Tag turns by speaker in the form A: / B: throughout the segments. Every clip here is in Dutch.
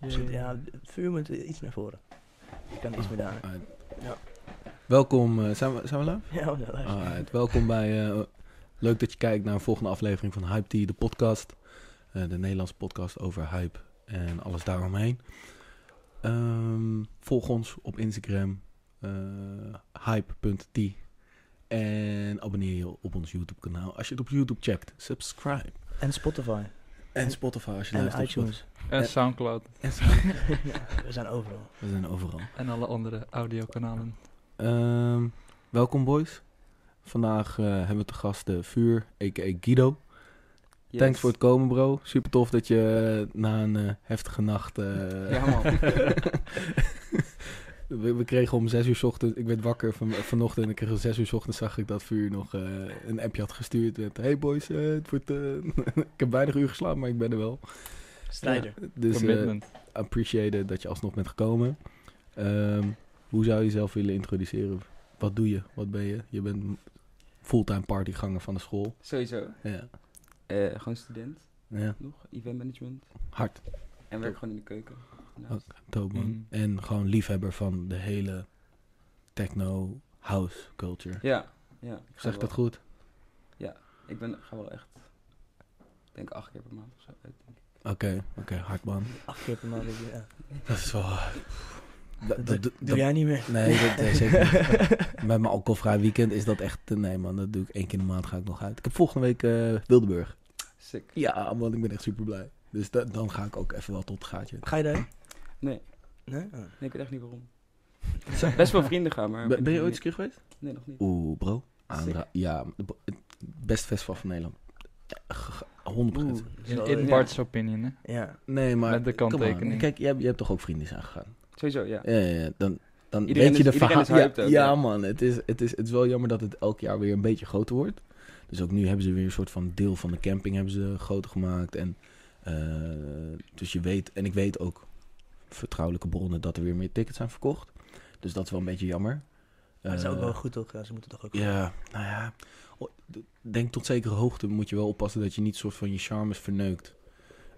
A: Dus het- ja, het vuur moet iets naar voren. Ik kan
B: Ah.
A: iets meer daar.
B: Alright.
A: Ja.
B: Welkom, eh, zijn, we, zijn we live?
A: Ja, we zijn live.
B: Alright, welkom bij. eh, leuk dat je kijkt naar een volgende aflevering van Hype Tea, de podcast. Eh, de Nederlandse podcast over hype en alles daaromheen. Ehm, volg ons op Instagram, eh, hype.tea. En abonneer je op ons YouTube-kanaal. Als je het op YouTube checkt, subscribe.
A: En Spotify.
B: En Spotify als je
A: En
B: luistert. op
A: iTunes.
B: Eh.
C: En Soundcloud
B: Spotify. En-
A: Ja, we zijn overal.
B: We zijn overal.
C: en alle andere audiokanalen.
B: Ehm, welkom, boys. Vandaag eh, hebben we te gast eh, Vuur, a.k.a. Guido. Thanks voor het komen, bro. Super tof dat je eh, na een eh, heftige nacht. eh,
C: Ja, man.
B: we, we kregen om zes uur 's ochtend. Ik werd wakker van, vanochtend en ik kreeg om zes uur 's ochtend. Zag ik dat vuur nog eh, een appje had gestuurd. Met, hey boys, eh, het wordt, eh, ik heb weinig uur geslapen, maar ik ben er wel.
A: Strijder.
B: Dus eh
C: Commitment.
B: appreciate dat je alsnog bent gekomen. Ehm, hoe zou je jezelf willen introduceren? Wat doe je? Wat ben je? Je bent fulltime partyganger van de school.
D: Sowieso.
B: Ja,
D: Eh, gewoon student
B: ja.
D: nog, event management.
B: hard.
D: En werk gewoon in de keuken. daarnaast.
B: Dope, man.
C: Mm.
B: En gewoon liefhebber van de hele techno house culture.
D: Ja, ja. Ik ga
B: zeg ik
D: wel-
B: dat goed?
D: Ik ben, ga wel echt, ik denk acht keer per maand of zo uit. denk ik.
B: Oké, oké, hard man.
A: Acht keer per maand. is- Ja.
B: Dat is wel... Dat, dat, dat-
A: Doe jij niet meer?
B: nee, dat, eh, zeker niet. Met mijn alcoholvrij weekend is dat echt... eh, Nee man, dat doe ik één keer in de maand ga ik nog uit. Ik heb volgende week eh, Wildeburg.
D: Sick.
B: Ja man, ik ben echt super blij. Dus da- dan ga ik ook even wel tot het gaatje.
A: Ga je daar?
D: Nee.
A: Nee? Oh.
D: Nee, ik weet echt niet waarom. Het zijn Best wel vrienden gaan, maar...
B: Ben, ben je ooit eens een keer geweest?
D: Nee, nog niet.
B: Oeh, bro. Andra, ja, bro, het best festival van Nederland. G- 100%.
A: Oeh, dat is
C: Dus In,
A: wel-
C: in
A: ja.
C: Bart's opinion, hè?
A: Ja.
B: Nee, maar...
C: Met de
B: come on.
C: kanttekening.
B: Kijk, jij, jij hebt toch ook vrienden zijn gegaan?
D: Sowieso, ja.
B: Ja, ja, ja. Dan, dan
D: Iedereen
B: weet je
D: is-
B: de
D: iedereen
B: verhaal.
D: is hyped
B: ja,
D: ook,
B: ja,
D: ja.
B: man. Het is, het, is, het is wel jammer dat het elk jaar weer een beetje groter wordt. Dus ook nu hebben ze weer een soort van deel van de camping hebben ze groter gemaakt. En, eh, dus je weet... En ik weet ook vertrouwelijke bronnen dat er weer meer tickets zijn verkocht. Dus dat is wel een beetje jammer.
A: Maar het is ook
B: Eh,
A: wel goed toch? Ja, ze moeten toch ook...
B: ja, nou ja. O- d- Denk tot zekere hoogte moet je wel oppassen dat je niet soort van je charmes verneukt.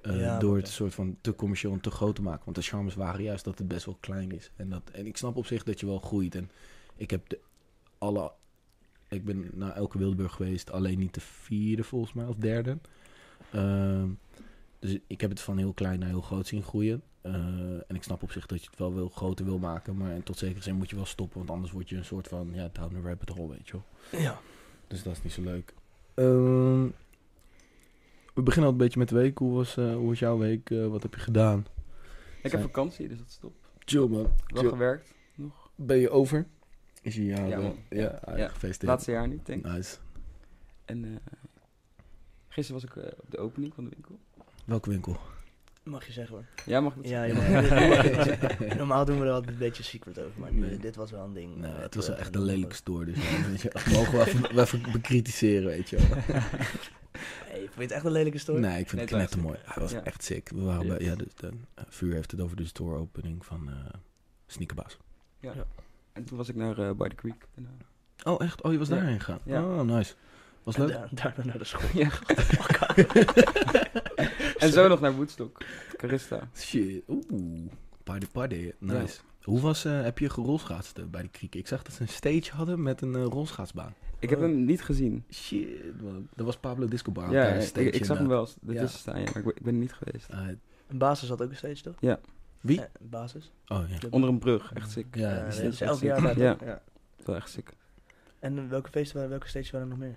B: eh,
A: Ja,
B: door
A: dat-
B: het soort van te commercieel en te groot te maken. Want de charmes waren juist dat het best wel klein is. En, dat, en ik snap op zich dat je wel groeit. En ik heb de, alle. Ik ben naar elke Wildeburg geweest. Alleen niet de vierde volgens mij, of derde. Ehm, dus ik heb het van heel klein naar heel groot zien groeien. Eh, en ik snap op zich dat je het wel wil, groter wil maken. Maar tot zekere zin moet je wel stoppen. Want anders word je een soort van. Ja, down the rabbit hole, weet je wel.
A: Ja.
B: Dus dat is niet zo leuk. Ehm, we beginnen al een beetje met de week. Hoe was, eh, hoe was jouw week? Eh, wat heb je gedaan?
D: Ik heb
B: Zijn-
D: vakantie, dus dat is top.
B: Chill man.
D: Wel
B: Chill.
D: gewerkt.
B: Ben je over? Is je jaar?
D: Ja,
B: eh,
D: man.
B: ja, ah,
D: Ja.
B: gefeliciteerd.
D: Laatste jaar nu, denk ik.
B: Nice.
D: En eh, gisteren was ik eh, op de opening van de winkel.
B: Welke winkel?
A: Mag je zeggen hoor.
D: Ja, mag ik dat
A: Ja, je
D: zeggen?
A: mag- Normaal doen we er altijd een beetje secret over, maar nu,
B: Nee.
A: dit was wel een ding.
B: Nee,
A: eh,
B: het
A: wat
B: was
A: we-
B: wel echt een lelijke store. Dus ja, weet je, dat mogen we even, we even bekritiseren, weet je wel.
A: Hey, vind je het echt een lelijke story?
B: Nee, ik vind het
D: Nee, het was
B: knettermooi. Hij was
D: Ja.
B: echt sick. We waren
D: Ja.
B: bij, ja, dus de, eh, Vuur heeft het over de store opening van eh Sneakerbaas.
D: En toen was ik naar eh, By the Creek. En, eh,
B: Oh, echt? Oh, je was
D: Ja.
B: daarheen gegaan?
D: Ja.
B: Oh, nice. Was
A: En
B: leuk?
A: da- daarna naar de school.
D: Ja. en zo nog naar Woodstock. Carista.
B: Shit, oeh. Party party, nice. Hoe was, eh, heb je gerolschaatst bij de krieken? Ik zag dat ze een stage hadden met een eh, rolschaatsbaan.
D: Ik heb hem niet gezien.
B: Shit, man. Dat was Pablo Discobar.
D: ja,
B: daar, een
D: ik,
B: stage
D: ik zag hem wel eens
B: Ja.
D: ertussen staan, ja, maar ik, ben- ik ben er niet geweest.
B: inderdaad. Ah,
A: Een basis had ook een stage, toch?
D: Ja.
B: Wie?
A: Eh, basis.
B: oh ja.
D: Onder een brug, echt sick.
B: Ja,
A: Eh,
B: die
A: dat
B: stage
A: is
B: was
A: elk
B: sick.
A: jaar daar,
D: Ja.
A: toch? ja.
D: Dat is wel echt sick.
A: En welke feesten waren, welke stages waren er nog meer?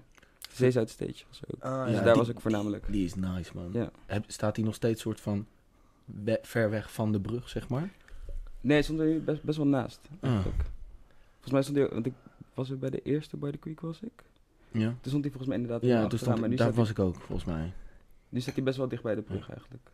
D: Zeezout Stage was ook.
A: Ah,
D: Dus
B: Ja,
D: daar
B: die-
D: was ik voornamelijk.
B: Die is nice, man.
D: Ja.
B: Heb- staat hij nog steeds soort van we- ver weg van de brug, zeg maar?
D: Nee, stond er best, best wel naast.
B: Ah.
D: eigenlijk. Volgens mij stond hij, want ik was er bij de eerste By the Creek was ik.
B: Ja.
D: Toen stond hij volgens mij inderdaad
B: Ja,
D: helemaal
B: toen
D: achteraan,
B: stond,
D: maar nu
B: daar
D: staat,
B: was
D: hij,
B: ik ook, volgens mij.
D: nu staat hij best wel dicht bij de brug eigenlijk.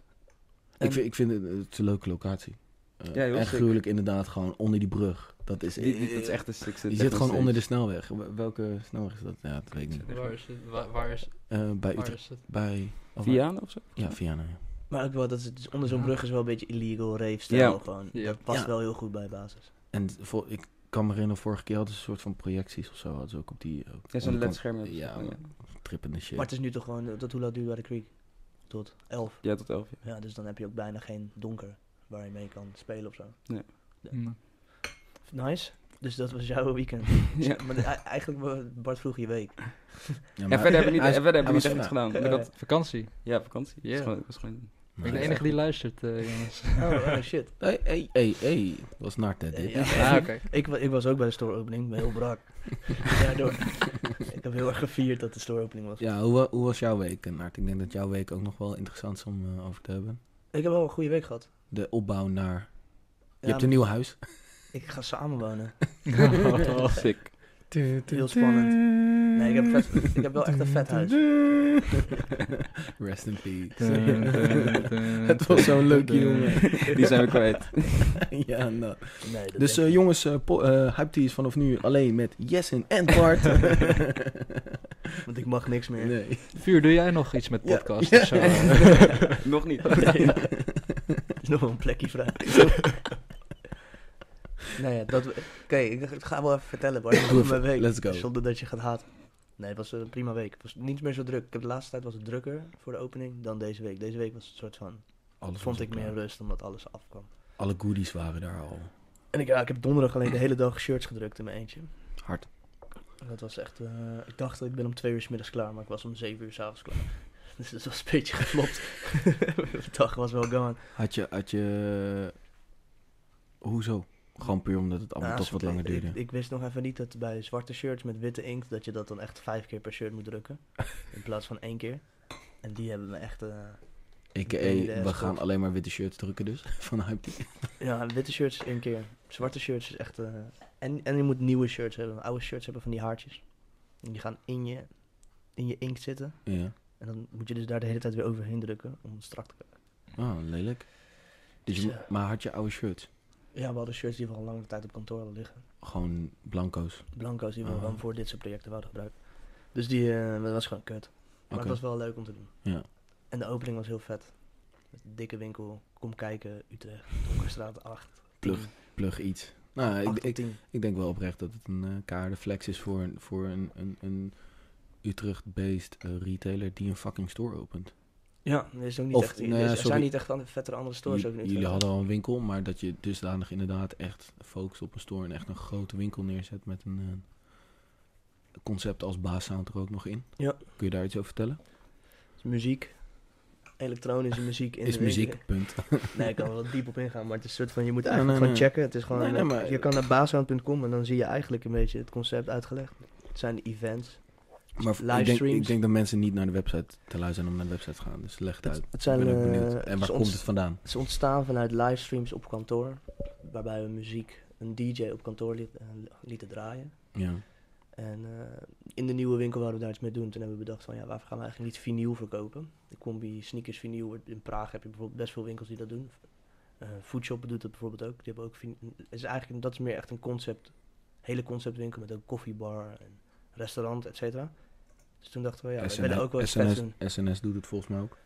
A: En-
B: ik, vind, ik vind het, het is een leuke locatie. Eh,
D: Ja, heel
B: en
D: sick.
B: gruwelijk inderdaad, gewoon onder die brug. Dat is, eh,
D: Die- die- dat is echt een sick.
B: Je zit gewoon onder de snelweg. Wel- Welke snelweg is dat? Ja, dat weet ik niet.
C: Waar is het? Waar, waar is,
B: Eh, bij
C: waar
B: Utrecht.
C: is het?
B: Bij... of-
D: Vianen of zo?
B: Ja, Vianen. ja.
A: Maar ook wel, dat is, dus onder zo'n brug is wel een beetje illegal rave
D: Ja.
A: gewoon.
C: Ja.
A: Dat past
B: Ja.
A: wel heel goed bij basis.
B: En vol- ik kan me herinneren, vorige keer hadden ze een soort van projecties of zo. Hadden ze ook op die eh,
D: Ja, zo'n
B: onderkant
D: ledscherm. heb je
B: Ja,
D: van,
B: trippende shit.
A: Maar het is nu toch gewoon, eh, tot hoe laat duurt bij de creek? Tot 11.
D: Ja, tot elf.
A: Ja, dus dan heb je ook bijna geen donker. waar je mee kan spelen of zo.
C: Mm.
A: Nice. Dus dat was jouw weekend.
D: Ja.
A: Maar e- eigenlijk, wa- Bart vroeg je week.
B: Ja,
D: En
B: maar-
D: verder hebben we
B: Hij
D: niet,
B: is-
D: verder hebben
B: hij
D: we niet
B: was
D: echt iets gedaan. Maar dat,
C: Vakantie.
D: ja, vakantie. Dat is
C: Ja.
D: gewoon- dat is gewoon-
C: Ik ben de enige die luistert, eh, jongens.
A: Oh, oh, shit. Eh,
B: Hey, hey, hey, hey. Dat was Nart, hè, dit.
A: Ja.
C: Ah, oké.
A: Ik, wa- ik was ook bij de store opening, ben heel brak. Daardoor, ik heb heel erg gevierd dat de store opening was.
B: Ja, hoe, wa- hoe was jouw week, Nart? Ik denk dat jouw week ook nog wel interessant is om eh, over te hebben.
A: Ik heb wel een goede week gehad.
B: De opbouw naar... Je
A: Ja,
B: hebt een nieuw huis.
A: Ik ga samenwonen.
D: Oh, sick.
A: Heel spannend. Nee, ik heb, vet- ik heb wel echt een vet huis.
B: Rest in peace.
C: Het
B: Het was zo'n leuke jongen.
D: Die zijn we kwijt.
B: ja, nou.
A: Nee, dat
B: Dus
A: denk ik.
B: eh, jongens, eh po- eh, Hype Tea is vanaf nu alleen met Jessen en Bart.
A: Want ik mag niks meer.
B: nee.
C: Vuur, doe jij nog iets met
B: Ja.
C: podcast
B: Ja.
C: of zo?
D: Nog niet.
A: Nee. Er is nog wel een plekje vrij. nee, ja, dat... Oké, ik ik ga wel even vertellen, Bart.
B: Doe
A: over mijn
B: even.
A: week.
B: Let's go.
A: Zonder dat je gaat haten. Nee, het was een prima week. Het was niet meer zo druk. Ik heb de laatste tijd was het drukker voor de opening dan deze week. Deze week was het soort van...
B: Alles
A: vond
B: was
A: ik meer
B: klaar.
A: rust omdat alles afkwam.
B: Alle goodies waren daar al.
A: En ik, ja, ik heb donderdag alleen de hele dag shirts gedrukt in mijn eentje.
B: Hard.
A: En Dat was echt... eh, ik dacht, ik ben om twee uur 's middags klaar, maar ik was om zeven uur s'avonds klaar. Dus dat was een beetje geflopt. de dag was wel gone.
B: Had je, had je... Hoezo? Gewoon puur omdat het allemaal
A: Nou,
B: toch wat
A: soort-
B: langer
A: ik-
B: duurde.
A: Ik, ik wist nog even niet dat bij zwarte shirts met witte inkt... dat je dat dan echt vijf keer per shirt moet drukken. in plaats van één keer. En die hebben me echt... eh,
B: Ik,
A: ik weet niet, eh,
B: we
A: is
B: gaan
A: goed.
B: alleen maar witte shirts drukken dus, van Hype Tea.
A: ja, witte shirts één keer. Zwarte shirts is echt... eh, en, en je moet nieuwe shirts hebben. Oude shirts hebben van die haartjes. En die gaan in je, in je inkt zitten.
B: Ja.
A: En dan moet je dus daar de hele tijd weer overheen drukken... om het strak te krijgen.
B: Oh, lelijk. Dus je,
A: Zo.
B: mo- maar had je oude shirts?
A: Ja, we hadden shirts die we al lange tijd op kantoor hadden liggen.
B: Gewoon blanco's.
A: Blanco's die we
B: Ah.
A: gewoon voor dit soort projecten hadden gebruikt. Dus die eh, dat was gewoon kut. Maar
B: Oké.
A: het was wel leuk om te doen.
B: Ja.
A: En de opening was heel vet. Met een dikke winkel, kom kijken, Utrecht, Donkerstraat 8. 10,
B: Plug, plug iets. Nou,
A: 8
B: ik,
A: tot
B: ik,
A: 10.
B: ik denk wel oprecht dat het een eh kaardenflex is voor, een- voor een, een, een Utrecht-based eh, retailer die een fucking store opent.
A: Ja, er, is ook niet
B: Of,
A: echt,
B: nou ja,
A: er zijn
B: sorry.
A: niet echt andere, vettere andere stores
B: Ju-
A: ook in Utrecht.
B: jullie hadden al een winkel, maar dat je dusdanig inderdaad echt focust op een store en echt een grote winkel neerzet met een eh, concept als baassound er ook nog in.
A: Ja.
B: Kun je daar iets over vertellen?
A: Dus muziek, elektronische muziek. In
B: is
A: de winkel.
B: muziek, punt.
A: Nee, ik kan er wel diep op ingaan, maar het is een soort van, je moet
B: Ja,
A: eigenlijk
B: nee,
A: gewoon
B: nee.
A: checken. Het is gewoon,
B: Nee, nee,
A: eh,
B: maar-
A: je kan naar baashound.com en dan zie je eigenlijk een beetje het concept uitgelegd. Het zijn de events.
B: Maar v- ik denk,
A: Livestreams.
B: ik denk dat mensen niet naar de website te lui zijn om naar de website te gaan. Dus leg het
A: Het-
B: uit.
A: het zijn,
B: ik ben ook
A: eh,
B: benieuwd.
A: het
B: En
A: is
B: waar komt
A: ons-
B: het vandaan?
A: Het is ontstaan vanuit livestreams op kantoor, waarbij we muziek, een DJ op kantoor liet, eh, lieten draaien.
B: Ja.
A: En eh, in de nieuwe winkel wouden we daar iets mee doen. Toen hebben we bedacht van ja, waarvoor gaan we eigenlijk niet vinyl verkopen? De combi sneakers vinyl, wordt- in Praag heb je bijvoorbeeld best veel winkels die dat doen. Eh Foodshop doet dat bijvoorbeeld ook. Die hebben ook vin- het is eigenlijk, dat is meer echt een concept, hele conceptwinkel met ook koffiebar en restaurant, et cetera. Dus toen dachten we ja, we
B: SNS
A: willen ook wel iets vets
B: SNS,
A: doen.
B: SNS doet het volgens mij ook.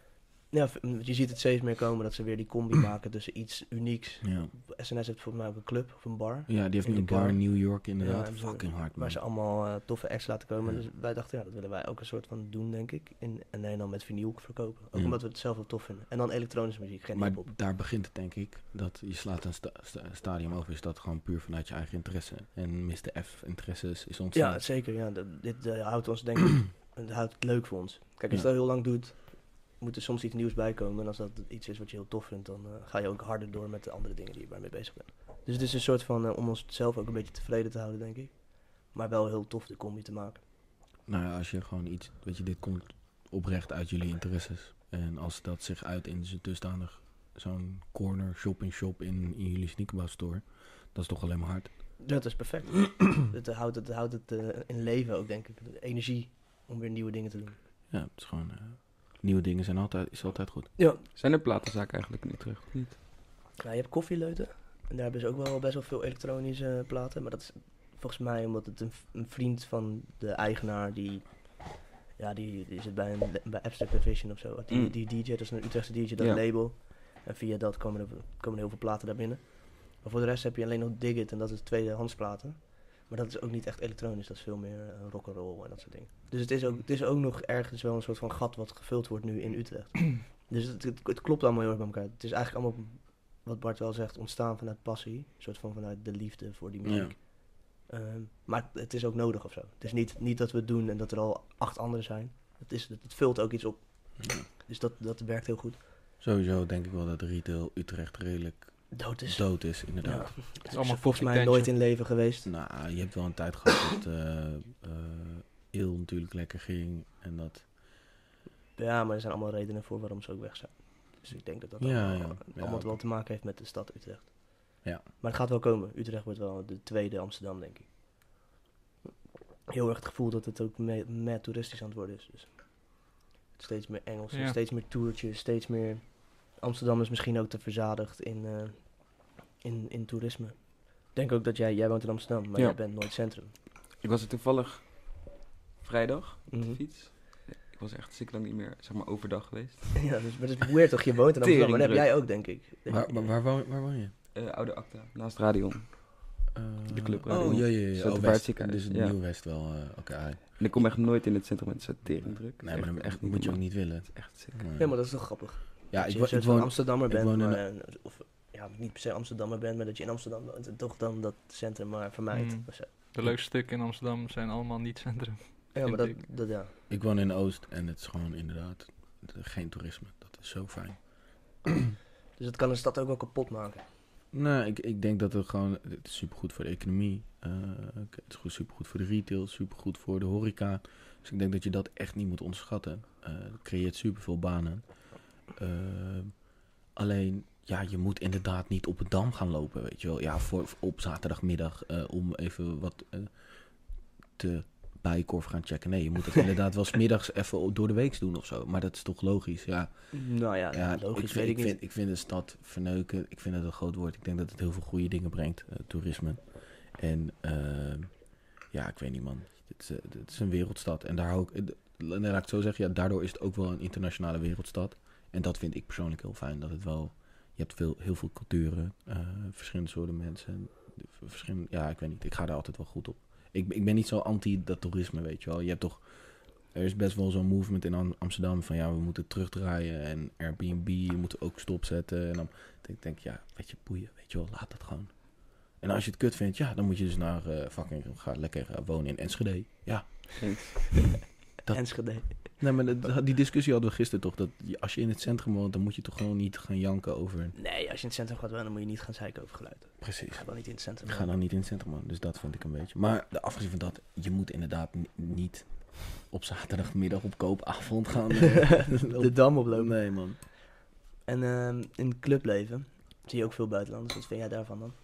A: Ja, v- je ziet het steeds meer komen dat ze weer die combi maken tussen iets unieks.
B: Ja,
A: SNS heeft volgens mij ook een club of een bar.
B: ja die heeft
A: In
B: nu
A: de
B: een bar
A: kamer.
B: in New York inderdaad.
A: Ja, en zo-
B: Fucking hard, man.
A: Waar ze allemaal eh, toffe acts laten komen.
B: Mm. Ja.
A: Dus wij dachten, ja, dat willen wij ook een soort van doen, denk ik. In, en alleen dan met vinyl verkopen. Ook
B: Ja.
A: omdat we het zelf wel tof vinden. En dan elektronische muziek, geen
B: Maar
A: hip-hop.
B: daar begint het, denk ik. Dat je slaat een sta- sta- stadium over. Is dat gewoon puur vanuit je eigen interesse. En Mr. F. interesses is ontstaan.
A: Ja, zeker. Ja, dat- dit eh, houdt ons, denk ik, het houdt het leuk voor ons. Kijk, als
B: Ja.
A: je dat heel lang doet, moet er soms iets nieuws bij komen. En als dat iets is wat je heel tof vindt, dan eh, ga je ook harder door met de andere dingen die je waarmee bezig bent. Dus het is een soort van, eh, om onszelf ook een beetje tevreden te houden, denk ik. Maar wel heel tof de combi te maken.
B: Nou ja, als je gewoon iets... Weet je, dit komt oprecht uit jullie interesses. En als dat zich uit in zo'n dusdanig zo'n corner shop-in-shop in, in jullie sneakerbouw store... Dat is toch alleen maar hard.
A: Dat is perfect. het eh, houdt het, houdt het eh, in leven ook, denk ik. De energie om weer nieuwe dingen te doen.
B: Ja, het is gewoon... eh, nieuwe dingen zijn altijd, is altijd goed.
D: Zijn er platenzaken eigenlijk in Utrecht? of Niet.
A: Nou, je hebt koffieleuten. En daar hebben ze ook wel best wel veel elektronische eh, platen. Maar dat is volgens mij omdat het een, v- een vriend van de eigenaar die... Ja, die, die zit bij, een, bij Abstract Division of zo. Die,
D: Mm.
A: die DJ, dat is een Utrechtse DJ, dat
D: Ja.
A: label. En via dat komen er, komen er heel veel platen daar binnen. Maar voor de rest heb je alleen nog Digit en dat is tweedehands platen. Maar dat is ook niet echt elektronisch, dat is veel meer rock rock'n'roll en dat soort dingen. Dus het is, ook, het is ook nog ergens wel een soort van gat wat gevuld wordt nu in Utrecht. dus het, het, het klopt allemaal heel erg bij elkaar. Het is eigenlijk allemaal wat Bart wel zegt, ontstaan vanuit passie. Een soort van vanuit de liefde voor die muziek.
B: Ja.
A: Ehm, maar het is ook nodig of zo. Het is niet, niet dat we het doen en dat er al acht anderen zijn. Het, is, het, het vult ook iets op.
B: Ja.
A: Dus dat, dat werkt heel goed.
B: Sowieso denk ik wel dat retail Utrecht redelijk
A: Dood is.
B: dood is,
A: Dus Ja.
B: inderdaad.
A: Het is
C: allemaal
A: volgens mij
C: poppy-tentje.
A: nooit in leven geweest.
B: Nou, je hebt wel een tijd gehad dat eh eh, Il natuurlijk lekker ging en dat...
A: Ja, maar er zijn allemaal redenen voor waarom ze ook weg zijn. Dus ik denk dat dat
B: Ja,
A: allemaal,
B: ja. Ja,
A: allemaal
B: oké.
A: wel te maken heeft met de stad Utrecht.
B: Ja.
A: Maar het gaat wel komen. Utrecht wordt wel de tweede Amsterdam, denk ik. Heel erg het gevoel dat het ook me- mad toeristisch aan het worden is. Dus steeds meer Engelsen,
C: Ja.
A: steeds meer toertjes, steeds meer... Amsterdam is misschien ook te verzadigd in, eh, in, in toerisme. Ik denk ook dat jij... Jij woont in Amsterdam, maar
D: Ja.
A: jij bent nooit centrum.
D: Ik was er toevallig vrijdag op de
A: Mhm.
D: fiets. Ik was echt ziek lang niet meer, zeg maar, overdag geweest.
A: ja, dus, maar het is weird toch? Je woont in Amsterdam, maar dat heb
D: Teringdruk.
A: jij ook, denk ik.
B: Waar, waar, waar, woon, waar woon je?
D: Eh, oude Acta, naast Radion.
B: Eh,
D: De club,
B: Oh,
D: eh,
B: ja, ja, ja. Oh,
D: Centrum waar het
B: West,
D: ziekenhuis,
B: dus het
D: ja.
B: Nieuw West wel. eh, Oké, ah,
D: En ik kom echt nooit in het centrum met zo'n teringdruk.
B: nee, maar dan echt,
D: niet
B: moet je ook
D: normaal.
B: niet willen.
D: Het is echt ziek.
B: Nee.
A: Ja, maar dat is toch grappig?
B: ja,
A: als
B: ik,
A: je
B: wo-
A: een soort
B: ik
A: van
B: woon...
A: Amsterdammer
B: ik
A: bent,
B: woon in-
A: maar, eh, of ja, niet per se Amsterdammer bent, maar dat je in Amsterdam woont en toch dan dat centrum maar vermijdt.
D: Hmm.
C: Mm.
A: of zo.
C: De leukste stukken in Amsterdam zijn allemaal niet centrum.
A: Ja, maar
C: Vind
A: dat,
C: ik.
A: dat ja.
B: Ik woon in Oost en het is gewoon inderdaad geen toerisme. Dat is zo fijn.
A: Dus dat kan een stad ook wel kapot maken.
B: Nou, ik, ik denk dat het gewoon... Het is supergoed voor de economie. eh, het is goed, supergoed voor de retail. Supergoed voor de horeca. Dus ik denk dat je dat echt niet moet onderschatten. Eh, het creëert superveel banen. Eh, alleen, ja, je moet inderdaad niet op het dam gaan lopen, weet je wel. Ja, voor, op zaterdagmiddag eh, om even wat eh, te bijkorf gaan checken. Nee, je moet het inderdaad wel smiddags even door de week doen of zo. Maar dat is toch logisch, ja.
A: Nou ja,
B: Ja,
A: logisch
B: ik, vind-
A: weet ik,
B: ik,
A: niet.
B: Vind, ik vind de stad verneuken, ik vind het een groot woord. Ik denk dat het heel veel goede dingen brengt, eh, toerisme. En ehm, ja, ik weet niet man, het is, eh, het is een wereldstad. En daar hou ik, eh, d- laat ik het zo zeggen, ja, daardoor is het ook wel een internationale wereldstad. En dat vind ik persoonlijk heel fijn, dat het wel, je hebt veel, heel veel culturen, eh, verschillende soorten mensen. v- Verschillende, ja, ik weet niet, ik ga daar altijd wel goed op. Ik, ik ben niet zo anti dat toerisme, weet je wel. Je hebt toch er is best wel zo'n movement in Am- Amsterdam van ja, we moeten terugdraaien en Airbnb moeten ook stopzetten. En dan denk ik, denk, ja, weet je, boeien, weet je wel, laat dat gewoon. En als je het kut vindt, ja, dan moet je dus naar eh, fucking, ga lekker eh, wonen in Enschede. Ja,
D: Eens.
B: dat-
A: Enschede.
B: nee, maar dat- die discussie hadden we gisteren toch, dat je- als je in het centrum woont, dan moet je toch gewoon niet gaan janken over...
A: Nee, als je in het centrum gaat wonen, dan moet je niet gaan zeiken over geluid.
B: Precies.
A: Ga dan niet in het centrum.
B: Ik ga
A: wonen.
B: dan niet in het centrum, man. Dus dat vind ik een beetje. Maar de afgezien van dat, je moet inderdaad ni- niet op zaterdagmiddag op koopavond gaan. eh,
A: de dam oplopen.
B: Nee, man.
A: En ehm, in het clubleven zie je ook veel buitenlanders. Wat vind jij daarvan
D: Hmm.
A: dan?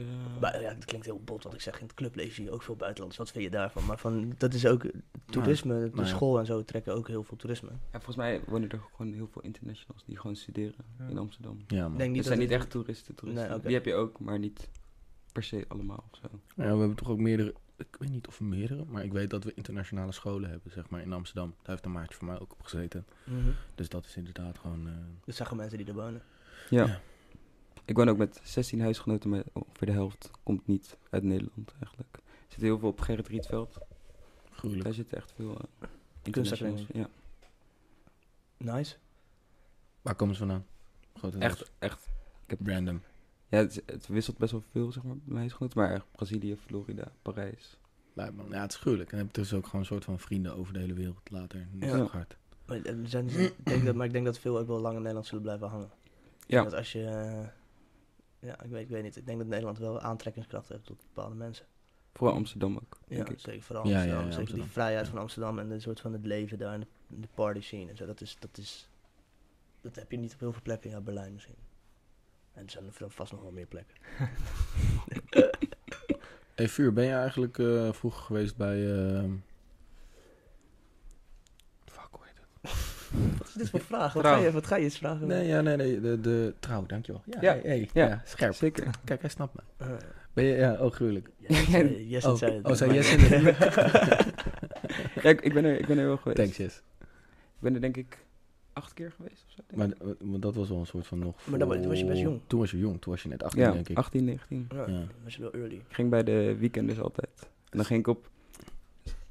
D: Eh,
A: Bu- ja, dat klinkt heel bot wat ik zeg. In het clubleven zie je ook veel buitenlanders. Wat vind je daarvan? Maar van, dat is ook eh, toerisme. de
B: nou ja.
A: school en zo trekken ook heel veel toerisme.
D: ja, volgens mij wonen er gewoon heel veel internationals die gewoon studeren
C: Ja.
D: in Amsterdam.
B: Ja,
A: Ik
B: man.
A: denk niet
D: Het
A: dat
D: zijn
A: het-
D: niet echt toeristen, toeristen.
A: Nee, oké.
D: Die heb je ook, maar niet per se allemaal of zo.
B: Ja, we hebben toch ook meerdere. Ik weet niet of we meerdere, maar ik weet dat we internationale scholen hebben, zeg maar, in Amsterdam. Daar heeft een maatje van mij ook op gezeten.
A: Mhm.
B: Dus dat is inderdaad gewoon. eh,
A: Dat zijn gewoon mensen die er wonen.
D: Ja.
B: Ja.
D: Ik woon ook met 16 huisgenoten, maar ongeveer de helft komt niet uit Nederland eigenlijk. Er zitten heel veel op Gerrit Rietveld.
B: gruwelijk.
D: Daar zitten echt veel eh internationals. Ja.
A: Nice.
B: Waar komen ze vandaan? Grotendeels.
D: Echt, echt.
B: Random.
D: Ja, het, is- het wisselt best wel veel, zeg maar, bij mijn huisgenoten. Maar echt Brazilië, Florida, Parijs.
B: Lijp, man. Ja, het is gruwelijk. En heb je dus ook gewoon een soort van vrienden over de hele wereld later. Dat is
D: Ja.
B: toch hard.
A: Maar, eh, we zijn, ik denk dat, maar ik denk dat veel ook wel lang in Nederland zullen blijven hangen.
D: Ja.
A: Dat als je... eh, ja, ik weet, ik weet niet. Ik denk dat Nederland wel aantrekkingskracht heeft op bepaalde mensen.
D: Vooral Amsterdam ook.
A: Ja,
D: denk ik.
A: zeker vooral
B: Ja, ja,
A: Amsterdam.
B: ja,
A: zeker
B: Amsterdam.
A: die vrijheid
B: Ja.
A: van Amsterdam en de soort van het leven daar en de, de party scene en zo. Dat is, dat is... Dat heb je niet op heel veel plekken. Ja, Berlijn misschien. En er zijn er vast nog wel meer plekken.
B: Hey, Vuur, ben je eigenlijk eh, vroeger geweest bij. eh, Fuck, hoe heet het?
A: Wat is dit voor vraag? Wat
C: Trouw.
A: ga je, wat ga je eens vragen?
B: Nee, ja, nee, nee. De, de trouw, dankjewel. Ja,
D: Ja.
B: hey, hey.
D: Ja.
B: ja, scherp.
D: Zeker.
B: Kijk, hij snapt me.
A: Eh,
B: Ben je, ja, oh, gruwelijk.
A: yes, eh, yes,
B: Oh,
A: het zei het.
B: oh, zei
A: Maar-
B: yes in het-
D: Ja, ik, ik, ben er, ik ben er wel geweest.
B: Thanks, yes.
D: Ik ben er denk ik acht keer geweest of zo. denk ik.
B: Maar, d- maar dat was wel een soort van nog.
A: Maar dan wa- toen was je best
B: voor-
A: jong.
B: Toen was je jong, toen was je net 18,
D: ja,
B: denk ik.
D: 18, 19.
A: Ja,
B: Ja.
A: dat was wel early.
D: Ik ging bij de weekenders altijd. En dan ging ik op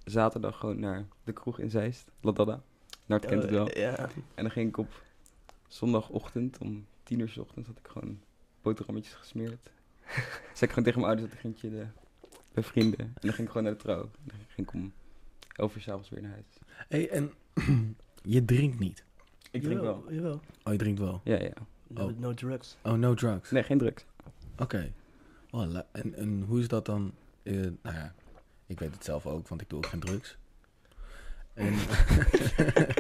D: zaterdag gewoon naar de kroeg in Zeist, Ladada. Nart kent het wel.
A: Ja,
D: En dan ging ik op zondagochtend om tien uur 's ochtends had ik gewoon boterhammetjes gesmeerd. Zei ik gewoon tegen mijn ouders dat ik ging chillen bij vrienden. En dan ging ik gewoon naar de trouw. En dan ging ik om elf uur s'avonds weer naar huis.
B: Hey, en je drinkt niet.
D: Ik drink wel.
A: Jawel.
B: Oh, je drinkt wel.
D: Ja, ja.
A: No,
B: Oh.
A: no drugs.
B: Oh, no drugs.
D: Nee, geen drugs.
B: Oké. Oh, la- en, en hoe is dat dan? eh, nou ja, ik weet het zelf ook, want ik doe ook geen drugs. En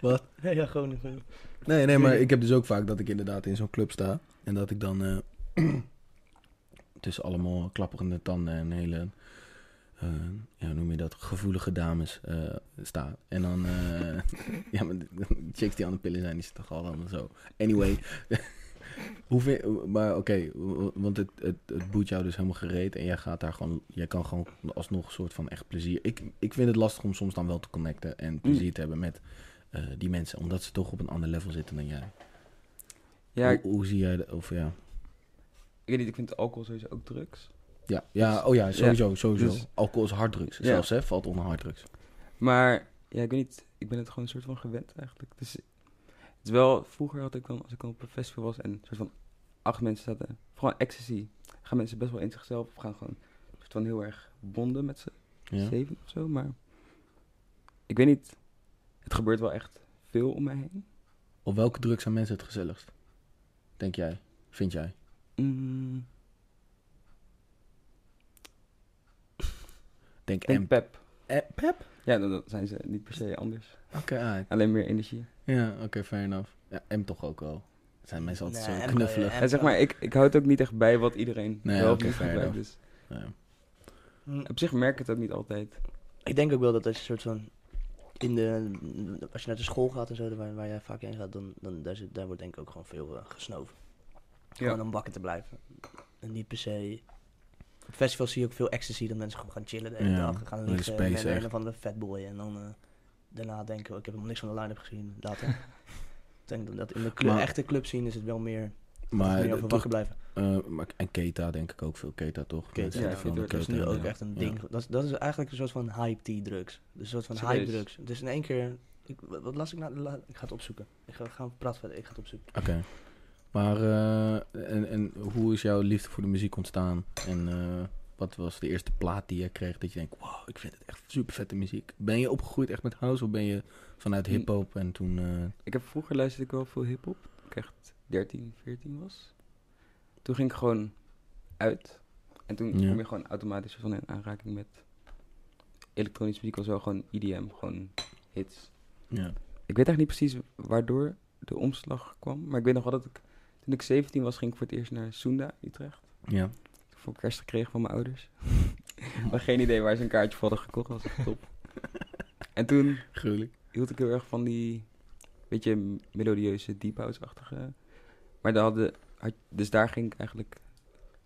B: Wat?
A: Ja, ja gewoon. gewoon.
B: Nee, nee, maar ik heb dus ook vaak dat ik inderdaad in zo'n club sta. En dat ik dan eh, tussen allemaal klapperende tanden en hele, eh, ja, hoe noem je dat, gevoelige dames eh, sta. En dan, eh, ja, maar de- de chicks die aan de pillen zijn, die zitten toch al dan zo. Anyway, hoe vind- maar oké, w- want het, het, het boet jou dus helemaal gereed. En jij gaat daar gewoon, jij kan gewoon alsnog een soort van echt plezier. Ik, ik vind het lastig om soms dan wel te connecten en plezier te hebben met eh, die mensen, omdat ze toch op een ander level zitten dan jij.
D: Ja, ik,
B: hoe, hoe zie jij dat? Of ja.
D: ik weet niet, ik vind alcohol sowieso ook drugs.
B: Ja, ja, oh ja, sowieso, sowieso.
D: dus-
B: Alcohol is harddrugs,
D: Ja.
B: zelfs hè, valt onder harddrugs.
D: Maar ja, ik weet niet, ik ben het gewoon een soort van gewend eigenlijk. Dus het is wel, vroeger had ik dan, als ik dan op een festival was en een soort van acht mensen zaten, vooral ecstasy, gaan mensen best wel in zichzelf of gaan gewoon een soort van heel erg bonden met ze.
B: Ja.
D: zeven of zo, maar ik weet niet. Het gebeurt wel echt veel om mij heen.
B: Op welke drugs zijn mensen het gezelligst? Denk jij? Vind jij?
D: Mm,
B: Denk,
D: ik denk
B: en-
D: pep.
B: eh, pep?
D: Ja, dan, dan zijn ze niet per se anders.
B: Oké, ah,
D: Alleen meer energie.
B: ja, oké, fair enough. Ja, M toch ook wel. Zijn mensen altijd
A: Nee, M eh, kan
B: zo
A: je-
B: knuffelig.
A: M
D: En zeg maar, ik, ik houd ook niet echt bij wat iedereen
B: Nee,
D: wel of
B: oké,
D: niet
B: fair
D: gebruikt.
B: enough.
D: Dus
B: Ja.
A: Mm.
D: op zich merk ik het ook niet altijd.
A: Ik denk ook wel dat als je soort van. In de, als je naar de school gaat en zo, waar, waar jij vaak heen gaat, dan, dan daar, zit, daar wordt denk ik ook gewoon veel eh, gesnoven. Gewoon om wakker te blijven. En niet per se. Op festivals zie je ook veel ecstasy, dat mensen gewoon gaan chillen de hele
B: Ja,
A: dag. Gaan
B: hele
A: liggen
B: space
A: met een
B: echt.
A: of andere fatboy. En dan eh, daarna denken, oh, ik heb helemaal niks van de line-up gezien. Later. ik denk dat- dat in de club,
B: Maar-
A: echte club zien is het wel meer,
B: Maar,
A: meer
B: eh,
A: over
B: toch,
A: wakker blijven.
B: eh, maar- en Keta denk ik ook veel. Keta toch?
A: Keta,
B: Mensen
D: ja,
B: hebben veel
D: dat
B: aan
A: Dat is nu
B: Keta,
A: ook
B: ja.
A: echt een
B: Ja.
A: ding. Dat, is- dat is eigenlijk een soort van hype tea drugs. Dus een soort van
D: Serieus?
A: hype drugs. Dus in één keer. Ik, wat wat las ik nou? La- ik ga het opzoeken. Ik ga, ga praten verder. Ik ga het opzoeken.
B: Oké. Maar eh, en, en hoe is jouw liefde voor de muziek ontstaan? En eh, wat was de eerste plaat die je kreeg dat je denkt, wow, ik vind het echt super vette muziek. Ben je opgegroeid echt met house of ben je vanuit
D: Hm.
B: hip-hop en toen... eh,
D: Ik heb vroeger luisterde ik wel veel hip-hop. Toen ik echt 13, 14 was. Toen ging ik gewoon uit. En toen
B: Ja.
D: kom je gewoon automatisch van in aanraking met elektronische muziek, was wel gewoon EDM, gewoon hits.
B: ja.
D: Ik weet eigenlijk niet precies waardoor de omslag kwam. Maar ik weet nog wel dat ik... Toen ik 17 was, ging ik voor het eerst naar Sunda, Utrecht.
B: ja.
D: Ik heb voor kerst gekregen van mijn ouders. maar geen idee waar ze een kaartje voor hadden gekocht. Dat was echt top. en toen
B: Gruwelijk.
D: hield ik heel erg van die... Beetje m- melodieuze, deep house-achtige... Maar daar hadden... had- dus daar ging ik eigenlijk...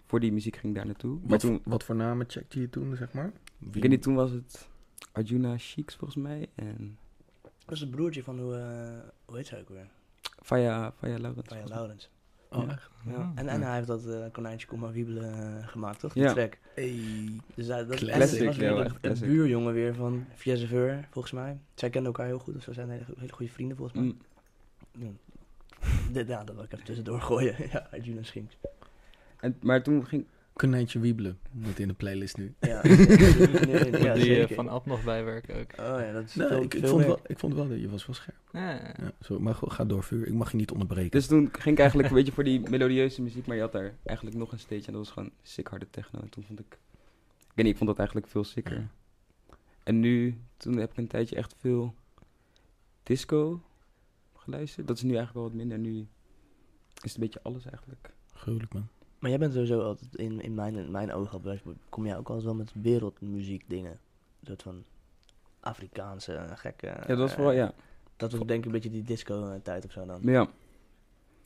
D: Voor die muziek ging ik daar naartoe. Maar
B: Wat,
D: toen...
B: wat voor namen checkte je toen, zeg maar?
D: Ik weet niet, toen was het... Arjuna Sheiks volgens mij. En
A: Dat is het broertje van hoe. eh, hoe heet ze ook weer?
D: Faya, Faya Laurens.
A: Van
D: volgens mij.
A: Laurens.
B: Oh,
D: Ja.
B: echt?
C: Mm,
A: Ja. En, en hij heeft dat eh, konijntje Kom maar wiebelen eh, gemaakt, toch? Die
D: Ja.
A: track.
B: Hey.
A: Dus hij, dat
B: Classic,
A: en het was
D: ja,
A: weer
D: wel
A: de-
D: echt
A: de
D: classic.
A: buurjongen weer van Via Seveur, volgens mij. Zij kennen elkaar heel goed, of ze zijn hele, hele goede vrienden volgens mij.
D: Mm.
A: Ja. Dit- Ja, dat wil ik even tussendoor gooien. Ja, Arjuna Schinks.
D: En, maar toen ging...
B: Konijntje Wiebelen. Moet in de playlist nu.
A: Ja,
C: Moet
A: ja,
C: die eh,
A: zeker.
C: van Ab nog bijwerken ook.
A: Oh ja, dat is
B: Nee,
A: veel,
B: Nou, ik, ik,
A: veel
B: vond
A: werk.
B: wel, ik vond wel dat je was wel scherp.
C: Ja.
B: Ja, sorry, maar goed, ga door, vuur. Ik mag je niet onderbreken.
D: Dus toen ging ik eigenlijk een beetje voor die melodieuze muziek, maar je had daar eigenlijk nog een stage en dat was gewoon sick harde techno. En toen vond ik, ik weet niet, ik vond dat eigenlijk veel sicker.
B: Ja.
D: En nu, toen heb ik een tijdje echt veel disco geluisterd. Dat is nu eigenlijk wel wat minder. Nu is het een beetje alles eigenlijk.
B: Gruwelijk, man.
A: Maar jij bent sowieso altijd, in, in mijn, in mijn ogen, op wijze- kom jij ook altijd wel met wereldmuziek dingen. Een soort van Afrikaanse eh, gekke...
D: Ja, dat was vooral, ja.
A: Dat was denk ik een beetje die disco-tijd of zo dan.
D: Maar ja, het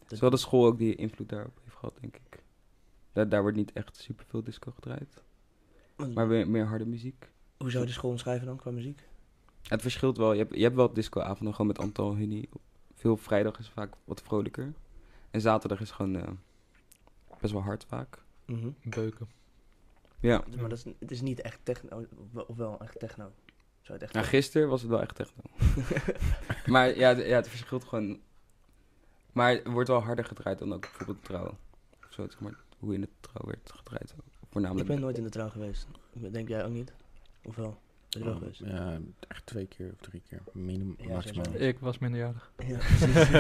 A: Dat-
D: is wel de school ook die invloed daarop heeft gehad, denk ik. Daar, daar wordt niet echt super veel disco gedraaid,
A: Want
D: maar weer meer harde muziek.
A: hoe zou je de school omschrijven dan qua muziek?
D: Het verschilt wel. Je hebt, je hebt wel discoavonden gewoon met Antal Huni. Veel vrijdag is vaak wat vrolijker. En zaterdag is gewoon eh, best wel hard vaak.
C: Beuken.
D: Ja.
A: Maar dat is, het is niet echt techno, of wel echt techno. Zou je het
D: Nou,
A: echt...
D: gisteren was het wel echt techno. maar ja, d- ja, het verschilt gewoon Maar het wordt wel harder gedraaid dan ook bijvoorbeeld trouw. Of zo, zeg maar, hoe in de trouw werd gedraaid.
A: Ik
D: Voornamelijk.
A: ben nooit in de trouw geweest. Ik ben- Denk jij ook niet? Of wel? Ben je
D: Oh,
A: wel geweest?
B: Oh, Ja, echt twee keer of drie keer. Minimum,
A: Ja,
B: maximaal.
D: Eh,
A: sowieso.
C: Ik was minderjarig.
A: Ja.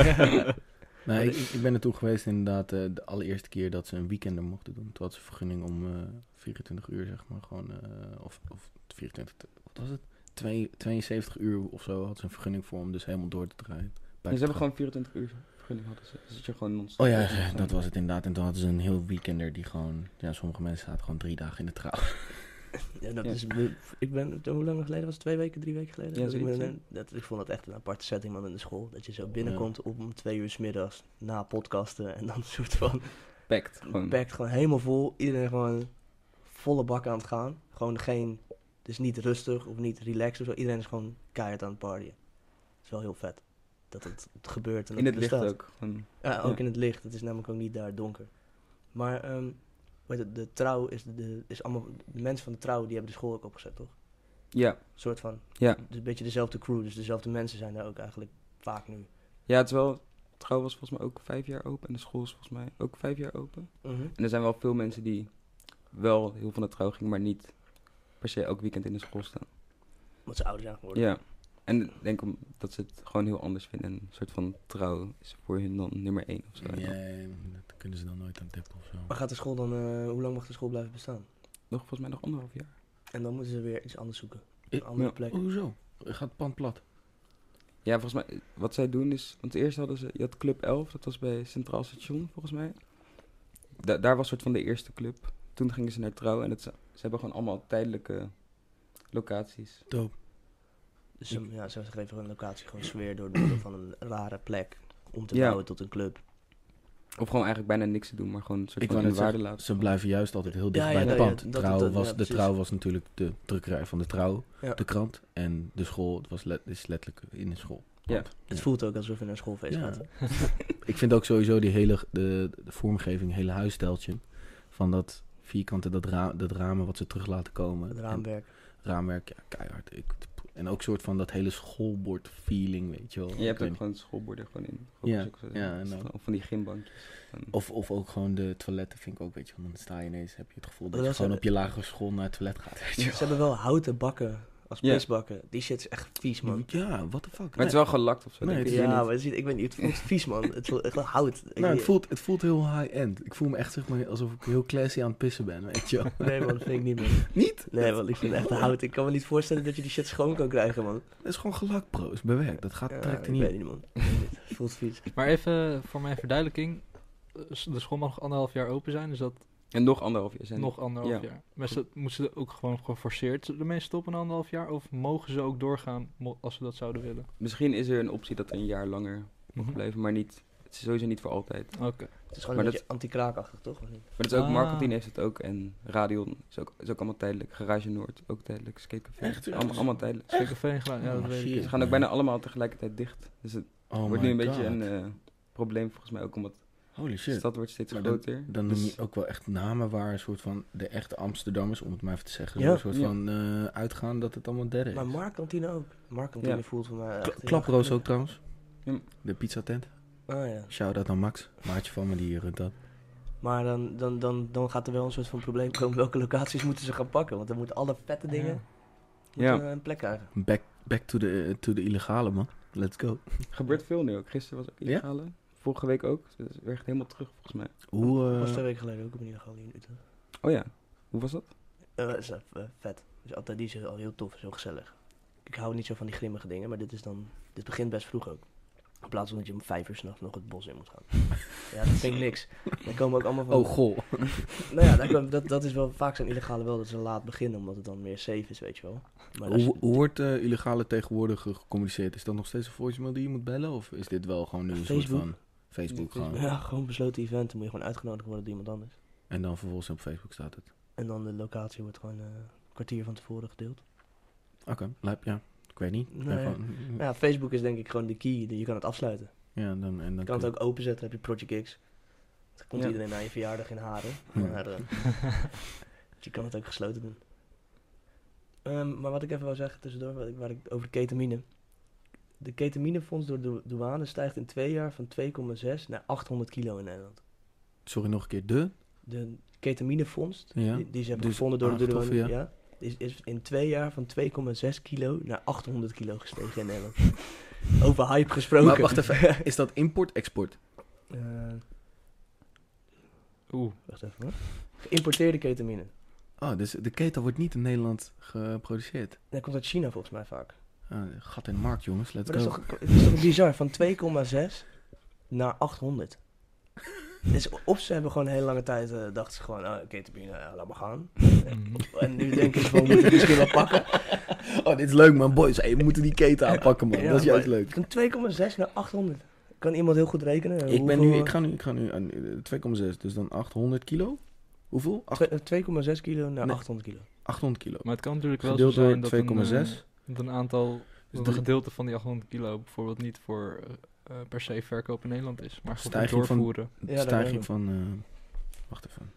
B: Nee, ik, ik ben naartoe geweest inderdaad eh, de allereerste keer dat ze een weekender mochten doen. Toen had ze vergunning om eh, 24 uur, zeg maar, gewoon, eh, of, of 24, te- wat was het? Twee- 72 uur of zo had ze een vergunning voor om dus helemaal door te draaien. Bij
D: Ja,
B: de
D: Dus ze hebben
B: trouw.
D: gewoon 24 uur vergunning hadden ze. Dus dat je gewoon non-stop.
B: Oh ja, dat was het inderdaad. En toen hadden ze een heel weekender die gewoon... Ja, sommige mensen zaten gewoon drie dagen in de trouw.
A: Ja, dat
D: Ja.
A: is, ik ben, hoe lang geleden was het? Twee weken, drie weken geleden?
D: Ja,
A: dat ik,
D: zoiets,
A: ben- dat, ik vond het echt een aparte setting man in de school. Dat je zo binnenkomt om twee uur 's middags na podcasten en dan een soort van
D: Packed, gewoon.
A: pakt gewoon helemaal vol. Iedereen gewoon volle bak aan het gaan. Gewoon geen, het is niet rustig of niet relaxed of zo. Iedereen is gewoon keihard aan het partyen. Het is wel heel vet dat het, het gebeurt en
D: In
A: dat
D: het
A: het
D: licht
A: bestaat.
D: ook. Gewoon.
A: Ja, ook
D: Ja.
A: in het licht. Het is namelijk ook niet daar donker. Maar ehm, weet het, de trouw is, de, de- is allemaal... De mensen van de trouw die hebben de school ook opgezet, toch?
D: Ja,
A: Een soort van...
D: ja.
A: Dus een beetje dezelfde crew. Dus dezelfde mensen zijn daar ook eigenlijk vaak nu.
D: Ja, het is wel... Trouw was volgens mij ook vijf jaar open. En de school is volgens mij ook vijf jaar open. En er zijn wel veel mensen die wel heel van de trouw gingen, maar niet per se elk weekend in de school staan.
A: Omdat ze ouder zijn geworden.
D: Ja. En ik denk omdat ze het gewoon heel anders vinden. Een soort van trouw is voor hun dan nummer één of zo. En dan
B: Nee, dat kunnen ze dan nooit aan tippen of zo.
A: Maar gaat de school dan... eh, hoe lang mag de school blijven bestaan?
D: Nog volgens mij nog anderhalf jaar.
A: En dan moeten ze weer iets anders zoeken.
B: Ik-
A: Een andere
D: ja.
A: plek.
B: Hoezo? Gaat het pand plat?
D: Ja, volgens mij, wat zij doen is, want eerst hadden ze, je had Club 11, dat was bij Centraal Station volgens mij. Da- daar was soort van de eerste club. Toen gingen ze naar Trouw en het, ze ze hebben gewoon allemaal tijdelijke locaties.
B: Doop.
A: Dus ze, ja, ze geven een locatie gewoon sfeer door middel van een rare plek. Om te
D: Ja.
A: bouwen tot een club.
D: Of gewoon eigenlijk bijna niks te doen, maar gewoon een soort
B: Ik
D: van
B: wou
D: in
B: net
D: waarde
B: zeggen,
D: laten.
B: Ze blijven juist altijd heel dicht
A: Ja,
B: bij
A: ja,
B: het
A: ja,
B: pand.
A: dat- dat-
B: trouw
A: dat-
B: was,
A: ja,
B: de
A: precies.
B: trouw was natuurlijk de drukkerij van de trouw,
A: Ja.
B: de krant. En de school het was let- is letterlijk in de school.
D: Ja.
A: Het voelt ook alsof je naar een schoolfeest
B: Ja.
A: gaat.
B: Ik vind ook sowieso die hele de, de vormgeving, hele huissteltje. Van dat vierkante, dat, ra dat ramen wat ze terug laten komen.
A: Het
B: En
A: raamwerk.
B: raamwerk, ja, keihard. Ik, en ook soort van dat hele schoolbord feeling, weet je wel.
D: je
B: Ik
D: hebt
B: weet
D: ook
B: niet.
D: gewoon schoolborden gewoon in.
B: Ja,
D: Ook zo-
B: ja, nou. en ook-
D: Of van die gymbankjes. Gewoon-
B: Of, of ook gewoon de toiletten vind ik ook, weet je wel. Dan sta je ineens, heb je het gevoel dat,
A: Dat
B: je
A: was
B: gewoon
A: een-
B: op je lagere school naar het toilet gaat, weet je
A: Ze
B: wel.
A: hebben wel houten bakken als
D: Ja.
A: pisbakken. Die shit is echt vies, man.
B: Ja, what the fuck.
D: Maar het is wel gelakt of zo.
B: Nee,
D: denk ik.
B: het is
A: ja,
B: niet.
A: maar het is- ik weet niet, het voelt vies, man. Het voelt echt wel hout. Ik
B: Nou,
A: weet-
B: het voelt, het voelt heel high-end. Ik voel me echt zeg maar alsof ik heel classy aan het pissen ben, weet je wel.
A: Nee, man, dat vind ik niet, man.
B: Niet?
A: Nee, want ik vind het echt hout. Ik kan me niet voorstellen dat je die shit schoon kan krijgen, man.
B: Het is gewoon gelakt, bro. Het is bewerkt. Dat gaat
A: Ja,
B: direct
A: ik
B: er
A: weet
B: niet.
A: niet, man. Ik weet niet. Het voelt vies.
C: Maar even voor mijn verduidelijking. eh, s- De school mag nog anderhalf jaar open zijn, dus dat
D: En nog anderhalf jaar zijn.
C: nog anderhalf
D: ja.
C: jaar. Maar ze, moeten ze ook gewoon geforceerd ermee stoppen na anderhalf jaar? Of mogen ze ook doorgaan mo- als ze dat zouden willen?
D: Misschien is er een optie dat er een jaar langer
C: Mhm.
D: blijven, maar niet. Het is sowieso niet voor altijd.
A: Het is gewoon een
D: Maar dat-
A: beetje anti-kraakachtig, toch? Of niet?
D: Maar het is ook
C: Ah.
D: marketing heeft het ook en Radion is ook, is ook allemaal tijdelijk. Garage Noord ook tijdelijk. Skatecafé.
B: Echt?
D: Allemaal, allemaal tijdelijk.
C: Zeker Veen gedaan, ja,
B: Oh,
C: dat weet ik.
B: shit.
D: Ze gaan ook bijna allemaal tegelijkertijd dicht. Dus het
B: Oh
D: wordt
B: my
D: nu een beetje
B: God.
D: een eh, probleem volgens mij ook omdat
B: Holy
D: de
B: shit.
D: stad wordt steeds
B: Maar
D: groter.
B: Dan noem
D: Dus-
B: je ook wel echt namen waar een soort van de echte Amsterdammers, om het maar even te zeggen,
A: Ja.
B: zo'n soort
D: Ja.
B: van eh, uitgaan dat het allemaal derde is.
A: Maar Markantine ook. Markantine
D: Ja.
A: voelt voor mij
B: Kla-
A: echt...
B: Klaproos ook trouwens.
D: Ja.
B: De pizzatent.
A: Ah, ja.
B: Shout-out aan Max. Maatje van me die runt dat.
A: Maar dan, dan, dan, dan gaat er wel een soort van probleem komen. Welke locaties moeten ze gaan pakken? Want dan moeten alle vette dingen moeten eh,
D: Ja.
A: een plek krijgen.
B: Back, back to, the, eh, to the illegale, man. Let's go.
D: Gebeurt veel nu ook. Gisteren was ook
B: Ja?
D: illegale. Vorige week ook. Dus het is echt helemaal terug volgens mij.
B: Hoe...
A: Dat
B: eh,
A: was twee weken geleden ook op een illegaal hier in Utrecht.
D: Oh ja. Hoe was dat?
A: Eh, dat is eh, vet. Dus altijd die is al heel tof, is heel gezellig. Ik hou niet zo van die grimmige dingen, maar dit is dan... Dit begint best vroeg ook. In plaats van dat je om vijf uur s'nachts nog het bos in moet gaan. ja, dat vind ik niks. Dan komen ook allemaal van...
B: Oh, goh.
A: Nou ja, daar komen- dat, dat is wel... Vaak zijn illegale wel dat ze laat beginnen, omdat het dan meer safe is, weet je wel. Maar als je-
B: Hoe, hoe wordt eh, illegale tegenwoordig eh, gecommuniceerd? Is dat nog steeds een voicemail die je moet bellen? Of is dit wel gewoon nu een soort
A: Facebook.
B: van Facebook
C: Ja,
B: gewoon?
A: Ja, gewoon besloten event. Dan moet je gewoon uitgenodigd worden door iemand anders.
B: En dan vervolgens op Facebook staat het.
A: En dan de locatie wordt gewoon eh, een kwartier van tevoren gedeeld.
B: Oké, lijp, ja. Ik weet niet. Ik ben
A: Nee.
B: gewoon-
A: Ja, Facebook is denk ik gewoon de key. Je kan het afsluiten.
B: ja, dan, en dan
A: Je kan het
B: kun-
A: ook openzetten, heb je Project X. Dan komt
D: Ja.
A: iedereen naar je verjaardag in haren.
B: Ja.
A: Maar, eh, je kan het ook gesloten doen. Ehm, maar wat ik even wil zeggen tussendoor, wat ik, waar ik over ketamine. De ketaminefonds door de douane stijgt in twee jaar van 2,6 naar 800 kilo in Nederland.
B: Sorry, nog een keer. De?
A: De ketaminefonds,
B: Ja,
A: die, die ze hebben
B: dus
A: gevonden door de douane,
B: aangetroffen,
A: ja. is, is in twee jaar van 2,6 kilo naar 800 kilo gestegen in Nederland. Over hype gesproken.
B: Maar wacht even. Is dat import-export?
A: Eh,
C: Oeh,
A: wacht even hoor. Geïmporteerde ketamine.
B: Oh, dus de keten wordt niet in Nederland geproduceerd.
A: Dat komt uit China volgens mij vaak.
B: Ah, gat in de markt, jongens. Let's
A: Maar dat is,
B: go.
A: toch, het is toch bizar, van 2,6 naar 800. Dus of ze hebben gewoon een hele lange tijd, eh, dachten ze gewoon, ah, ketamine, eh, laat maar gaan.
C: Mm.
A: En nu denken ze van, we moeten het misschien wel pakken.
B: Oh, dit is leuk, man. Boys, hey, we moeten die keten aanpakken, man.
A: Ja,
B: dat is juist
A: maar-
B: leuk.
A: Van 2,6 naar 800. Kan iemand heel goed rekenen?
B: Ik, ben
A: Hoeveel,
B: nu,
A: eh,
B: ik ga nu, ik ga nu aan eh, 2,6, dus dan 800 kilo. Hoeveel? Acht-
A: twe- eh, 2,6 kilo naar
B: Nee.
A: 800 kilo.
B: 800 kilo.
C: Maar het kan natuurlijk wel
B: Gedeeld
C: zo zijn
B: door
C: dat een,
B: 2,6.
C: eh, dat een aantal,
B: Dus
C: dat een
B: drie-
C: gedeelte van die 800 kilo bijvoorbeeld niet voor eh, eh, per se verkoop in Nederland is, maar gewoon voor
B: Stijging van-
C: doorvoeren.
A: Ja,
B: De
A: daar
B: stijging
A: ben
B: van... eh, wacht even.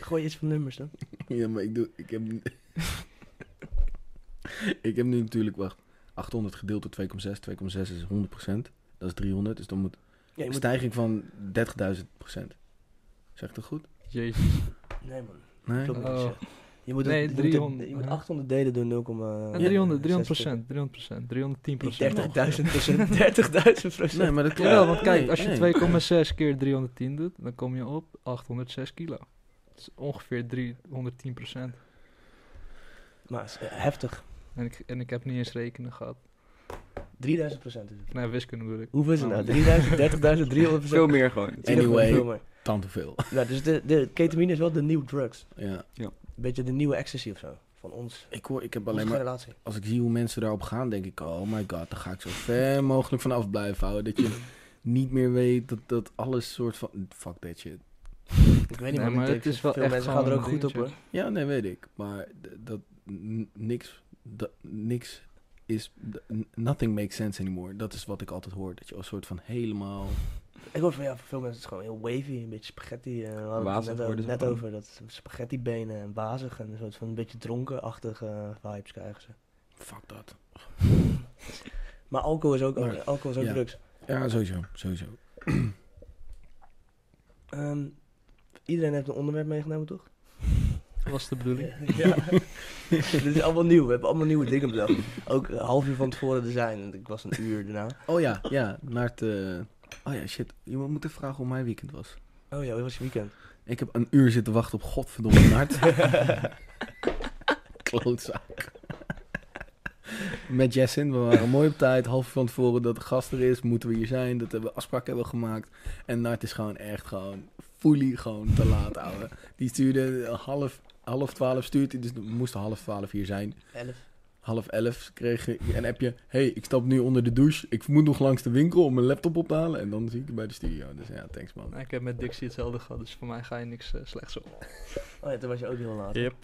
A: Gooi iets van nummers dan.
B: Ja, maar ik doe... Ik heb... nu- ik heb nu natuurlijk... Wacht. 800 gedeeld door 2,6. 2,6 is 100%. Dat is 300. Dus dan moet...
A: Ja, je moet...
B: Stijging van 30.000%. Zeg ik dat goed?
C: Jezus.
A: Nee man,
B: Nee?
A: klopt niet.
C: Oh.
A: zeg. Je moet, het-
C: Nee,
A: je moet het-
C: 300,
A: je moet
C: ja.
A: 800 delen door 0,...
C: Ja, 300, 300 Eh, procent, 300 procent, 310
A: Die
C: procent.
A: 30.000 procent, 30.000 procent.
B: Nee, maar dat klopt.
C: Jawel, want kijk,
B: Nee,
C: als je
B: nee.
C: 2,6 keer 310 doet, dan kom je op 806 kilo. Dat is ongeveer 310 procent.
A: Maar het is, eh, heftig.
C: En ik, en ik heb niet eens rekenen gehad.
A: 3000 procent is het.
C: Nee, wiskunde bedoel ik.
A: Hoeveel is het nou?
C: Oh.
A: 3000, 30.000, 300
D: Veel meer gewoon.
B: En- Anyway.
A: Veel meer.
B: Tant te veel.
A: Nou, dus de, de ketamine is wel de nieuwe drugs.
B: Ja.
A: Een beetje de nieuwe ecstasy of zo. Van ons.
B: Ik, hoor, ik heb
A: Alleen
B: alleen maar...
A: relatie.
B: Als ik zie hoe mensen daarop gaan, denk ik... Oh my god, daar ga ik zo ver mogelijk van af blijven houden. Dat je niet meer weet dat, dat alles soort van... Fuck that shit.
A: Ik weet niet,
C: Nee,
A: maar
C: maar het is wel
A: veel
C: echt
A: mensen gaan
C: gewoon
A: er ook
C: een
A: goed op hoor.
C: dingetje.
B: Ja, nee, weet ik. Maar d- dat n- niks, dat niks is, d- n- nothing makes sense anymore. Dat is wat ik altijd hoor. Dat je als soort van helemaal,
A: Ik hoor van ja, voor veel mensen is het gewoon heel wavy. Een beetje spaghetti. eh, we hadden
D: Wazig
A: het net,
D: worden ze
A: net
D: van.
A: over. Dat spaghetti benen en wazig. En een soort van een beetje dronkenachtige eh, vibes krijgen ze.
B: fuck dat.
A: Maar alcohol is ook,
B: Maar-
A: alcohol is ook
B: ja.
A: drugs.
B: Ja, sowieso, sowieso.
A: Ehm, iedereen heeft een onderwerp meegenomen toch?
C: Dat was de bedoeling.
A: Ja. Dit is allemaal nieuw. We hebben allemaal nieuwe dingen bedacht. Ook een half uur van tevoren te zijn. want Ik was een uur daarna.
B: Oh ja, ja, naar het, eh, oh ja, shit. Je moet even vragen hoe mijn weekend was.
A: Oh ja, hoe was je weekend?
B: Ik heb een uur zitten wachten op godverdomme Nart. Klootzak. Met Jessin, we waren mooi op tijd. Half uur van tevoren dat de gast er is, moeten we hier zijn. Dat hebben we afspraken hebben we gemaakt. En Nart is gewoon echt gewoon fully gewoon te laat, ouwe. Die stuurde half, half twaalf stuurt hij, dus we moesten half twaalf hier zijn.
A: Elf.
B: Half elf kreeg ik een appje. hey, ik stap nu onder de douche. Ik moet nog langs de winkel om mijn laptop op te halen. En dan zie ik je bij de studio. Dus ja, thanks man.
C: Nou, ik heb met Dixie hetzelfde gehad, dus voor mij ga je niks eh, slechts op.
A: Oh ja, toen was je ook heel laat.
C: Yep.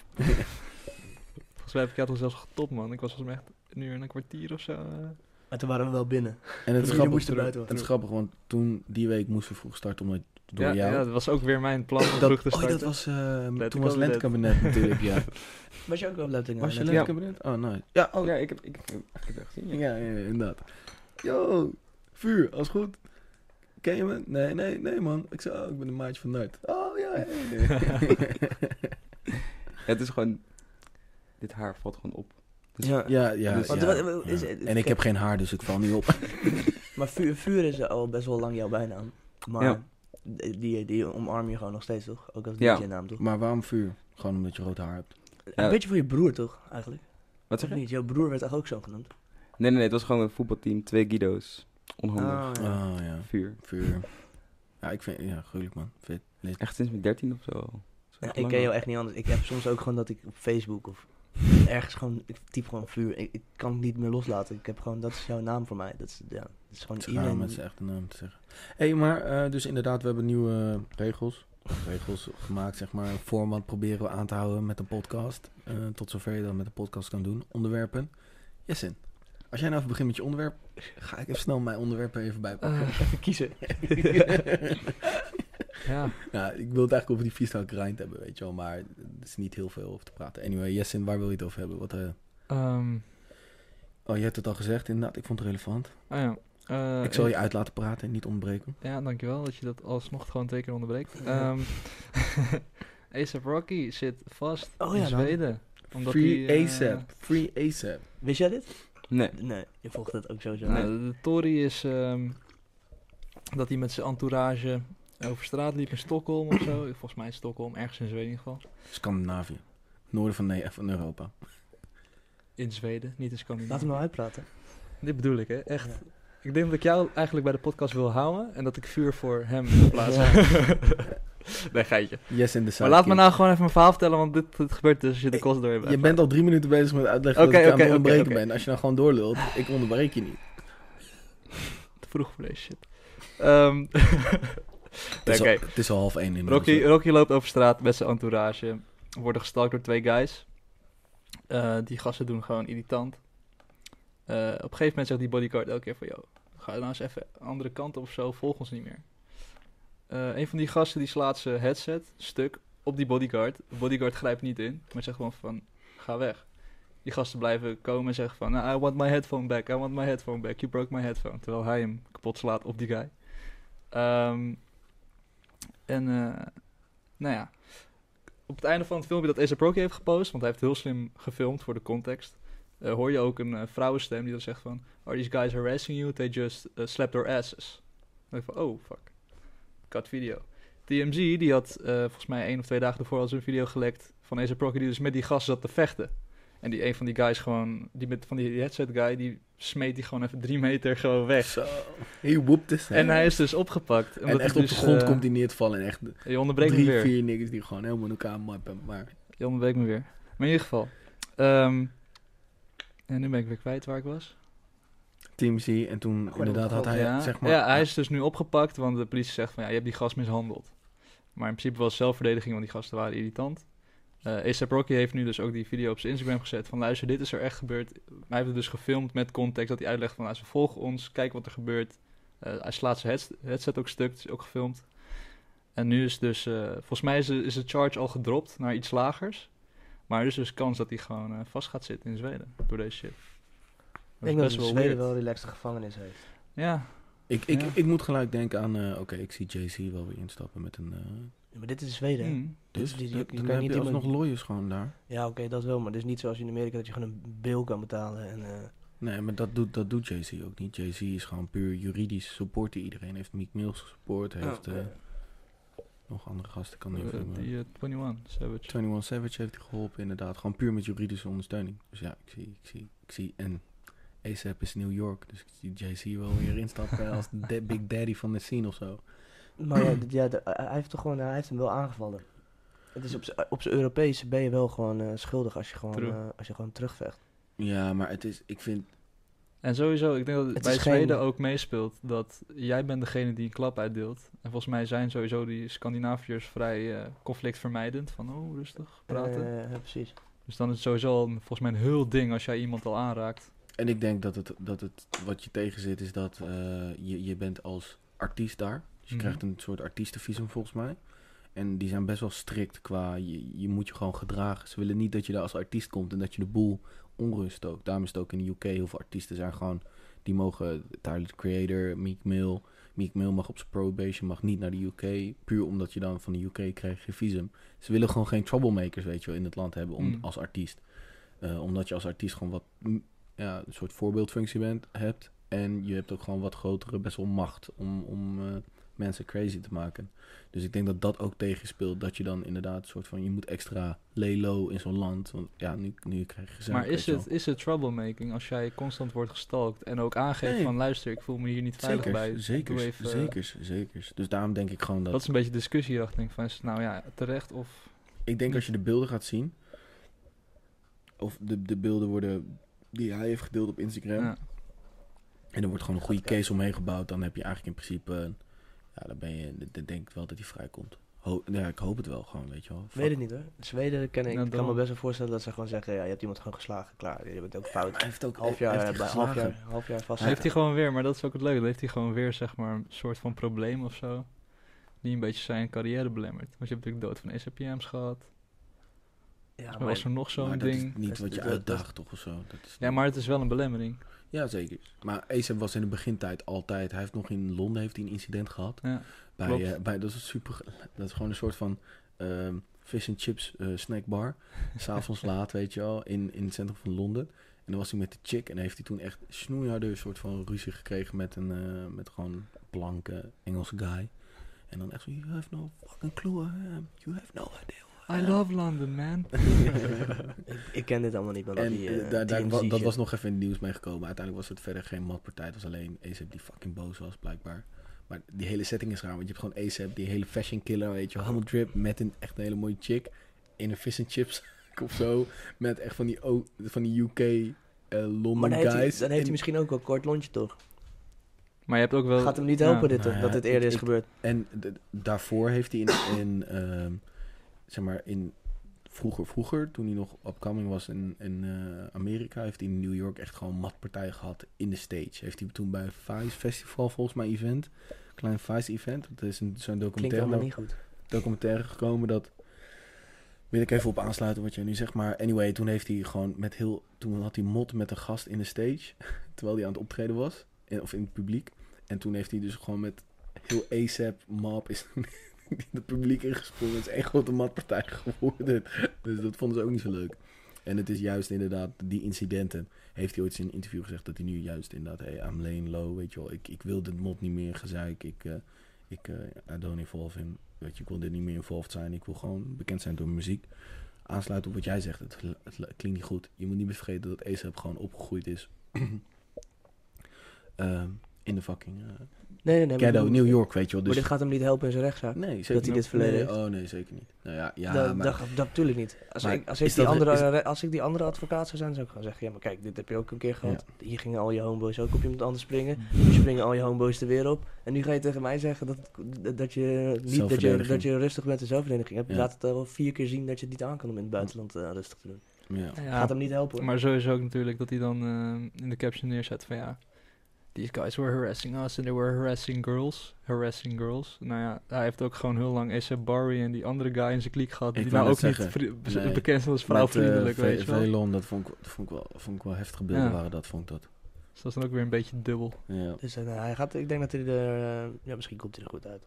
C: Volgens mij heb ik jou toch zelfs getopt, man. Ik was volgens mij echt een uur en een kwartier of zo. eh.
A: Maar toen waren we wel binnen.
B: En het is,
A: Jullie
B: grappig,
A: moesten buiten
B: het is
A: wachten.
B: grappig, want toen die week moesten we vroeg starten omdat door
C: Ja,
B: jou.
C: ja, dat was ook weer mijn plan om
B: dat,
C: vroeg te
B: oh,
C: starten.
B: dat was, eh, toen was
C: Lentekabinet.
B: lentekabinet natuurlijk, ja.
A: Was je ook wel op Lapting?
B: Was
C: Ja.
B: je lentekabinet? Oh, nice. Ja, oh,
D: Ja, ik heb, ik, ik heb dat gezien.
B: ja,
D: Ja.
B: ja, ja, inderdaad. Yo, vuur, alles goed? Ken je me? Nee, nee, nee man. Ik zei, oh, ik ben een maatje van Nart. Oh, ja, ja, ja.
D: Het is gewoon... Dit haar valt gewoon op.
A: Ja.
B: ja, ja,
D: Dus-
A: Want
B: ja,
A: wat- wat- is
B: ja.
A: het-
B: En ik heb geen haar, dus ik val niet op.
A: Maar vuur, vuur is al best wel lang jouw bijnaam. Maar
D: Ja.
A: die, die, die omarm je gewoon nog steeds toch? Ook als
D: Ja.
A: DJ-naam toch?
B: Maar waarom vuur? Gewoon omdat je rood haar hebt.
A: Een beetje voor je broer toch, eigenlijk?
D: Wat
A: Of
D: zeg je? Nee,
A: niet? Jouw broer werd toch ook zo genoemd?
D: nee, nee. Het was gewoon een voetbalteam. Twee Guido's. Onhandig.
A: ja.
B: Oh, ja.
D: Vuur.
B: Vuur. Ja, ik vind, ja, gruwelijk man. Fit, lid.
D: Echt sinds mijn 13 of zo. Dat is
A: Ja,
D: echt
A: ik
D: lang
A: ken
D: al.
A: jou echt niet anders. Ik heb soms ook gewoon dat ik op Facebook of ergens gewoon, ik typ gewoon vuur. Ik, ik kan het niet meer loslaten. Ik heb gewoon, dat is jouw naam voor mij. Dat is, ja, dat is gewoon
B: Het is raar om
A: iedereen.
B: met zijn echte naam te zeggen. Hé, hey, maar eh, dus inderdaad, we hebben nieuwe regels. Of Regels gemaakt, zeg maar. Een format proberen we aan te houden met een podcast. Eh, tot zover je dat met een podcast kan doen. Onderwerpen. Jessin, als jij nou even begint met je onderwerp, ga ik even snel mijn onderwerp er even bij pakken.
C: Eh,
A: Even kiezen.
C: ja.
B: Ja, Nou, ik wil het eigenlijk over die freestyle grind hebben, weet je wel. Maar er is niet heel veel over te praten. Anyway, Jessin, waar wil je het over hebben? Wat, eh,
C: Ehm,
B: Oh, je hebt het al gezegd, inderdaad. Ik vond het relevant.
C: Ah ja. eh,
B: ik zal je uit laten praten en niet ontbreken.
C: Ja, dankjewel dat je dat alsnog gewoon twee keer onderbreekt. Ehm A$AP Rocky zit vast
A: Oh ja,
C: in
A: nou.
C: Zweden. Omdat
B: Free
C: hij, eh,
B: ASAP. Free ASAP.
A: Wist jij dit?
D: Nee.
A: Nee, je volgt het ook sowieso.
C: nou, de Tory is ehm, dat hij met zijn entourage over straat liep in Stockholm of zo. Volgens mij in Stockholm, ergens in Zweden in ieder geval.
B: Scandinavië. Noorden van, nee, van Europa.
C: In Zweden, niet in
A: Laat hem
C: Scandinavië.
A: nou uitpraten.
C: Dit bedoel ik, hè? Echt.
A: Ja.
C: Ik denk dat ik jou eigenlijk bij de podcast wil houden en dat ik vuur voor hem wil plaatsen. nee, geitje.
B: Yes in the
C: Maar laat me
B: sidekick.
C: nou gewoon even mijn verhaal vertellen, want dit, dit gebeurt dus als je de kost door hebt.
B: Je bent al drie minuten bezig met uitleggen
C: Oké,
B: dat ik aan
C: oké,
B: het
C: oké,
B: onderbreken
C: oké.
B: ben. Als je nou gewoon doorlult, ik onderbreek je niet.
C: te vroeg voor deze shit. Ehm,
B: Het is,
C: Oké.
B: al, het is al half één in
C: Rocky, Rocky loopt over straat met zijn entourage. Worden gestalkt door twee guys. Eh, die gasten doen gewoon irritant. Eh, op een gegeven moment zegt die bodyguard elke keer van... Yo, ga nou eens even andere kant op of zo, volg ons niet meer. Eh, een van die gasten die slaat zijn headset stuk op die bodyguard. De bodyguard grijpt niet in, maar zegt gewoon van... Ga weg. Die gasten blijven komen en zeggen van... "Nou, I want my headphone back, I want my headphone back. You broke my headphone. Terwijl hij hem kapot slaat op die guy. Ehm, en eh, nou ja, op het einde van het filmpje dat A$AP Rocky heeft gepost, want hij heeft heel slim gefilmd voor de context, eh, hoor je ook een eh, vrouwenstem die dan zegt van, are these guys harassing you? They just eh, slapped their asses. Dan denk ik van, oh fuck, cut video. TMZ die had eh, volgens mij één of twee dagen ervoor al zo'n video gelekt van A$AP Rocky die dus met die gast zat te vechten. En die een van die guys gewoon, die met van die headset guy, die smeet die gewoon even drie meter gewoon weg.
B: Zo. Hij woept het.
C: En hij is dus opgepakt. dus,
B: En echt op de grond komt hij eh, neer te vallen. En echt
C: eh, Je onderbreekt me
B: drie,
C: weer.
B: vier niggers die gewoon helemaal in elkaar mappen. Maar
C: Je onderbreekt me weer. Maar in ieder geval. ehm, en nu ben ik weer kwijt waar ik was.
B: Team Z en toen inderdaad had hij
C: ja.
B: zeg maar...
C: ja, hij is dus nu opgepakt, want de politie zegt van ja, je hebt die gast mishandeld. Maar in principe was het zelfverdediging, want die gasten waren irritant. Eh A$AP Rocky heeft nu dus ook die video op zijn Instagram gezet van luister, dit is er echt gebeurd. Hij heeft het dus gefilmd met context dat hij uitlegt van nou, ze volgen ons, kijk wat er gebeurt. Eh, hij slaat zijn heads- headset ook stuk, is ook gefilmd. En nu is dus, eh, volgens mij is de, is de charge al gedropt naar iets lagers. Maar er is dus kans dat hij gewoon eh, vast gaat zitten in Zweden door deze shit.
A: Ik denk dat
C: is best
A: Zweden
C: wel weird.
A: wel een relaxte gevangenis heeft.
C: Ja,
B: Ik, ik,
C: Ja.
B: ik moet gelijk denken aan... eh, Oké, ik zie Jay-Z wel weer instappen met een... eh,
A: Ja, maar dit is in Zweden. hè?
C: Hmm.
A: Dit
B: dus
A: is- je- je
B: dan-
A: kan
B: dan
A: niet
B: heb je
A: iemand-
B: alsnog lawyers gewoon daar.
A: Ja, oké, dat wel. Maar het is niet zoals in Amerika dat je gewoon een bil kan betalen. En, eh,
B: Nee, maar dat doet, dat doet Jay-Z ook niet. Jay-Z is gewoon puur juridisch. Support die iedereen. Heeft Meek Mills gesupport. Heeft
A: Oh,
B: eh, nog andere gasten. Kan heel
C: Oh, Eh,
B: veel noemen.
C: die eh, 21 Savage.
B: 21 Savage heeft hij geholpen, inderdaad. Gewoon puur met juridische ondersteuning. Dus ja, ik zie, ik zie, ik zie. En ASAP is New York, dus ik zie Jay-Z wel weer instappen als de Big Daddy van de scene of zo.
A: Maar ja, dit- ja, de- hij heeft toch gewoon, hij heeft hem wel aangevallen. Het is op z'n- op zijn Europese ben je wel gewoon eh, schuldig als je gewoon,
C: True.
A: eh, als je gewoon terugvecht.
B: Ja, maar het is, ik vind,
C: En sowieso, ik denk dat het,
A: Het
C: bij
A: is geen-
C: Zweden ook meespeelt dat jij bent degene die een klap uitdeelt. En volgens mij zijn sowieso die Scandinaviërs vrij eh, conflictvermijdend. Van oh, rustig, praten.
A: Eh, ja, precies.
C: Dus dan is het sowieso al een- volgens mij een heel ding als jij iemand al aanraakt.
B: en ik denk dat het, dat het wat je tegen zit is dat eh, je, je bent als artiest daar. Dus je
C: Mhm.
B: krijgt een soort artiestenvisum volgens mij. En die zijn best wel strikt qua, je, je moet je gewoon gedragen. Ze willen niet dat je daar als artiest komt en dat je de boel onrust stookt. Daarom is het ook in de UK, heel veel artiesten zijn gewoon Die mogen Tyler the Creator, Meek Mill. Meek Mill mag op zijn probation, mag niet naar de UK. Puur omdat je dan van de UK krijgt geen visum. Ze willen gewoon geen troublemakers, weet je wel, in het land hebben om,
C: Mm.
B: als artiest. Eh, omdat je als artiest gewoon wat, mm, ja, een soort voorbeeldfunctie bent, hebt. En je hebt ook gewoon wat grotere, best wel macht om, om eh, mensen crazy te maken. Dus ik denk dat dat ook tegenspeelt. Dat je dan inderdaad een soort van, je moet extra lay low in zo'n land. Want ja, nu, nu krijg je gezeik,
C: maar
B: weet
C: is
B: je wel.
C: het, is het troublemaking als jij constant wordt gestalkt en ook aangeeft
B: Nee.
C: van luister, ik voel me hier niet veilig
B: Zeker,
C: bij.
B: zeker,
C: Doe even, eh,
B: zeker, zeker. Dus daarom denk ik gewoon dat...
C: Dat is een beetje discussie hierachter. denk ik Van is het nou ja, terecht of...
B: Ik denk als je de beelden gaat zien... Of de, de beelden worden die hij heeft gedeeld op Instagram...
C: Ja.
B: En er wordt gewoon een goede
A: Gaat kijken.
B: case omheen gebouwd... Dan heb je eigenlijk in principe... eh, Ja, dan ben je... Dan denk ik wel dat hij vrijkomt. Ho ja, ik hoop het wel gewoon, weet je wel.
A: Weet het niet hoor. Zweden ken ik, ik
C: Ja,
A: kan me
C: daarom.
A: best wel voorstellen dat ze gewoon zeggen, ja, je hebt iemand gewoon geslagen, klaar. Je bent ook
B: Maar
A: fout.
B: Hij heeft ook
A: Half jaar,
B: heeft hij
A: eh, bij- half jaar,
B: geslagen.
A: half jaar vast.
C: Dan heeft hij gewoon weer, maar dat is ook het leuke. Dan heeft hij gewoon weer, zeg maar, een soort van probleem of zo. Die een beetje zijn carrière belemmert. Want je hebt natuurlijk dood van SAPM's gehad.
A: Ja,
C: Maar
A: maar
C: was er nog zo'n
B: maar dat
C: ding?
B: is niet
A: Dat-
B: wat je
A: dat- dat-
B: uitdaagt toch of zo. Dat is
C: Ja, maar het is wel een belemmering.
B: ja, zeker. Maar ASAP was in de begintijd altijd... Hij heeft nog in Londen heeft hij een incident gehad.
C: Ja,
B: bij,
C: klopt.
B: eh, bij, dat, is super, dat is gewoon een soort van ehm, fish and chips eh, snackbar. S'avonds laat, weet je wel, in, in het centrum van Londen. En dan was hij met de chick en heeft hij toen echt snoeiharde een soort van ruzie gekregen met een eh, met gewoon blanke Engelse guy. En dan echt zo, you have no fucking clue, eh, you have no idea.
C: I love London, man.
A: ik, ik ken dit allemaal niet, maar dat
B: En
A: die, eh,
B: eh, daar, daar,
A: TMZ
B: wa- dat
A: shit.
B: was nog even in het nieuws meegekomen. Uiteindelijk was het verder geen matpartij. Het was alleen ASAP die fucking boos was, blijkbaar. Maar die hele setting is raar. Want je hebt gewoon ASAP, die hele fashion killer, weet je wel. Helemaal drip, met een echt een hele mooie chick. In een fish and chips of zo. Met echt van die, o- van die UK eh, Londen
A: Maar dan heeft,
B: guys.
A: hij, dan heeft hij
B: En-
A: misschien ook wel een kort lontje, toch?
C: Maar je hebt ook wel...
A: Gaat hem niet
C: ja.
A: helpen, dit,
B: Nou
A: toch?
B: ja,
A: dat dit eerder
B: ik-
A: is
B: ik-
A: gebeurd.
B: En d- daarvoor heeft hij in, in ehm, zeg maar, in vroeger, vroeger, toen hij nog upcoming was in, in eh, Amerika, heeft hij in New York echt gewoon matpartijen gehad in de stage. Heeft hij toen bij een Vice Festival, volgens mij, event, klein Vice event, dat is een, zo'n
A: Klinkt
B: documentaire,
A: helemaal niet goed.
B: documentaire gekomen dat wil ik even op aansluiten wat jij nu zegt. Maar anyway, toen heeft hij gewoon met heel. Toen had hij mot met een gast in de stage. Terwijl hij aan het optreden was. En, of in het publiek. En toen heeft hij dus gewoon met heel ASAP map is toen in het publiek ingesprongen. Het is één grote matpartij geworden. Dus dat vonden ze ook niet zo leuk. En het is juist inderdaad, die incidenten. Heeft hij ooit in een interview gezegd dat hij nu juist inderdaad, hey, I'm laying low, weet je wel. Ik, ik wil dit mot niet meer gezeik. Ik, eh, ik eh I don't involve him. Weet je, ik wil dit niet meer involved zijn. Ik wil gewoon bekend zijn door mijn muziek. Aansluiten op wat jij zegt. Het, het klinkt niet goed. Je moet niet meer vergeten dat ASAP gewoon opgegroeid is. Ehm, in de fucking eh,
A: Nee, nee, nee. maar Oh,
B: ghetto,
A: ik bedoel-
B: New York, weet je wel.
A: Maar
B: Dus
A: dit gaat hem niet helpen in zijn rechtszaak.
B: Nee, zeker
A: hij dit
B: niet.
A: verleden
B: Nee,
A: heeft.
B: Oh nee, zeker niet. Nou ja, ja
A: dat,
B: maar
A: dat, dat natuurlijk niet. Als,
B: maar
A: ik, als,
B: is
A: ik die
B: dat-
A: andere, als ik die andere advocaat zou zijn, zou ik gewoon zeggen... Ja, maar kijk, dit heb je ook een keer gehad. Hier gingen al je homeboys ook op iemand anders springen. Nu springen al je homeboys er weer op. En nu ga je tegen mij zeggen dat, het- dat, je, niet, dat, je,
B: Zelfverdediging.
A: dat je rustig bent in zelfverdediging. hebt.
B: Ja.
A: Laat het al vier keer zien dat je het niet aan kan om in het buitenland eh, rustig te doen.
B: ja.
C: Ja,
A: Gaat hem niet helpen hoor.
C: maar sowieso ook natuurlijk dat hij dan eh, in de caption neerzet van ja... These guys were harassing us and they were harassing girls. Harassing girls. Nou ja, hij heeft ook gewoon heel lang A$AP Barry en die andere guy in zijn kliek gehad.
B: Ik
C: Die
B: wou
C: nou ook
B: net
C: niet
B: zeggen,
C: vri-
B: nee.
C: bekend was als
B: Met, eh,
C: vrouwvriendelijk,
B: Ve-
C: weet je wel.
B: Velon, dat vond ik, dat vond ik wel, vond ik wel heftige beelden
C: Ja.
B: waren, dat vond ik dat.
C: Dus dat is dan ook weer een beetje dubbel.
B: Ja,
A: Dus eh, nou, hij gaat, ik denk dat hij er... eh, ja, misschien komt hij er goed uit.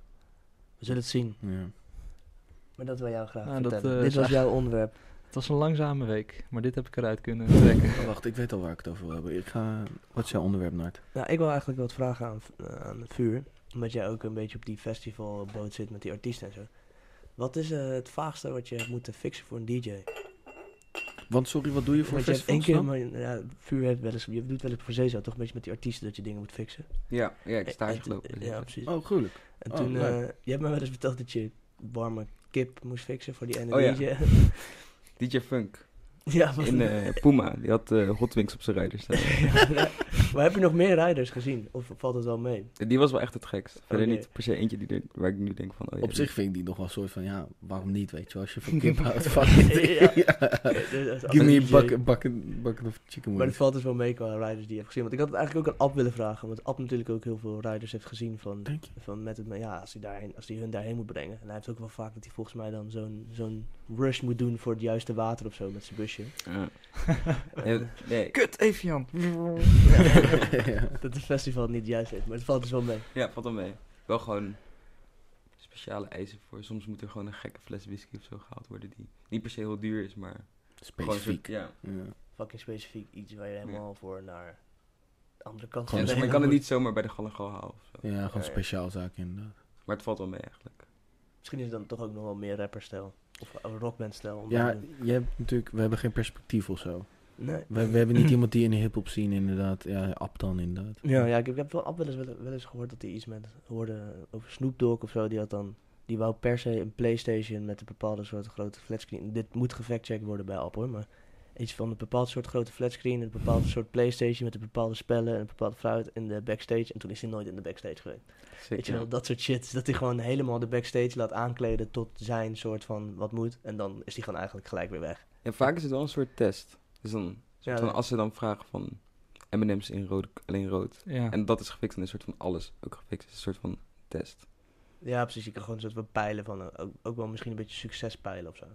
A: We zullen het zien.
B: ja.
A: Maar dat wil jou graag
C: Nou, dat,
A: vertellen.
C: eh,
A: Dit was
C: is
A: jouw onderwerp.
C: Het was een langzame week, maar dit heb ik eruit kunnen trekken.
B: Oh, wacht, ik weet al waar ik het over wil hebben. Ik ga... Wat is jouw onderwerp, Nart?
A: Nou, ik wil eigenlijk wat vragen aan, eh, aan het vuur. Omdat jij ook een beetje op die festivalboot zit met die artiesten en zo. Wat is eh, het vaagste wat je hebt moeten fixen voor een DJ?
B: Want sorry, wat doe je voor
A: Want je hebt één
B: festivals
A: keer,
B: dan?
A: maar, ja, vuur heeft wel eens, je doet wel eens voor Zeza, toch een beetje met die artiesten dat je dingen moet fixen.
D: Ja, ja, ik sta
A: En-
D: hier
A: en-
D: gelopen.
A: Eh, Ja, precies.
B: Oh, gruwelijk.
A: en
B: oh,
A: toen,
B: leuk.
A: eh, je hebt me wel eens verteld dat je warme kip moest fixen voor die ene
D: Oh ja.
A: DJ. Ja,
D: DJ Funk
A: maar,
D: in eh, Puma, die had eh Hot Wings op zijn rijder staan.
A: Ja, maar heb je nog meer rijders gezien? Of valt het wel mee?
D: En Die was wel echt het gekst. Verder
A: Oké.
D: niet per se eentje die er, waar ik nu denk van... Oh, ja,
B: Op
D: die-
B: zich vind ik die nog wel een soort van, ja, waarom niet, weet je wel. Als je van kip houdt, fuck it.
A: Ja.
B: Ja.
A: Dus als
B: Give me
A: DJ
B: a bucket, bucket, bucket of chicken
A: Maar dat
B: wings.
A: valt dus wel mee qua riders die je hebt gezien. Want ik had het eigenlijk ook aan Ab willen vragen. Want Ab natuurlijk ook heel veel riders heeft gezien van,
B: Dank je.
A: van met het, ja, als hij, daarheen, als hij hun daarheen moet brengen. En hij heeft ook wel vaak dat hij volgens mij dan zo'n zo'n rush moet doen voor het juiste water of zo met zijn busje.
D: Ja. Nee, nee,
C: Kut, Evian!
B: Ja.
A: dat het festival het niet juist heeft, maar het valt dus wel mee.
D: ja, valt wel mee. Wel gewoon speciale eisen voor. Soms moet er gewoon een gekke fles whisky of zo gehaald worden die niet per se heel duur is, maar... gewoon zo'n-
B: Specifiek.
D: Ja.
B: Ja.
A: Fucking specifiek iets waar je helemaal voor naar de andere kant
B: Gewoon
D: Ja,
A: van
D: dus,
A: de
D: maar je kan het niet zomaar bij de Galagal halen of zo.
B: ja, gewoon
A: Ja.
B: speciaal zaken inderdaad.
D: Maar het valt wel mee eigenlijk.
A: Misschien is het dan toch ook nog wel meer rapperstijl. Of rockbandstijl. om te
B: Ja,
A: doen.
B: je hebt natuurlijk, we hebben geen perspectief of zo.
A: Nee.
B: We, we hebben niet iemand die in de hip-hop zien, inderdaad. Ja, Ab dan, inderdaad.
A: Ja, ja ik, heb, ik heb wel, Ab wel, eens, wel, wel eens gehoord dat hij iets met hoorde over Snoop Dogg of zo. Die had dan, die wou per se een PlayStation met een bepaalde soort grote flatscreen. Dit moet gefactcheckt worden bij Ab hoor, maar iets van een bepaald soort grote flatscreen, een bepaald soort PlayStation met een bepaalde spellen en een bepaalde fruit in de backstage. En toen is hij nooit in de backstage geweest. Weet je wel, dat soort shit. Dus Dat hij gewoon helemaal de backstage laat aankleden tot zijn soort van wat moet. En dan is hij gewoon eigenlijk gelijk weer weg.
D: En vaak is het wel een soort test. Dus dan,
A: Ja,
D: dan als ze dan vragen van M&M's in rood, alleen rood.
C: Ja.
D: En dat is gefixt en een soort van alles ook gefixt. is een soort van test.
A: ja, precies. Je kan gewoon een soort van peilen van, eh, ook, ook wel misschien een beetje succes peilen of zo.
D: Nee,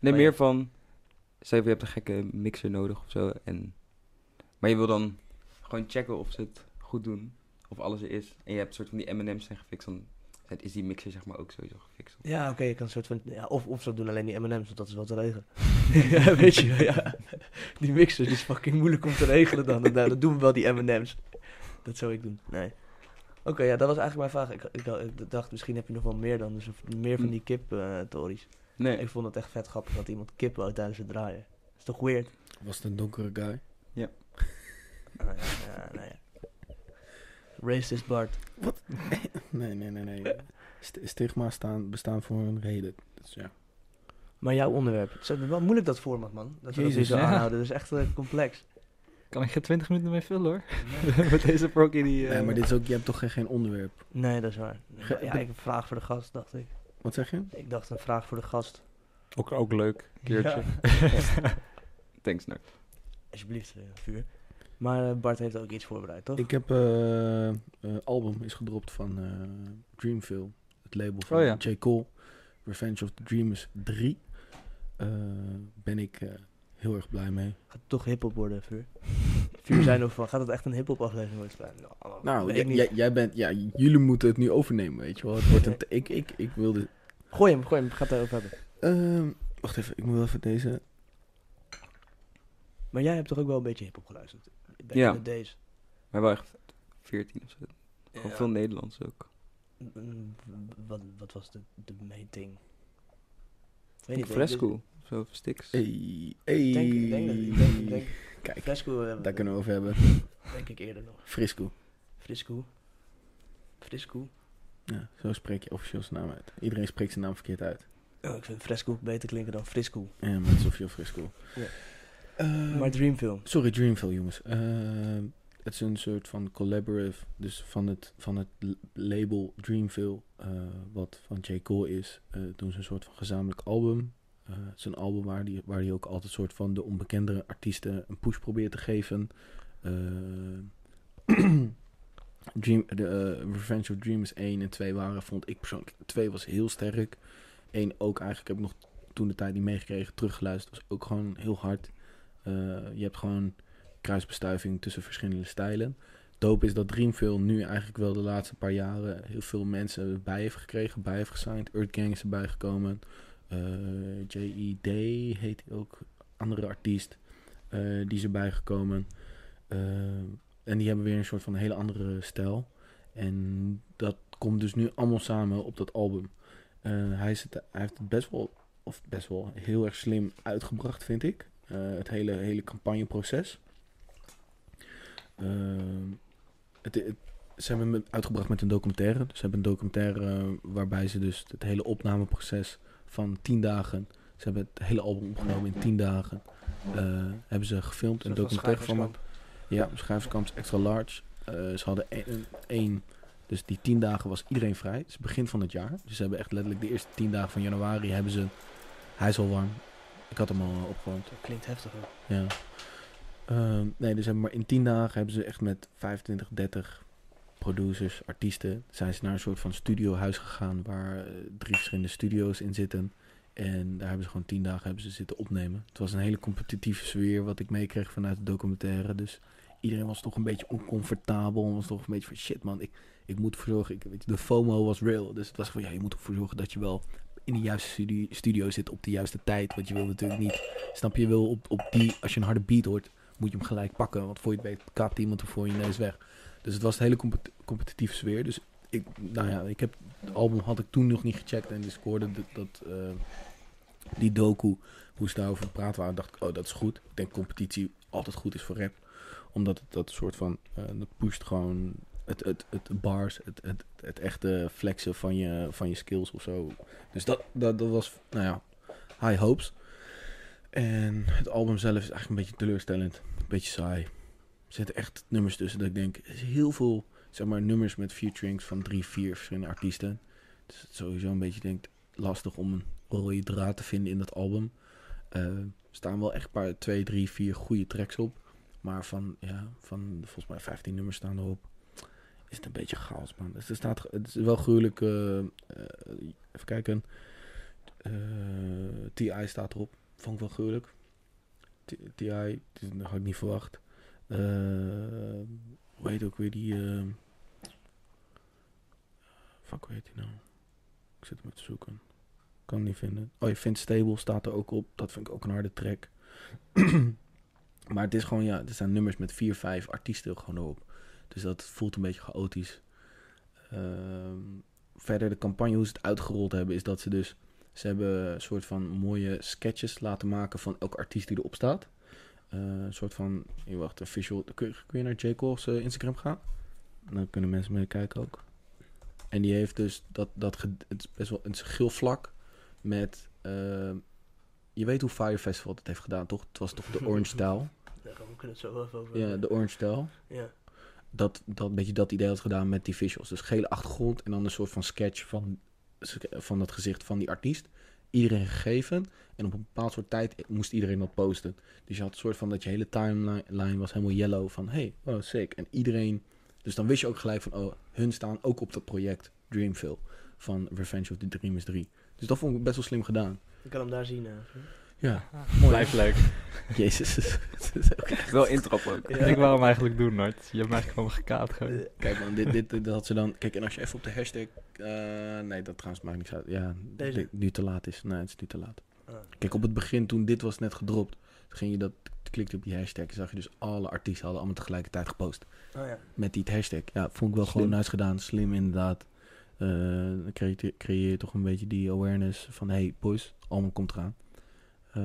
A: Maar ja.
D: meer van Stel je voor, je hebt een gekke mixer nodig of zo. En, maar je wil dan gewoon checken of ze het goed doen. Of alles er is. En je hebt een soort van die M&M's zijn gefixt. Dan zijn- is die mixer zeg maar ook sowieso gefixt.
A: Ja, oké, je kan een soort van... Ja, of, of ze doen alleen die M&M's, want dat is wel te regelen. ja, weet je, ja. Die mixer die is fucking moeilijk om te regelen dan. Dat, nou, dat doen we wel, die M&M's. Dat zou ik doen, nee. Oké, ja, dat was eigenlijk mijn vraag. Ik, ik, ik dacht, misschien heb je nog wel meer dan. Dus of- meer van die kip-tories.
D: Nee,
A: ik vond het echt vet grappig dat iemand kip wou tijdens het draaien. is toch weird?
B: Was het een donkere guy?
A: Nou ja, ja, nou ja. Racist Bart.
B: Nee, nee, nee, nee. St- stigma's staan, bestaan voor een reden. Dus ja.
A: Maar jouw onderwerp. Het is wel moeilijk dat format, man. Dat we dat
B: Jezus,
A: hier zo
C: ja.
A: aanhouden. Dat is echt eh, complex.
C: Kan ik geen 20 minuten mee vullen hoor. Met deze prokkie die... eh,
B: Nee, maar dit is ook, je hebt toch geen, geen onderwerp?
A: Nee, dat is waar.
B: Ge-
A: Ja,
B: de-
A: ik heb een vraag voor de gast, dacht ik.
B: Wat zeg je?
A: Ik dacht een vraag voor de gast.
D: ook, ook leuk. Keertje. Thanks, Nak.
A: Alsjeblieft, eh, vuur. Maar eh, Bart heeft ook iets voorbereid, toch?
B: Ik heb eh, eh, album is gedropt van eh Dreamville, het label van
C: Oh ja.
B: J. Cole. Revenge of the Dreamers 3. Eh, ben ik eh, heel erg blij mee.
A: Gaat het toch hip-hop worden, vuur? vuur zijn of van, gaat het echt een hip-hop aflevering worden? Nou,
B: Nou,
A: weet ik
B: j-
A: niet.
B: jij- jij bent, ja, jullie moeten het nu overnemen, weet je wel. Het wordt een, te- ik, ik, ik wilde...
A: Gooi hem, gooi hem. Gaat daarover hebben.
B: Ehm, wacht even, ik moet wel even deze...
A: Maar jij hebt toch ook wel een beetje hip-hop geluisterd? Back
D: Ja.
A: in the days.
D: Maar wel echt 14 of zo. Gewoon
A: Ja.
D: veel Nederlands ook.
A: Mm, Wat, wat was de, de main thing? Ik weet
D: Fresco
A: niet,
D: Fresco. of Zo, Stix.
B: Hey, hey.
A: Ik denk, ik denk, dat- ik denk, ik denk,
B: Kijk,
A: Fresco eh,
B: daar kunnen we over hebben.
A: denk ik eerder nog.
B: Frisco.
A: Frisco. Frisco.
B: Ja, zo spreek je officieel zijn naam uit. Iedereen spreekt zijn naam verkeerd uit.
A: Oh, ik vind Fresco beter klinken dan Frisco.
B: Ja, maar het is Sofia Frisco.
A: Ja.
B: Ehm,
A: Maar Dreamfilm.
B: sorry, Dreamville, jongens. Ehm, het is een soort van collaborative, dus van het, van het l- label Dreamville, eh, wat van J. Cole is, eh, doen ze een soort van gezamenlijk album. Eh, het is een album waar hij waar die ook altijd een soort van de onbekendere artiesten een push probeert te geven. Eh, Dream, de, eh, Revenge of Dreams 1 en 2 waren, vond ik persoonlijk. 2 was heel sterk. 1 ook eigenlijk, heb ik nog toen de tijd niet meegekregen, teruggeluisterd. Was ook gewoon heel hard. Eh, je hebt gewoon kruisbestuiving tussen verschillende stijlen. Doop is dat Dreamville nu eigenlijk wel de laatste paar jaren heel veel mensen erbij heeft gekregen, bij heeft gesigned. Earth Gang is erbij gekomen. Eh, J.E.D. heet hij ook, andere artiest, eh, die is erbij gekomen. Eh, en die hebben weer een soort van hele andere stijl. En dat komt dus nu allemaal samen op dat album. Eh, hij, is het, hij heeft het best wel, of best wel, heel erg slim uitgebracht, vind ik. Eh, het hele, hele campagneproces. Ehm, het, het- ze hebben het uitgebracht met een documentaire. Dus ze hebben een documentaire eh, waarbij ze dus het hele opnameproces van 10 dagen. Ze hebben het hele album opgenomen in 10 dagen. eh, hebben ze gefilmd een documentaire van me. Ja, schrijverskamp is extra large. Eh, ze hadden één- een- één. Dus die tien dagen was iedereen vrij. Het is begin van het jaar. Dus ze hebben echt letterlijk de eerste tien dagen van januari hebben ze. Hij is al warm. Ik had hem al eh, opgewarmd.
A: Dat klinkt heftig hoor.
B: Ja. Ehm, nee, dus hebben maar in tien dagen hebben ze echt met 25, 30 producers, artiesten, zijn ze naar een soort van studiohuis gegaan waar eh, drie verschillende studio's in zitten. En daar hebben ze gewoon tien dagen hebben ze zitten opnemen. Het was een hele competitieve sfeer wat ik meekreeg vanuit de documentaire. Dus iedereen was toch een beetje oncomfortabel. Was toch een beetje van shit man, ik, ik moet ervoor zorgen. Ik, weet je, de FOMO was real. Dus het was van ja, je moet ervoor zorgen dat je wel in de juiste studie- studio zit op de juiste tijd. Want je wil natuurlijk niet Snap je, je, wil op, op die, als je een harde beat hoort, moet je hem gelijk pakken. Want voor je het weet, kaapt iemand er voor je neus weg. Dus het was een hele compet- competitieve sfeer. Dus ik, nou ja, ik heb, het album had ik toen nog niet gecheckt. En dus ik hoorde dat, dat, eh, die doku, hoe ze daarover gepraat waren, dacht ik, oh, dat is goed. Ik denk competitie altijd goed is voor rap. Omdat het dat soort van, eh, dat pusht gewoon het, het, het bars, het, het, het echte flexen van je, van je skills of zo. Dus dat, dat, dat was, nou ja, high hopes. En het album zelf is eigenlijk een beetje teleurstellend. Een beetje saai. Er zitten echt nummers tussen dat ik denk... Er is heel veel, zeg maar, nummers met featurings van drie, vier verschillende artiesten. Dus het is sowieso een beetje, denk ik, lastig om een rode draad te vinden in dat album. Eh, er staan wel echt een paar, twee, drie, vier goede tracks op. Maar van, ja, van volgens mij 15 nummers staan erop. Is het een beetje chaos, man. Dus er staat, het is wel gruwelijk... eh, eh, even kijken. Eh, T.I. staat erop. Vond ik wel gruwelijk. T- T.I., dat had ik niet verwacht. Eh hoe heet ook weer die... eh, fuck, hoe heet die nou? Ik zit hem even te zoeken. Kan hem niet vinden. Oh, je vindt Stable staat er ook op. Dat vind ik ook een harde track. maar het is gewoon, ja, er zijn nummers met vier, vijf artiesten gewoon erop. Dus dat voelt een beetje chaotisch. Ehm, verder de campagne, hoe ze het uitgerold hebben, is dat ze dus... Ze hebben een soort van mooie sketches laten maken van elke artiest die erop staat. Eh, een soort van, je wacht, een visual. Kun, kun je naar J. Cole's eh, Instagram gaan? Dan kunnen mensen meekijken ook. En die heeft dus dat, dat ge- het is best wel een geel vlak met. eh, je weet hoe Fire Festival dat heeft gedaan, toch? Het was toch de Orange Style?
A: Daar gaan we kunnen het zo wel even over
B: Ja,
A: hebben.
B: de Orange Style
A: Ja.
B: dat, dat een beetje dat idee had gedaan met die visuals. Dus gele achtergrond en dan een soort van sketch van, van het gezicht van die artiest. Iedereen gegeven. En op een bepaald soort tijd moest iedereen dat posten. Dus je had een soort van dat je hele timeline was helemaal yellow. Van hey, oh sick. En iedereen. Dus dan wist je ook gelijk van oh, hun staan ook op dat project Dreamville. Van Revenge of the Dream is 3. Dus dat vond ik best wel slim gedaan.
A: Ik kan hem daar zien. eh.
B: Ja,
C: Blijf leuk.
B: jezus. het is ook
D: Wel intrap ook.
A: Ja.
C: Ik wou hem eigenlijk doen, Nart. Je hebt mij eigenlijk gewoon gekaapt.
B: Oh,
C: Gewoon. Dus,
A: Eh,
B: Kijk man, dit, dit, dit had ze dan... Kijk, en als je even op de hashtag... eh, nee, dat trouwens maakt niks uit. Ja,
A: Deze?
B: dit nu te laat is. Nee, het is nu te laat.
A: ah.
B: Kijk, op het begin, toen dit was net gedropt... Toen ging je dat... Klikte op die hashtag en zag je dus alle artiesten hadden allemaal tegelijkertijd gepost.
A: Ah, ja.
B: Met die hashtag. Ja, vond ik wel
D: Slim.
B: gewoon nice gedaan. Slim inderdaad. Eh, Dan creëer, creëer je toch een beetje die awareness van... Hey boys, allemaal komt eraan. Eh,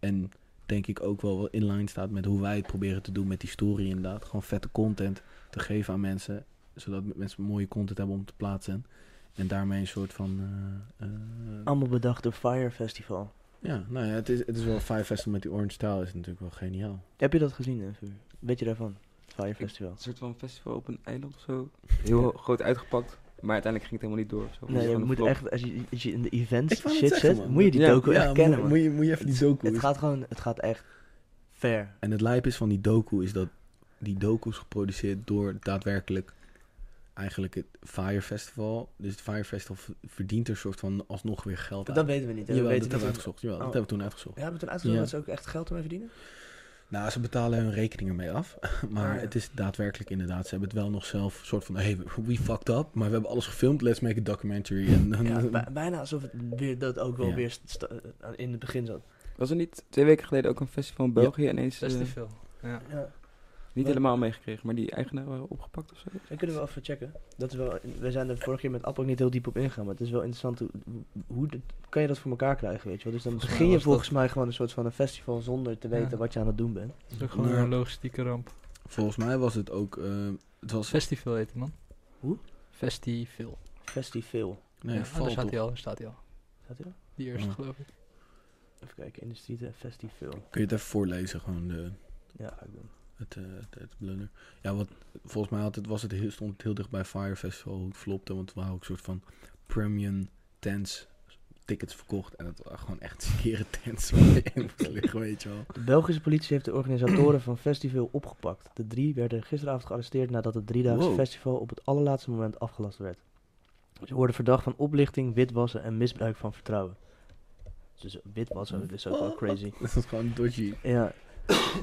B: en denk ik ook wel wel in line staat met hoe wij het proberen te doen met die story inderdaad. Gewoon vette content te geven aan mensen. Zodat m- mensen mooie content hebben om te plaatsen. En daarmee een soort van... eh, eh,
A: Allemaal bedacht door Fire Festival.
B: ja, nou ja, het is, het is wel Five Festival met die Orange Style is natuurlijk wel geniaal.
A: Heb je dat gezien, eh, Vuur? Weet je daarvan? Fire Festival.
D: Een soort van festival op een eiland of zo. Heel groot uitgepakt. Maar uiteindelijk ging het helemaal niet door. of Zo.
A: Nee,
D: Het
A: je
D: was
A: moet
D: gewoon een flop.
A: echt, als je, als je in de events
B: Ik wou net
A: shit
B: zeggen,
A: zit,
B: man.
A: moet je die
D: Ja,
A: docu echt kennen, man.
B: moet, je, moet je even die docu...
A: Het gaat gewoon, het gaat echt ver.
B: En het lijp is van die docu is dat die docu is geproduceerd door daadwerkelijk eigenlijk het Fire Festival. Dus het Fire Festival v- verdient er soort van alsnog weer geld
A: Dat,
B: aan.
A: weten we niet. hè.
B: Jawel,
A: we
B: dat
A: weten
B: hebben we
A: niet
B: uitgezocht. Jawel,
A: Oh.
B: Dat hebben we toen uitgezocht.
A: Ja, hebben we toen uitgezocht
B: Ja.
A: dat ze ook echt geld ermee verdienen?
B: Nou, ze betalen hun rekening ermee af. Maar
A: Ah, ja.
B: het is daadwerkelijk inderdaad. Ze hebben het wel nog zelf soort van... Hey, we- we fucked up, maar we hebben alles gefilmd. Let's make a documentary. En,
A: Ja, bij- bijna alsof het weer, dat ook wel
B: eh, Ja.
A: weer st- sta- aan- in het begin zat.
D: Was er niet twee weken geleden ook een festival in België ineens... eh,
C: Festival. Ja.
A: Ja.
D: niet helemaal meegekregen, maar die eigenaren waren opgepakt of zo.
A: Dat kunnen we even checken. Dat is wel, we zijn er vorig keer met App ook niet heel diep op ingegaan, maar het is wel interessant. Hoe, hoe dat- kan je dat voor elkaar krijgen, weet je wel? Dus dan
C: Volgens mij
A: begin je
C: was dat-
A: volgens mij gewoon een soort van een festival zonder te weten
C: Ja.
A: wat je aan het doen bent.
C: Dat is ook gewoon
B: Nou.
C: een logistieke ramp.
B: Volgens mij was het ook... eh, het was...
C: Festival heet het, man.
A: Hoe?
C: Festival.
A: Festival.
B: Nee,
C: ja,
B: val
C: daar staat
B: toch.
C: hij al. Daar staat hij al.
A: Staat hier?
C: Die eerste,
B: Ja.
C: geloof ik.
A: Even kijken, industrie, eh, festival.
B: Kun je het even voorlezen, gewoon de...
A: Ja, ga ik doen.
B: Het, eh, het, het blunder. Ja, wat volgens mij had het, was het heel, stond het heel dicht bij Fire Festival hoe het flopte. Want we hadden ook een soort van premium tents tickets verkocht. En het waren gewoon echt skere tents waar je in moest liggen, weet je wel.
A: De Belgische politie heeft de organisatoren van festival opgepakt. De drie werden gisteravond gearresteerd nadat het driedaagse
B: Wow.
A: festival op het allerlaatste moment afgelast werd. Ze worden verdacht van oplichting, witwassen en misbruik van vertrouwen. Dus witwassen dat is ook wel crazy.
B: Dat is gewoon dodgy.
A: Ja.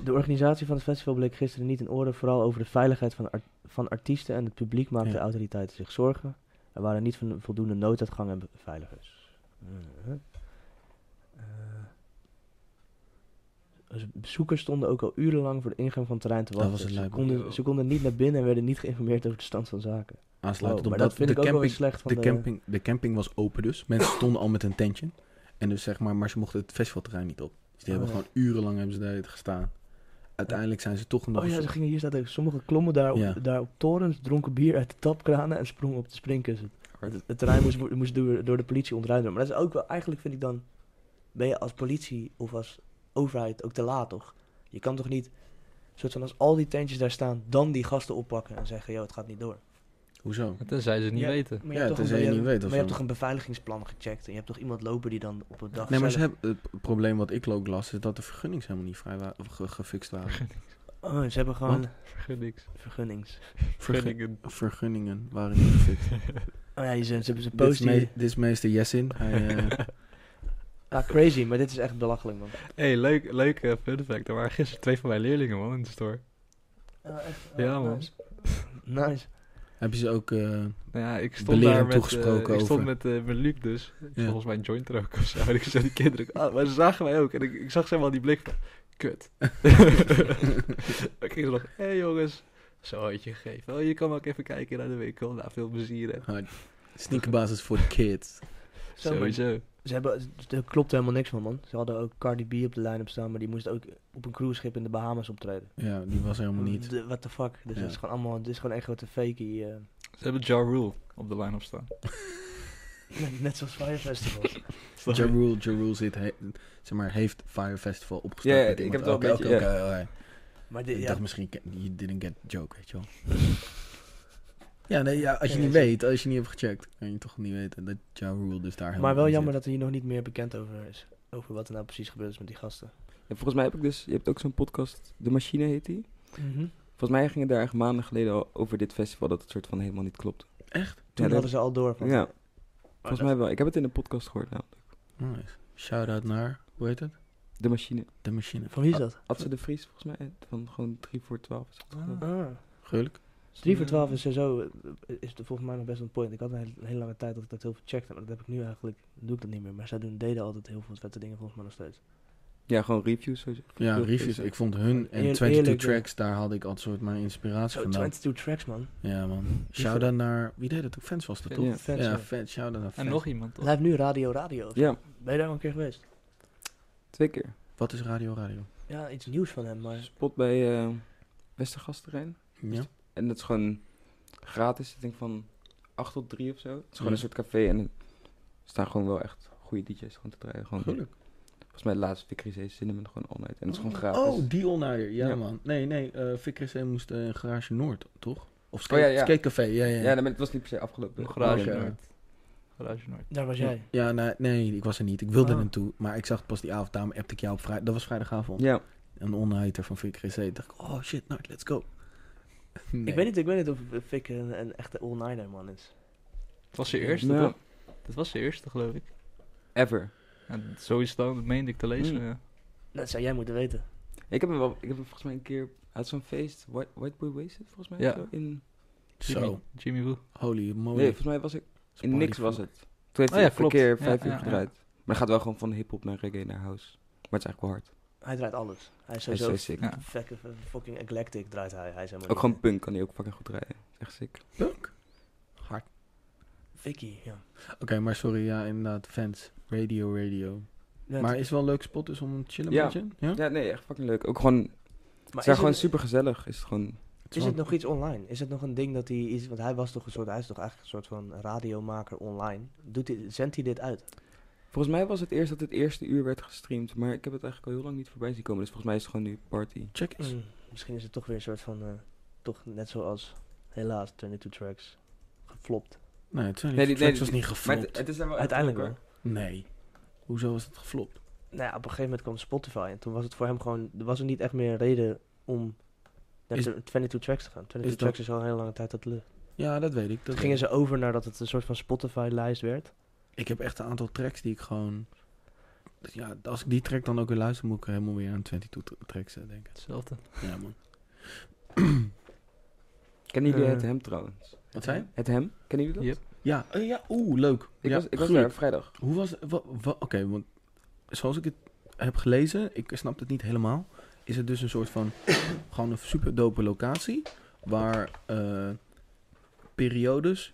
A: De organisatie van het festival bleek gisteren niet in orde, vooral over de veiligheid van, ar- van artiesten en het publiek maakten
B: Ja.
A: de autoriteiten zich zorgen. Er waren niet van- voldoende nooduitgangen en beveiligers. Mhm. Eh, dus bezoekers stonden ook al urenlang voor de ingang van het terrein te
B: Dat was
A: wachten.
B: het
A: Ze
B: lijp-
A: konden, ze konden niet naar binnen en werden niet geïnformeerd over de stand van zaken. Wow,
B: Aansluitend
A: maar
B: op
A: dat
B: dat,
A: vind
B: de
A: ik ook wel weer
B: camping,
A: slecht van
B: de, camping, de camping was open dus. Mensen stonden al met een tentje. En dus zeg maar, maar ze mochten het festivalterrein niet op. Dus die
A: Oh,
B: hebben
A: ja.
B: gewoon urenlang hebben ze daar gestaan. Uiteindelijk zijn ze toch nog...
A: Oh ja, ze gingen hier staat ook. Sommigen klommen daar op,
B: Ja.
A: daar op torens, dronken bier uit de tapkranen en sprongen op de springkussen.
D: Hard.
A: Het, het terrein moest, wo- moest door, door de politie ontruimd worden. Maar dat is ook wel, eigenlijk vind ik dan, ben je als politie of als overheid ook te laat, toch? Je kan toch niet, soort van als al die tentjes daar staan, dan die gasten oppakken en zeggen, joh, het gaat niet door.
B: Hoezo?
C: Tenzij ze het niet
A: Ja.
C: weten.
A: Maar
B: Ja,
A: hebt toch
B: tenzij
A: een-
B: je
A: maar
B: niet weet of
A: Maar je
B: zo.
A: hebt toch een beveiligingsplan gecheckt en je hebt toch iemand lopen die dan op een dag
B: Nee, maar ze
A: zelf-
B: hebben, het probleem wat ik ook las is dat de vergunnings helemaal niet vrij waren, of ge- gefixt waren.
A: Oh, ze hebben gewoon
B: Wat?
C: Vergeet niks.
A: vergunnings.
B: Verge-
C: Vergeet
B: vergunningen waren niet gefixt.
A: Oh ja, je ze, ze hebben ze
B: Dit is,
A: post
B: me- dit is meester Jessin. Hij, eh,
A: Ja, Ah, crazy, maar dit is echt belachelijk, man.
C: hey, leuk, leuk eh, fun fact. Er waren gisteren twee van mijn leerlingen, man, in de store. Ja, man.
A: Nice. Nice.
B: Heb je ze ook... eh,
C: Nou ja, ik stond
B: Belerend
C: daar met, eh,
B: toegesproken
C: ik stond
B: over.
C: met, eh, met Luc dus. Ik
B: Ja.
C: Volgens mij een joint er ook of zo. En ik zei die kinderen, ah, maar ze zagen mij ook. En ik, ik zag ze helemaal die blik van, kut. ik ging ze nog, hé hey, jongens, zo had je gegeven. Oh, je kan ook even kijken naar de winkel. Nou, veel plezier. hè.
B: hard- sneakerbasis voor de kids.
A: Zo, maar-
C: Sowieso.
A: Ze hebben, er klopt helemaal niks van, man. Ze hadden ook Cardi B op de line-up staan, maar die moest ook op een cruiseschip in de Bahamas optreden.
B: Ja, die was er helemaal niet.
A: De- what the fuck? Dus
B: Ja.
A: het is gewoon allemaal, het is gewoon echt grote fakie. eh.
C: Ze hebben Ja Rule op de line-up staan.
A: Net- eh. Net zoals Fire Festival.
B: Ja Rule, Ja Rule zit, he- zeg maar, heeft Fire Festival opgestart.
D: Ja, ja,
B: met
D: ik
B: iemand.
D: heb het wel een
B: Oké,
D: beetje,
B: oké, oké, oké.
A: maar dit,
B: Ik
A: ja,
B: dacht misschien, ke- you didn't get the joke, weet je wel. Ja, nee, ja, als je niet
A: Ja,
B: weet, als je niet hebt gecheckt, kan je toch niet weten dat Ja Rule dus daar helemaal
A: maar wel
B: in
A: jammer
B: zit.
A: dat er hier nog niet meer bekend over is. Over wat er nou precies gebeurd is met die gasten.
D: Ja, volgens mij heb ik dus, je hebt ook zo'n podcast, De Machine heet die.
A: Mhm.
D: Volgens mij ging het daar echt maanden geleden al over dit festival dat het soort van helemaal niet klopt.
B: Echt?
A: Toen
D: Ja, dat-
A: hadden ze al door van... Oh,
D: ja,
A: Maar
D: volgens mij wel. Ik heb het in een podcast gehoord namelijk.
B: Nice. Shout-out naar, hoe heet het?
D: De Machine.
B: De machine.
A: Van wie is dat?
D: Atze de Vries volgens mij, van gewoon 3 voor 12. is het geloof ik.
A: Ah.
B: Gelukkig.
A: 3 voor 12 is sowieso, eh, is het volgens mij nog best een point. Ik had een hele, een hele lange tijd dat ik dat heel veel checkte, maar dat heb ik nu eigenlijk, doe ik dat niet meer. Maar zij doen, deden altijd heel veel vette dingen volgens mij nog steeds.
D: Ja, gewoon reviews sowieso.
A: Oh,
B: Ja,
D: Heel
B: reviews.
D: veel.
B: Ik vond hun en
A: Eer-
B: 22
A: eerlijk, ja.
B: Tracks, daar had ik altijd soort mijn inspiratie
A: Zo,
B: vandaan.
A: 22 tracks man.
B: Ja, man. Shout-out naar... Wie deed het ook? Fans was dat,
C: Ja.
B: toch?
D: Ja.
A: Vet,
B: Ja,
A: ja.
B: fans. Shout-out naar
C: En
B: fans.
C: nog iemand, toch?
A: Hij heeft nu Radio Radio. of zo.
D: Ja,
A: Ben je daar al een keer geweest?
D: twee keer.
B: Wat is Radio Radio?
A: Ja, iets nieuws van hem, maar...
D: Spot bij eh Westergasterrein.
B: Ja?
D: En dat is gewoon gratis. Ik denk van 8 tot 3 of zo. Het is gewoon
B: Ja.
D: een soort café en er staan gewoon wel echt goede DJ's gewoon te draaien. Gewoon,
B: Gelukkig.
D: Volgens mij laatst Vickery Zee Cinnamon gewoon all night. En het is gewoon gratis.
B: Oh, die onaarder. Ja,
D: Ja.
B: man. Nee, nee. eh Vickers eh, moest eh, in Garage Noord, toch? Of
D: Oh,
B: skate,
D: ja, ja.
B: Skatecafé. Ja, ja.
D: Ja,
B: ja.
D: nee, maar het was niet per se afgelopen.
C: Garage
B: Oké.
C: Noord. Garage Noord.
A: Daar was jij.
B: Ja, nee, nee, ik was er niet. Ik wilde
A: Oh.
B: er naartoe. Maar ik zag het pas die avond. Daarom appte ik jou op vrijdag. Dat was vrijdagavond.
D: Ja,
B: Een onhighter van Vickers. eh, dacht ik, oh shit, nou, let's go. Nee.
A: Ik, weet niet, ik weet niet of eh, Fik een, een echte all-nighter man is.
C: Het was zijn eerste,
D: Ja.
C: toch? Dat was zijn eerste, geloof ik.
D: ever.
C: Ja, zo is het dan, dat meende ik te lezen. eh,
D: Hmm.
C: ja.
A: Dat zou jij moeten weten.
D: Ik heb hem wel, ik heb hem volgens mij een keer, hij had zo'n feest, White, White Boy Wasted volgens mij.
C: Ja.
D: zo, in,
C: Jimmy,
B: Zo.
C: Jimmy Woo.
B: Holy moly.
D: nee, volgens mij was ik, in niks was het. Toen heeft
C: Oh
D: hij
C: ja,
D: voor een
C: klopt.
D: keer
C: Ja,
D: vijf uur
C: ja, ja.
D: gedraaid. Maar hij gaat wel gewoon van hip-hop naar reggae naar house. Maar het is eigenlijk wel hard.
A: Hij draait alles. Hij is
D: Hij is
A: sowieso
D: zo sick.
C: Ja.
A: fucking, fucking eclectic draait hij. Hij is helemaal
D: Ook
A: niet,
D: gewoon punk kan hij ook fucking goed draaien. Echt sick.
B: Punk. Hard.
A: eh, Vicky, ja.
B: Oké, maar sorry, ja, inderdaad, fans. Radio, radio.
A: Ja,
B: maar
A: het-
B: is wel een leuk spot dus om te chillen
D: Ja.
B: een beetje? Ja?
D: Ja, nee, echt fucking leuk. Ook gewoon,
A: maar
D: het is daar
A: is
D: gewoon
A: het-
D: super gezellig. Is het gewoon,
B: Het
A: Is
B: wel-
A: het nog iets online? Is het nog een ding dat hij is? Want hij was toch een soort, hij is toch eigenlijk een soort van radiomaker online. Doet hij, zendt hij dit uit?
D: volgens mij was het eerst dat het eerste uur werd gestreamd. Maar ik heb het eigenlijk al heel lang niet voorbij zien komen. Dus volgens mij is het gewoon nu party.
B: Check eens.
A: Mm. Misschien is het toch weer een soort van, eh, toch net zoals helaas 22 tracks geflopt.
B: Nee, het
D: Nee, die- nee,
B: was niet
D: die- Maar
B: geflopt.
D: het, het is daar wel echt
A: Uiteindelijk
D: leuk,
A: wel.
B: Nee. Hoezo was het geflopt?
A: Nou ja, op een gegeven moment kwam Spotify en toen was het voor hem gewoon, er was er niet echt meer een reden om naar
B: Is-
A: 22 tracks te gaan. 22
B: dat-
A: tracks is al een hele lange tijd uit de lucht.
B: Ja, dat weet ik. Dat
A: Toen gingen
B: weet ik.
A: ze over naar dat het een soort van Spotify-lijst werd.
B: ik heb echt een aantal tracks die ik gewoon... Ja, als ik die track dan ook weer luister, moet ik helemaal weer aan 22 tra- tracks eh, denken.
C: Hetzelfde.
B: Ja, man.
D: Kennen jullie
A: Eh.
D: het hem trouwens?
B: Wat zei je?
D: Het hem? Kennen jullie dat?
C: Yep.
B: Ja, eh, ja oeh, leuk.
D: Oh Ik
B: ja,
D: was, ik was
B: gruwelijk.
D: daar vrijdag.
B: Hoe was wa- wa- Oké, want zoals ik het heb gelezen, ik snap het niet helemaal. Is het dus een soort van gewoon een super dope locatie waar eh, periodes,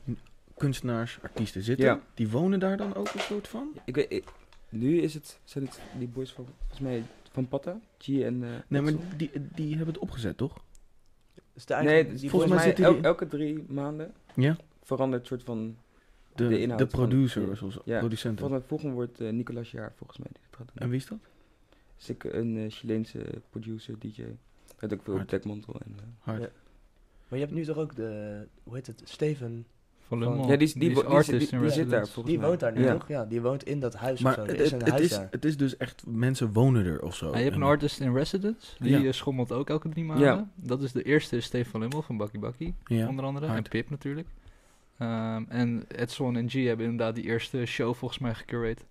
B: kunstenaars, artiesten zitten.
D: Ja.
B: Die wonen daar dan ook een soort van?
D: Ik weet, ik- nu is het, zijn het die boys van, volgens mij, van Patta, G en... eh
B: Nee, maar
D: Edson.
B: die, die hebben het opgezet, toch?
A: Is de
D: nee,
A: eigen-
D: het is
A: die
B: volgens
D: volgens
B: mij
D: mij
B: zitten
D: el-
B: die-
D: elke drie maanden
B: Ja.
D: verandert soort van...
B: De,
D: De
B: de,
D: inhoud van-
B: producer, zoals
D: Ja,
B: producenten.
D: Volgens mij volgende wordt eh, Nicolas Jaar, volgens mij. Die dat gaat doen.
B: En wie is dat?
D: Is ik een eh, Chileense producer, DJ. Hij had ook veel op
B: Hard.
D: dekmantel en... eh,
B: Hard.
A: Ja. Maar je hebt nu toch ook de, hoe heet het, Steven,
C: Van Le
A: Van-
C: Mans.
D: ja, die is- die wo- die
C: artist
D: zit- die-
C: in
D: die zit daar,
C: residence.
D: volgens
A: die
D: mij.
A: woont daar nu
D: Ja.
A: toch? Ja, die woont in dat huis
B: Maar
A: of zo.
B: het,
A: Er is
B: het,
A: een
B: het
A: huis
B: is,
A: daar.
B: het is dus echt, mensen wonen er of zo.
C: Ja, je hebt een
B: Oh, En-
C: artist in residence. Die
B: Ja.
C: eh, schommelt ook elke drie maanden.
D: Ja.
C: Dat is de eerste is Stefan Limmel van Bakkie Bakkie,
B: Ja.
C: onder andere.
B: hard.
C: En Pip natuurlijk. Ehm, en Edson en G hebben inderdaad die eerste show volgens mij gecurate. En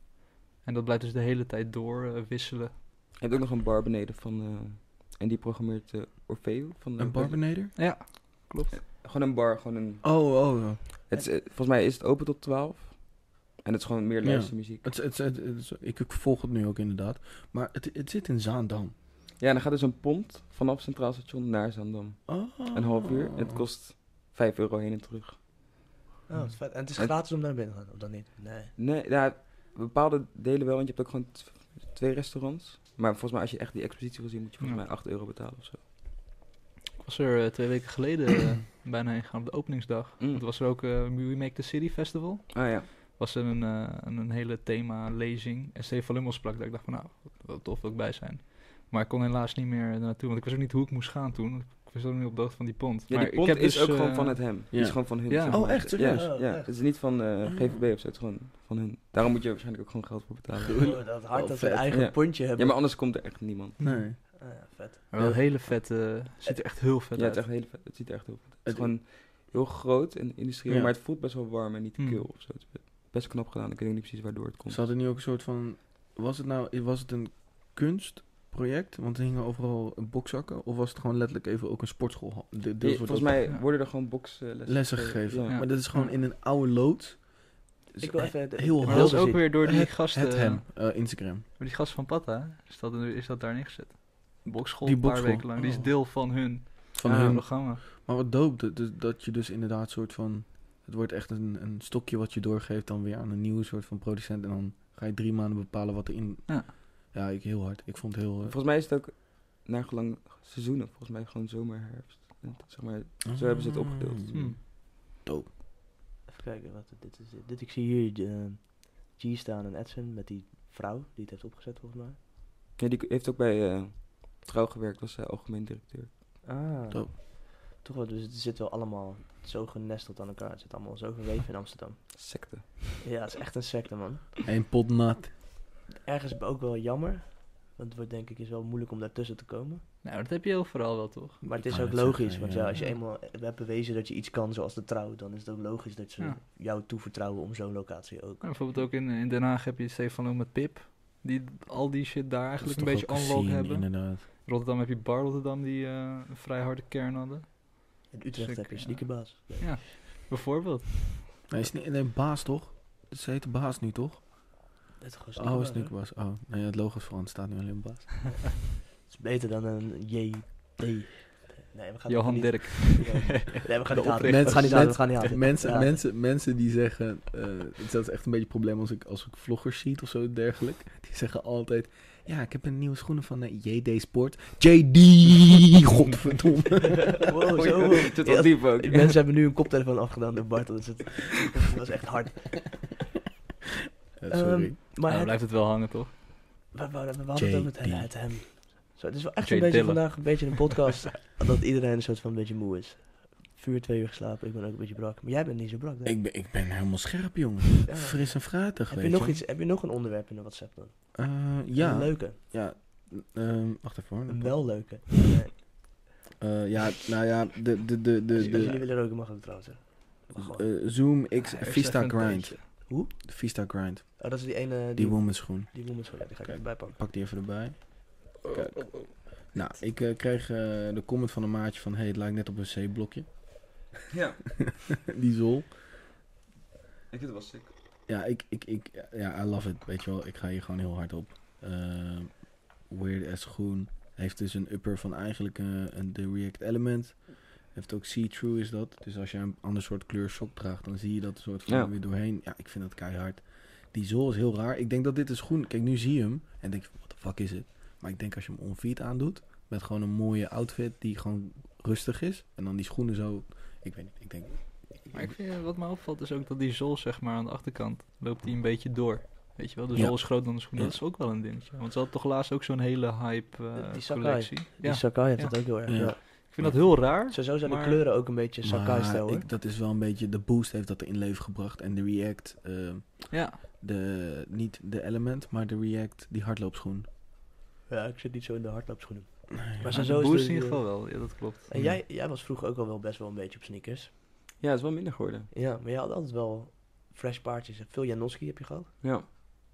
C: En dat blijft dus de hele tijd door eh, wisselen.
D: Je hebt ook nog een bar beneden van... eh, en die programmeert eh, Orfeo. Van, eh,
B: Een barbenader?
C: Ja, klopt.
D: Gewoon een bar, gewoon een...
B: Oh, oh, oh.
D: Het is, eh, volgens mij is het open tot 12. En het is gewoon meer
B: Ja.
D: luistermuziek.
B: Het, het, het, het is- ik, ik volg het nu ook inderdaad. Maar het, het zit in Zaandam.
D: Ja, en dan gaat dus een pont vanaf Centraal Station naar Zandam.
B: Oh.
D: Een half uur. En het kost 5 euro heen en terug.
A: Oh, dat is vet. En het is
D: En-
A: gratis om naar binnen te gaan, of dan niet? Nee.
D: Nee, ja, bepaalde delen wel, want je hebt ook gewoon t- twee restaurants. Maar volgens mij, als je echt die expositie wil zien, moet je volgens
C: Ja.
D: mij 8 euro betalen of zo.
C: Ik was er eh, twee weken geleden eh, bijna heen gegaan op de openingsdag.
D: Mm.
C: Want er was er ook eh We Make the City Festival.
D: Ah ja.
C: was er een, eh, een, een hele thema-lezing. En Stefan Lummel sprak dat ik dacht van nou, wat, wat tof dat ik bij zijn. Maar ik kon helaas niet meer naartoe, want ik wist ook niet hoe ik moest gaan toen. Ik was ook niet op de hoogte van die pont.
D: Ja,
C: maar
D: die pont
C: ik heb
D: is
C: dus,
D: ook
C: eh,
D: gewoon van het hem. Die
B: ja.
D: is gewoon van hun.
C: Ja.
D: zeg
B: Oh,
D: maar.
B: echt? Serieus?
D: Ja,
A: Oh,
D: ja.
A: echt?
D: het is niet van eh, GVB of zo, het is gewoon van hun. Daarom moet je waarschijnlijk ook gewoon geld voor betalen.
A: Oh, dat hard
B: Wel
A: dat ze een
B: vet.
A: eigen
D: Ja.
A: pontje
D: Ja,
A: hebben.
D: maar anders komt er echt niemand.
B: Nee.
A: Ah, ja, vet.
C: maar wel een hele vette, ziet er echt heel vet
D: Ja, het,
C: uit.
D: is echt heel vet. het ziet er echt heel vet. Het is
B: Het-
D: gewoon heel groot en industrieel,
B: Ja.
D: maar het voelt best wel warm en niet te
C: Mm.
D: kil of zo. Het is best knap gedaan, ik weet ook niet precies waardoor het komt.
B: Ze hadden nu ook een soort van... Was het nou was het een kunstproject? Want er hingen overal bokzakken. Of was het gewoon letterlijk even ook een sportschool? De, deels
D: Ja,
B: wordt
D: volgens
B: ook
D: mij
C: Ja.
D: worden er gewoon bokslessen
B: lessen gegeven.
D: Ja.
B: Maar dat is gewoon in een oude lood. Dus
A: Ik wil even... het-
B: heel
A: het
C: Maar
B: hard.
A: beeld
C: dat is ook
A: zien.
C: weer door die
B: Het-
C: gasten,
B: het hem. eh, Instagram.
C: door die gasten van Patta, is dat, is dat daar neergezet. Een Bokschool,
B: Die
C: een paar
B: bokschool.
C: weken lang. Die is
B: Oh.
C: deel van hun,
B: Van
D: Ah,
C: van hun
B: hun.
C: programma.
B: Maar wat doop, dat, dat- dat je dus inderdaad soort van... Het wordt echt een, een stokje wat je doorgeeft dan weer aan een nieuwe soort van producent. En dan ga je drie maanden bepalen wat erin...
C: Ja.
B: Ja, ik, heel hard. Ik vond het heel... eh,
D: Volgens mij is het ook naar gelang seizoenen. Volgens mij gewoon zomer, herfst. En t- Zeg maar,
B: Ah.
D: zo hebben ze het
C: Hmm.
D: opgedeeld. Hmm.
B: Mm.
A: Even kijken, wat dit is. Dit, ik zie hier eh, G staan en Edson met die vrouw die het heeft opgezet volgens mij.
D: ja, die k- heeft ook bij eh, Trouw gewerkt, was zij algemeen directeur.
A: Ah.
B: Dope.
A: Toch wel, dus het zit wel allemaal zo genesteld aan elkaar. Het zit allemaal zo verweven in Amsterdam.
D: Secte.
A: Ja, het is echt een secte, man.
B: Eén pot nat.
A: Ergens ook wel jammer. Want het wordt denk ik is wel moeilijk om daartussen te komen.
C: Nou, dat heb je overal wel, toch?
A: Maar het
B: Ik
A: is
B: wou
A: ook
B: net
A: logisch.
B: zeggen,
A: want
B: ja.
A: ja, als je eenmaal hebt bewezen dat je iets kan zoals de trouw, dan is het ook logisch dat ze
C: Ja.
A: jou toevertrouwen om zo'n locatie ook.
C: Ja, bijvoorbeeld ook in, in Den Haag heb je Stefan Lul met Pip. Die al die shit daar eigenlijk een beetje onloop hebben.
B: Inderdaad.
C: Rotterdam heb je Bar Rotterdam die eh, een vrij harde kern hadden.
A: In Utrecht
C: Sick,
A: heb je
C: ja.
A: sneakerbaas. Ja.
C: Bijvoorbeeld.
B: Hij is niet... Nee, baas toch? Ze heet de baas nu toch?
A: Het is gewoon
B: Oh,
A: sneakerbaas, hè?
B: snoekbaas. Oh, nee, het logo is veranderd. staat nu alleen baas.
A: Het is beter dan een JD. Nee, we gaan
C: Johan
A: niet-
C: Dirk. Nou,
A: Nee, we gaan
C: De
A: niet aan.
C: oprichter.
A: We gaan niet aan. We gaan niet aan.
B: Mensen,
A: Ja.
B: mensen, mensen die zeggen, eh, dat is echt een beetje een probleem als ik, als ik vloggers zie of zo dergelijk. Die zeggen altijd, ja, ik heb een nieuwe schoenen van eh, JD Sport. JD, godverdomme.
A: Wow, zo.
D: Tot
A: Ja,
D: wat diep ook.
A: Die mensen hebben nu een koptelefoon afgedaan door Bart. Dat, is het, dat was echt hard.
B: Eh, sorry.
A: Ehm, Maar
C: Nou,
A: het-
C: blijft het wel hangen, toch?
A: we, we, we hadden het over het,
B: JD.
A: het hem. Zo, het is wel echt
C: J.
A: een beetje
C: Dilla.
A: vandaag een beetje een podcast dat iedereen een soort van een beetje moe is. Vuur twee uur geslapen, ik ben ook een beetje brak. Maar jij bent niet zo brak. denk ik.
B: ik, ben, ik ben helemaal scherp, jongen.
A: Ja.
B: Fris en fruitig,
A: Heb
B: weet
A: je, nog
B: je.
A: iets, heb je nog een onderwerp in de WhatsApp dan?
B: Eh, ja,
A: Een leuke.
B: ja. Ehm, wacht even hoor.
A: Een wel leuke.
B: Eh, ja, nou ja, de, de,
A: Dus
B: de, de,
A: als jullie
B: de
A: willen roken, mag dat trouwens. hè. Maar gewoon-
B: eh, Zoom X
C: Ja, er is
B: Vista
C: even een
B: Grind.
C: tandje.
B: De Vista Grind.
A: Oh, dat is die ene... Die,
B: Die
A: die,
B: woman schoen.
A: woman, sorry, die ga ik
B: Kijk.
A: even bijpakken.
B: Pak die even erbij. Kijk. Nou, ik eh, kreeg eh, de comment van een maatje van... hey, het lijkt net op een C-blokje.
D: Ja,
B: Die zol.
D: ik vind het wel sick.
B: Ja, ik, ik, ik... Ja, I love it. Weet je wel, ik ga hier gewoon heel hard op. Eh, Weird Ass Groen heeft dus een upper van eigenlijk eh, een de React Element. Heeft ook see-through is dat. Dus als je een ander soort kleur sok draagt... dan zie je dat soort van
D: Ja.
B: weer doorheen. Ja, ik vind dat keihard. Die zol is heel raar. Ik denk dat dit is groen... Kijk, nu zie je hem en denk je... What the fuck is het? Maar ik denk als je hem on-feet aandoet... met gewoon een mooie outfit die gewoon rustig is... en dan die schoenen zo... Ik weet niet, ik denk...
C: Maar ik vind, eh, wat mij opvalt is ook dat die zool, zeg maar, aan de achterkant loopt die een beetje door. Weet je wel, de
B: Ja.
C: zool is groter dan de schoen.
B: Ja.
C: Dat is ook wel een dingetje. Want ze had toch laatst ook zo'n hele hype eh,
A: Die Sakai.
C: collectie.
A: Die
C: Ja,
A: Sakai heeft
C: Ja.
A: dat ook heel erg.
B: Ja.
A: Ja.
C: ik vind dat heel raar.
A: Sowieso zijn
C: Maar-
A: de kleuren ook een beetje Sakai-stijl,
B: Maar
A: hoor.
B: ik, dat is wel een beetje... De boost heeft dat in leven gebracht. En de React... eh,
C: Ja,
B: de, niet de element, maar de React, die hardloopschoen.
A: Ja, ik zit niet zo in de hardloopschoenen. Maar
C: maar
A: zo- zo is
C: boost
A: de-
C: in ieder geval wel. Ja, dat klopt.
A: En
B: Ja.
A: jij, jij was vroeger ook al wel best wel een beetje op sneakers.
D: Ja, het is wel minder geworden.
A: Ja, maar jij had altijd wel fresh paardjes. Veel Janoski heb je gehad.
D: Ja.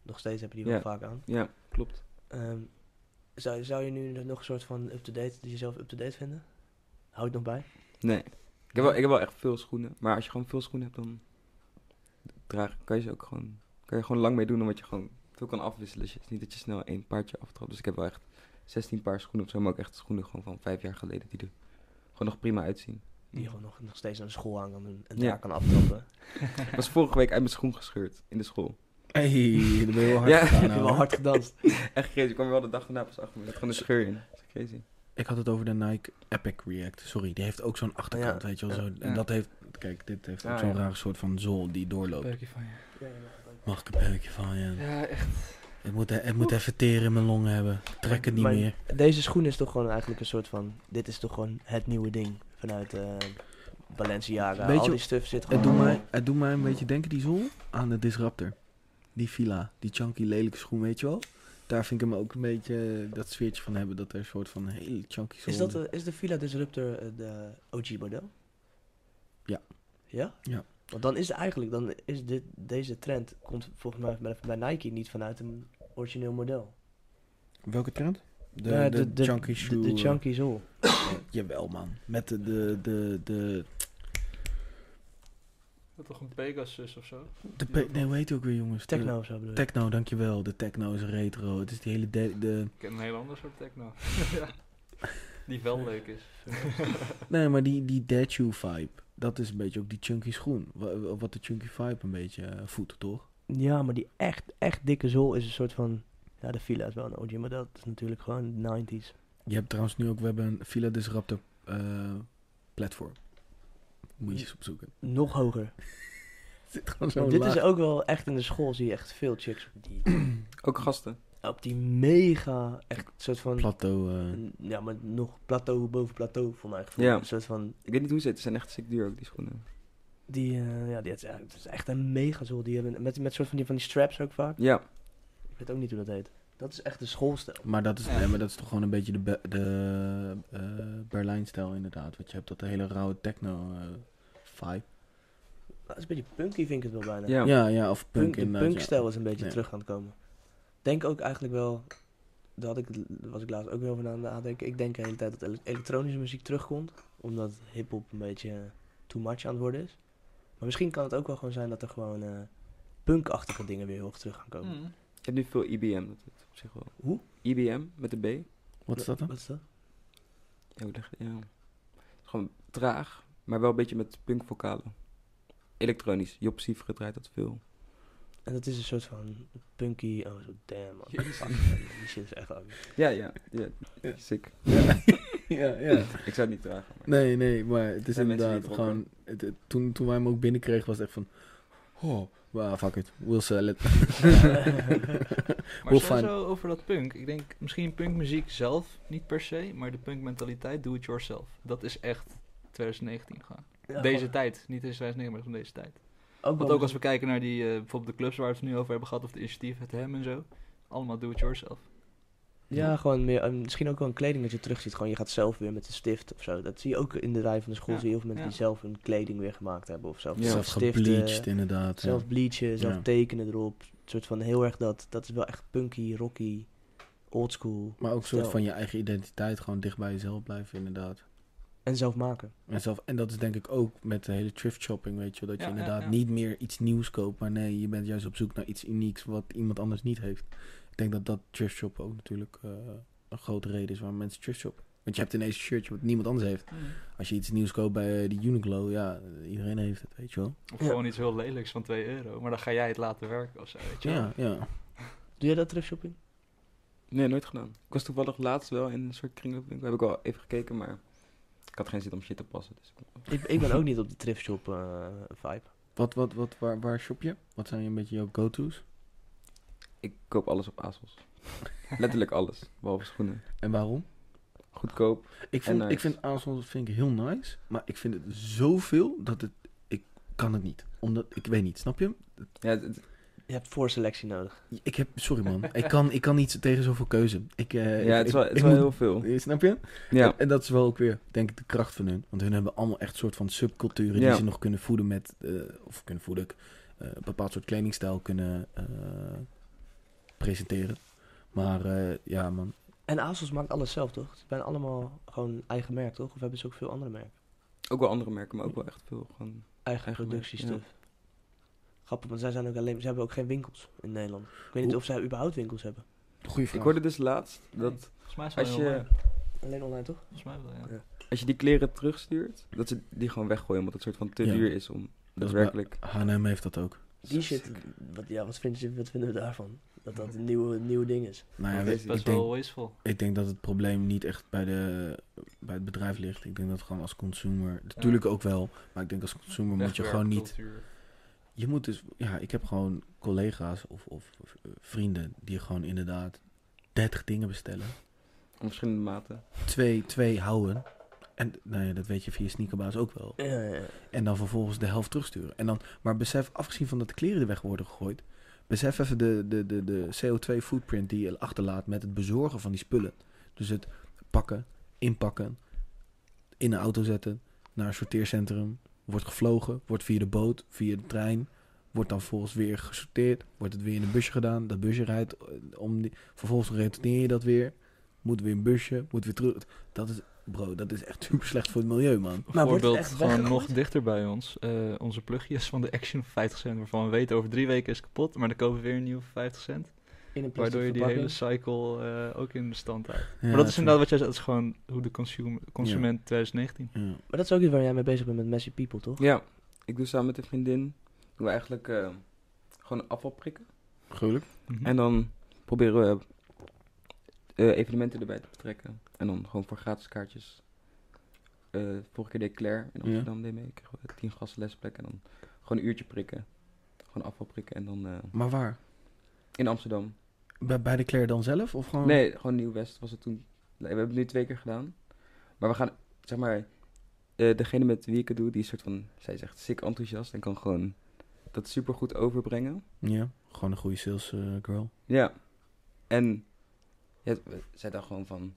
A: Nog steeds heb je die
D: Ja.
A: wel vaak aan.
D: Ja, klopt.
A: Ehm, zou, zou je nu nog een soort van up-to-date, dus jezelf up-to-date vinden? Houd het nog bij?
D: Nee. Ik heb, wel, ik heb wel echt veel schoenen. Maar als je gewoon veel schoenen hebt, dan draag, kan je ze ook gewoon, kan je gewoon lang mee doen. Omdat je gewoon veel kan afwisselen. Dus het is niet dat je snel één paardje aftrapt. Dus ik heb wel echt 16 paar schoenen of zo. Maar ook echt schoenen gewoon van vijf jaar geleden. Die er gewoon nog prima uitzien.
A: Die je gewoon nog, nog steeds naar de school aan kan doen en
D: Ja.
A: daar kan aftrappen.
D: Ik was vorige week uit mijn schoen gescheurd in de school.
B: Hey, dat ben je wel hard
D: Ja.
B: gegaan,
A: heb je wel
B: ouwe.
A: hard gedanst.
D: Echt crazy. Ik kwam wel de dag daarna pas achter me. Er zat gewoon een scheur in. Dat is crazy.
B: Ik had het over de Nike Epic React. Sorry, die heeft ook zo'n achterkant, weet je wel.
D: Ja.
B: Zo, en
C: Ja.
B: dat heeft, kijk, dit heeft ook
D: Ja,
B: zo'n
D: ja.
B: rare soort van zool die doorloopt.
C: Peukje van je.
B: Mag ik een peukje van je?
C: Ja, echt.
B: Ik moet, ik moet even teren in mijn longen hebben. Ik trek het niet
A: Maar-
B: meer.
A: Deze schoen is toch gewoon eigenlijk een soort van... Dit is toch gewoon het nieuwe ding vanuit eh, Balenciaga.
B: Weet je-
A: Al die stuff zit gewoon...
B: Het doet, mij, het doet mij een beetje denken, die zool, aan de Disruptor. Die villa, die chunky lelijke schoen, weet je wel. Daar vind ik hem ook een beetje eh, dat sfeertje van hebben. Dat er een soort van hele chunky zool...
A: Is, dat, eh, de- is de Villa Disruptor eh, de OG-model?
B: Ja.
A: Ja?
B: Ja.
A: Want dan is het eigenlijk... Dan is dit, deze trend komt volgens mij bij, bij Nike niet vanuit een origineel model.
B: Welke trend? De,
A: Ja,
B: de, chunky shoe.
A: De,
B: eh,
A: chunky zool.
B: Jawel, man. Met de, de, de, de,
C: Dat toch een Pegasus of zo?
B: de pe- Nee, hoe heet die ook weer, jongens? De-
A: Techno of zo bedoel ik.
B: Techno, dankjewel. De techno is retro. Het is die hele... De, de...
C: Ik ken een heel ander soort techno. Ja. Die wel leuk is.
B: Nee, maar die, die dead shoe vibe. Dat is een beetje ook die chunky schoen. Wa- wa- Wat de chunky vibe een beetje eh, voedt, toch?
A: Ja, maar die echt, echt dikke zool is een soort van... Ja, de Villa is wel een OG, maar dat is natuurlijk gewoon 90s.
B: Je hebt trouwens nu ook... We hebben een Fila Disruptor eh, platform. Moet je eens opzoeken.
A: Nog hoger.
B: Zit gewoon
A: Maar
B: zo
A: dit
B: laag.
A: is ook wel echt in de school zie je echt veel chicks op die,
D: Ook gasten.
A: op die mega, echt soort van...
B: Plateau... eh,
A: ja, maar nog plateau boven plateau voor mij gevoel.
D: Ja.
A: Een soort van...
D: Ik weet niet hoe ze het. Ze zijn echt sick duur ook, die schoenen.
A: Die, eh, ja, die het is, echt- het is echt een mega zool. Die hebben met, met soort van die, van die straps ook vaak.
D: Ja.
A: Ik weet ook niet hoe dat heet. Dat is echt de schoolstijl.
B: Maar dat, is,
C: Ja.
B: nee, maar dat is toch gewoon een beetje de, Be- de eh, Berlijn-stijl inderdaad. Want je hebt dat hele rauwe eh, techno-vibe.
A: Dat is een beetje punky vind ik het wel bijna.
D: Ja.
B: ja, ja, of punk, eh,
A: Punk, de
B: inderdaad, ja.
A: punkstijl is een beetje
B: Ja.
A: terug aan het komen. Denk ook eigenlijk wel... Daar had ik, was ik laatst ook weer over na aan het nadenken. Ik denk de hele tijd dat ele- elektronische muziek terugkomt. Omdat hip-hop een beetje too much aan het worden is. Maar misschien kan het ook wel gewoon zijn dat er gewoon eh, punkachtige dingen weer heel erg terug gaan komen.
C: Hmm.
D: Je hebt nu veel IBM. Dat is op zich wel.
A: Hoe?
D: IBM met de B.
B: Wat is dat dan?
A: Wat is dat?
D: Ja, hoe leg je- ja. Gewoon traag, maar wel een beetje met punkvokalen. Elektronisch. Job Sievre draait dat veel.
A: En dat is een soort van punky... Oh, zo damn man.
C: Jezus.
A: Fuck, man, die shit is echt ugly.
D: Ja, ja. ja. Sick.
B: ja, ja.
D: Ik zou het niet dragen. maar-
B: Nee, nee, maar het is
D: Zijn mensen
B: inderdaad
D: die het rocken?
B: gewoon... het- het- toen, toen wij hem ook binnenkregen was het echt van... Oh, well, fuck it. We'll sell it.
C: Maar
B: Hoe
C: sowieso over dat punk. Ik denk misschien punkmuziek zelf niet per se, maar de punkmentaliteit, do it yourself. Dat is echt 2019 gaan.
A: Ja,
C: deze
A: gewoon-
C: tijd, niet in 2019, maar van deze tijd.
A: Ook
C: Want
A: wel-
C: ook als we kijken naar die, eh, bijvoorbeeld de clubs waar we het nu over hebben gehad, of de initiatief, het hem en zo. Allemaal do it yourself.
A: Ja, gewoon meer, en misschien ook wel een kleding dat je terug ziet. Gewoon je gaat zelf weer met een stift of zo. Dat zie je ook in de rij van de school.
C: Ja,
A: Zie je heel veel mensen
C: ja.
A: die zelf hun kleding weer gemaakt hebben of zelf,
D: Ja.
A: zelf
B: Zelf
A: stiften.
B: gebleached inderdaad. ja.
A: Zelf bleachen, zelf
B: Ja.
A: tekenen erop. Een soort van heel erg dat. Dat is wel echt punky, rocky, oldschool.
B: Maar ook een soort
A: Stel.
B: van je eigen identiteit. Gewoon dicht bij jezelf blijven inderdaad.
A: En zelf maken.
B: En, zelf, en dat is denk ik ook met de hele thrift shopping, weet je. wel,
C: Ja,
B: Dat je
C: ja,
B: inderdaad
C: ja.
B: niet meer iets nieuws koopt. Maar nee, je bent juist op zoek naar iets unieks wat iemand anders niet heeft. Ik denk dat dat thrift shoppen ook natuurlijk eh, een grote reden is waarom mensen thrift shoppen. Want je hebt ineens een shirtje wat niemand anders heeft. Als je iets nieuws koopt bij eh, de Uniqlo, ja, iedereen heeft het, weet je wel.
C: Of
A: Ja.
C: gewoon iets heel lelijks van 2 euro, maar dan ga jij het laten werken of zo, weet je wel.
B: Ja, ja.
A: Doe jij dat thrift shopping?
D: Nee, nooit gedaan. Ik was toevallig laatst wel in een soort kringloopwinkel. Heb ik al even gekeken, maar ik had geen zin om shit te passen. Dus ik-
A: Ik, ik ben ook niet op die thrift shop eh, vibe.
B: Wat, wat, wat, waar, waar shop je? Wat zijn een beetje jouw go-to's?
D: ik koop alles op ASOS. Letterlijk alles, behalve schoenen.
B: En waarom?
D: Goedkoop.
B: Ik, vond,
D: nice.
B: ik vind Amazon vind ik heel nice, maar ik vind het zoveel dat het, ik kan het niet. Omdat, ik weet niet, snap je?
D: Ja, het- het-
A: Je hebt voorselectie nodig.
B: Ik heb, sorry man, ik kan, ik kan niet tegen zoveel keuze. Ik, eh,
D: ja,
B: ik-
D: het is wel,
B: ik-
D: het is
B: ik
D: wel heel
B: moet-
D: veel.
B: Snap je?
D: Ja.
B: En dat is wel ook weer, denk ik, de kracht van hun. Want hun hebben allemaal echt soort van subculturen
D: Ja.
B: die ze nog kunnen voeden met, eh, of kunnen voeden, eh, een bepaald soort kledingstijl kunnen eh, presenteren. Maar eh, ja, man.
A: En ASOS maakt alles zelf, toch? Het zijn allemaal gewoon eigen merk, toch? Of hebben ze ook veel andere merken?
D: Ook wel andere merken, maar ook wel echt veel. Gewoon...
A: Eigen,
D: Eigen
A: productiestuff.
D: merk,
A: Grappig, want zij zijn ook alleen, ze hebben ook geen winkels in Nederland. Ik weet niet
B: Hoe-
A: of zij überhaupt winkels hebben.
B: Goeie
D: Ik
B: vraag.
D: hoorde dus laatst dat
C: Volgens mij is
D: als je,
A: Alleen online, toch?
C: Volgens mij wel,
A: Ja.
C: ja.
D: als je die kleren terugstuurt, dat ze die gewoon weggooien, omdat het soort van te
B: Ja.
D: duur is om
B: Dat is
D: daadwerkelijk...
B: H&M heeft dat ook.
A: Die shit, wat, ja, wat, vinden ze, wat vinden we daarvan? Dat dat een nieuwe, nieuw ding is.
B: Nou ja,
D: Dat
B: we-
D: is
B: ik,
C: Best
B: denk,
C: wel wasteful.
B: ik denk dat het probleem niet echt bij, de, bij het bedrijf ligt. Ik denk dat het gewoon als consumer... Natuurlijk ook wel, maar ik denk als consumer moet je gewoon niet... Je moet dus... Ja, ik heb gewoon collega's of, of, of, eh, vrienden die gewoon inderdaad 30 dingen bestellen.
D: Om verschillende maten.
B: Twee, twee houden. En nou ja, dat weet je via Sneakerbaas ook wel.
A: Ja, ja, ja.
B: En dan vervolgens de helft terugsturen. En dan, maar besef, afgezien van dat de kleren er weg worden gegooid... besef even de, de, de, de CO2-footprint die je achterlaat met het bezorgen van die spullen. Dus het pakken, inpakken, in een auto zetten, naar een sorteercentrum... wordt gevlogen, wordt via de boot, via de trein... wordt dan vervolgens weer gesorteerd, wordt het weer in een busje gedaan... dat busje rijdt, eh, om die, vervolgens retourneer je dat weer... moet weer een busje, moet weer terug... Dat is, bro, dat is echt super slecht voor het milieu, man.
A: Maar
C: Maar
A: wordt het
C: voorbeeld
A: echt
C: gewoon
A: weggegooid?
C: nog dichter bij ons. Eh, onze plugjes van de Action van 50 cent, waarvan we weten over drie weken is kapot, maar dan kopen we weer een nieuwe van 50 cent.
A: In een
C: Waardoor je die
A: plastic
C: hele
A: verpakking.
C: cycle eh, ook in de stand houdt.
B: Ja,
C: maar dat is
B: true.
C: inderdaad wat jij zegt, dat is gewoon hoe de consum- consument 2019.
B: Ja.
A: Maar dat is ook iets waar jij mee bezig bent met Messy People, toch?
D: Ja, ik doe samen met een vriendin, doen we eigenlijk eh, gewoon afval prikken.
B: Gruwelijk.
C: Mhm.
D: En dan proberen we eh, evenementen erbij te betrekken. En dan gewoon voor gratis kaartjes. Eh, vorige keer deed Claire in
B: Ja.
D: Amsterdam deed mee. Kregen we tien gasten lesplek en dan gewoon een uurtje prikken. Gewoon afval prikken en dan eh,
B: Maar waar?
D: in Amsterdam.
B: Bij, bij de Claire dan zelf? Of gewoon...
D: Nee, gewoon Nieuw-West was het toen. Nee, we hebben het nu twee keer gedaan. Maar we gaan, zeg maar, eh, degene met wie ik het doe, die is soort van, zij is echt sick enthousiast en kan gewoon dat supergoed overbrengen.
B: Ja, gewoon een goede sales eh, girl.
D: Ja. En ja, we- zij dacht gewoon van,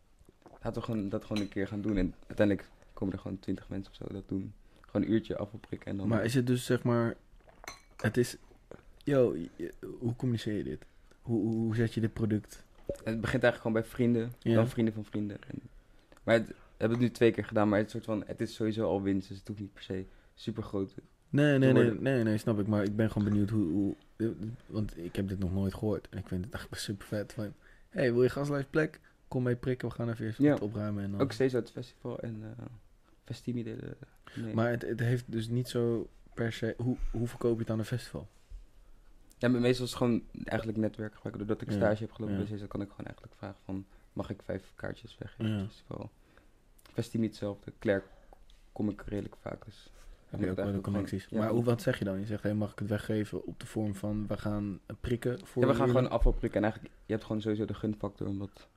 D: laten we gewoon, dat gewoon een keer gaan doen. En uiteindelijk komen er gewoon twintig mensen of zo dat doen. Gewoon een uurtje afvalprikken en dan...
B: Maar is het dus zeg maar... Het is... Yo, je- hoe communiceer je dit? Hoe, hoe, hoe zet je dit product?
D: Het begint eigenlijk gewoon bij vrienden,
B: Ja.
D: dan vrienden van vrienden. En, maar het, we hebben het nu twee keer gedaan, maar het, soort van, het is sowieso al winst, dus het hoeft niet per se super groot.
B: Nee, nee,
D: Door
B: nee,
D: de-
B: nee, nee, snap ik. Maar ik ben gewoon benieuwd hoe... hoe want ik heb dit nog nooit gehoord. En ik vind het echt super vet. Van, hey, wil je gaslijfplek? Kom mee prikken, we gaan even eerst
D: Ja.
B: wat opruimen. En dan...
D: Ook steeds uit het festival en eh Festimi deden... eh, Nee.
B: Maar het, het heeft dus niet zo per se... Hoe, hoe verkoop je het aan een festival?
D: Ja, maar meestal is het gewoon eigenlijk netwerk gebruiken. Doordat ik
B: Ja,
D: stage heb gelopen
B: ja.
D: bij CESA, kan ik gewoon eigenlijk vragen van... Mag ik vijf kaartjes weggeven?
B: Ja.
D: Ja. Festival. Festimi hetzelfde. Klerk kom ik redelijk vaak, dus...
B: Heb je ook wel
D: dat
B: de
D: eigenlijk gewoon-
B: connecties.
D: ja,
B: maar
D: dan-
B: hoe, wat zeg je dan? Je zegt, hey, mag ik het weggeven op de vorm van... We gaan prikken voor
D: Ja, we gaan
B: jullie?
D: gewoon afval prikken. En eigenlijk, je hebt gewoon sowieso de gunfactor, omdat...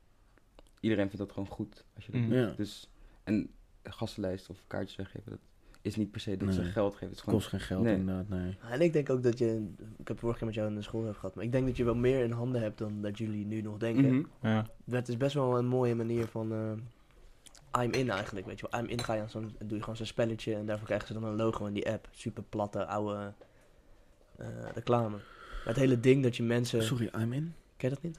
D: Iedereen vindt dat gewoon goed, als je dat
C: Mm.
D: doet.
B: Ja.
D: Dus, en gastenlijst of kaartjes weggeven, dat is niet per se dat ze
B: Nee.
D: geld geven. Het
B: Het
D: is gewoon...
B: kost geen geld
D: Nee.
B: inderdaad, nee.
A: En ik denk ook dat je, ik heb vorige keer met jou in de school heb gehad, maar ik denk dat je wel meer in handen hebt dan dat jullie nu nog denken.
D: Mhm.
C: Ja.
A: Dat is best wel een mooie manier van eh, I'm in eigenlijk, weet je wel. I'm in ga je aan zo'n, doe je gewoon zo'n spelletje en daarvoor krijgen ze dan een logo in die app. Super platte, oude eh, reclame. Maar het hele ding dat je mensen,
B: Sorry, I'm in.
A: ken je dat niet?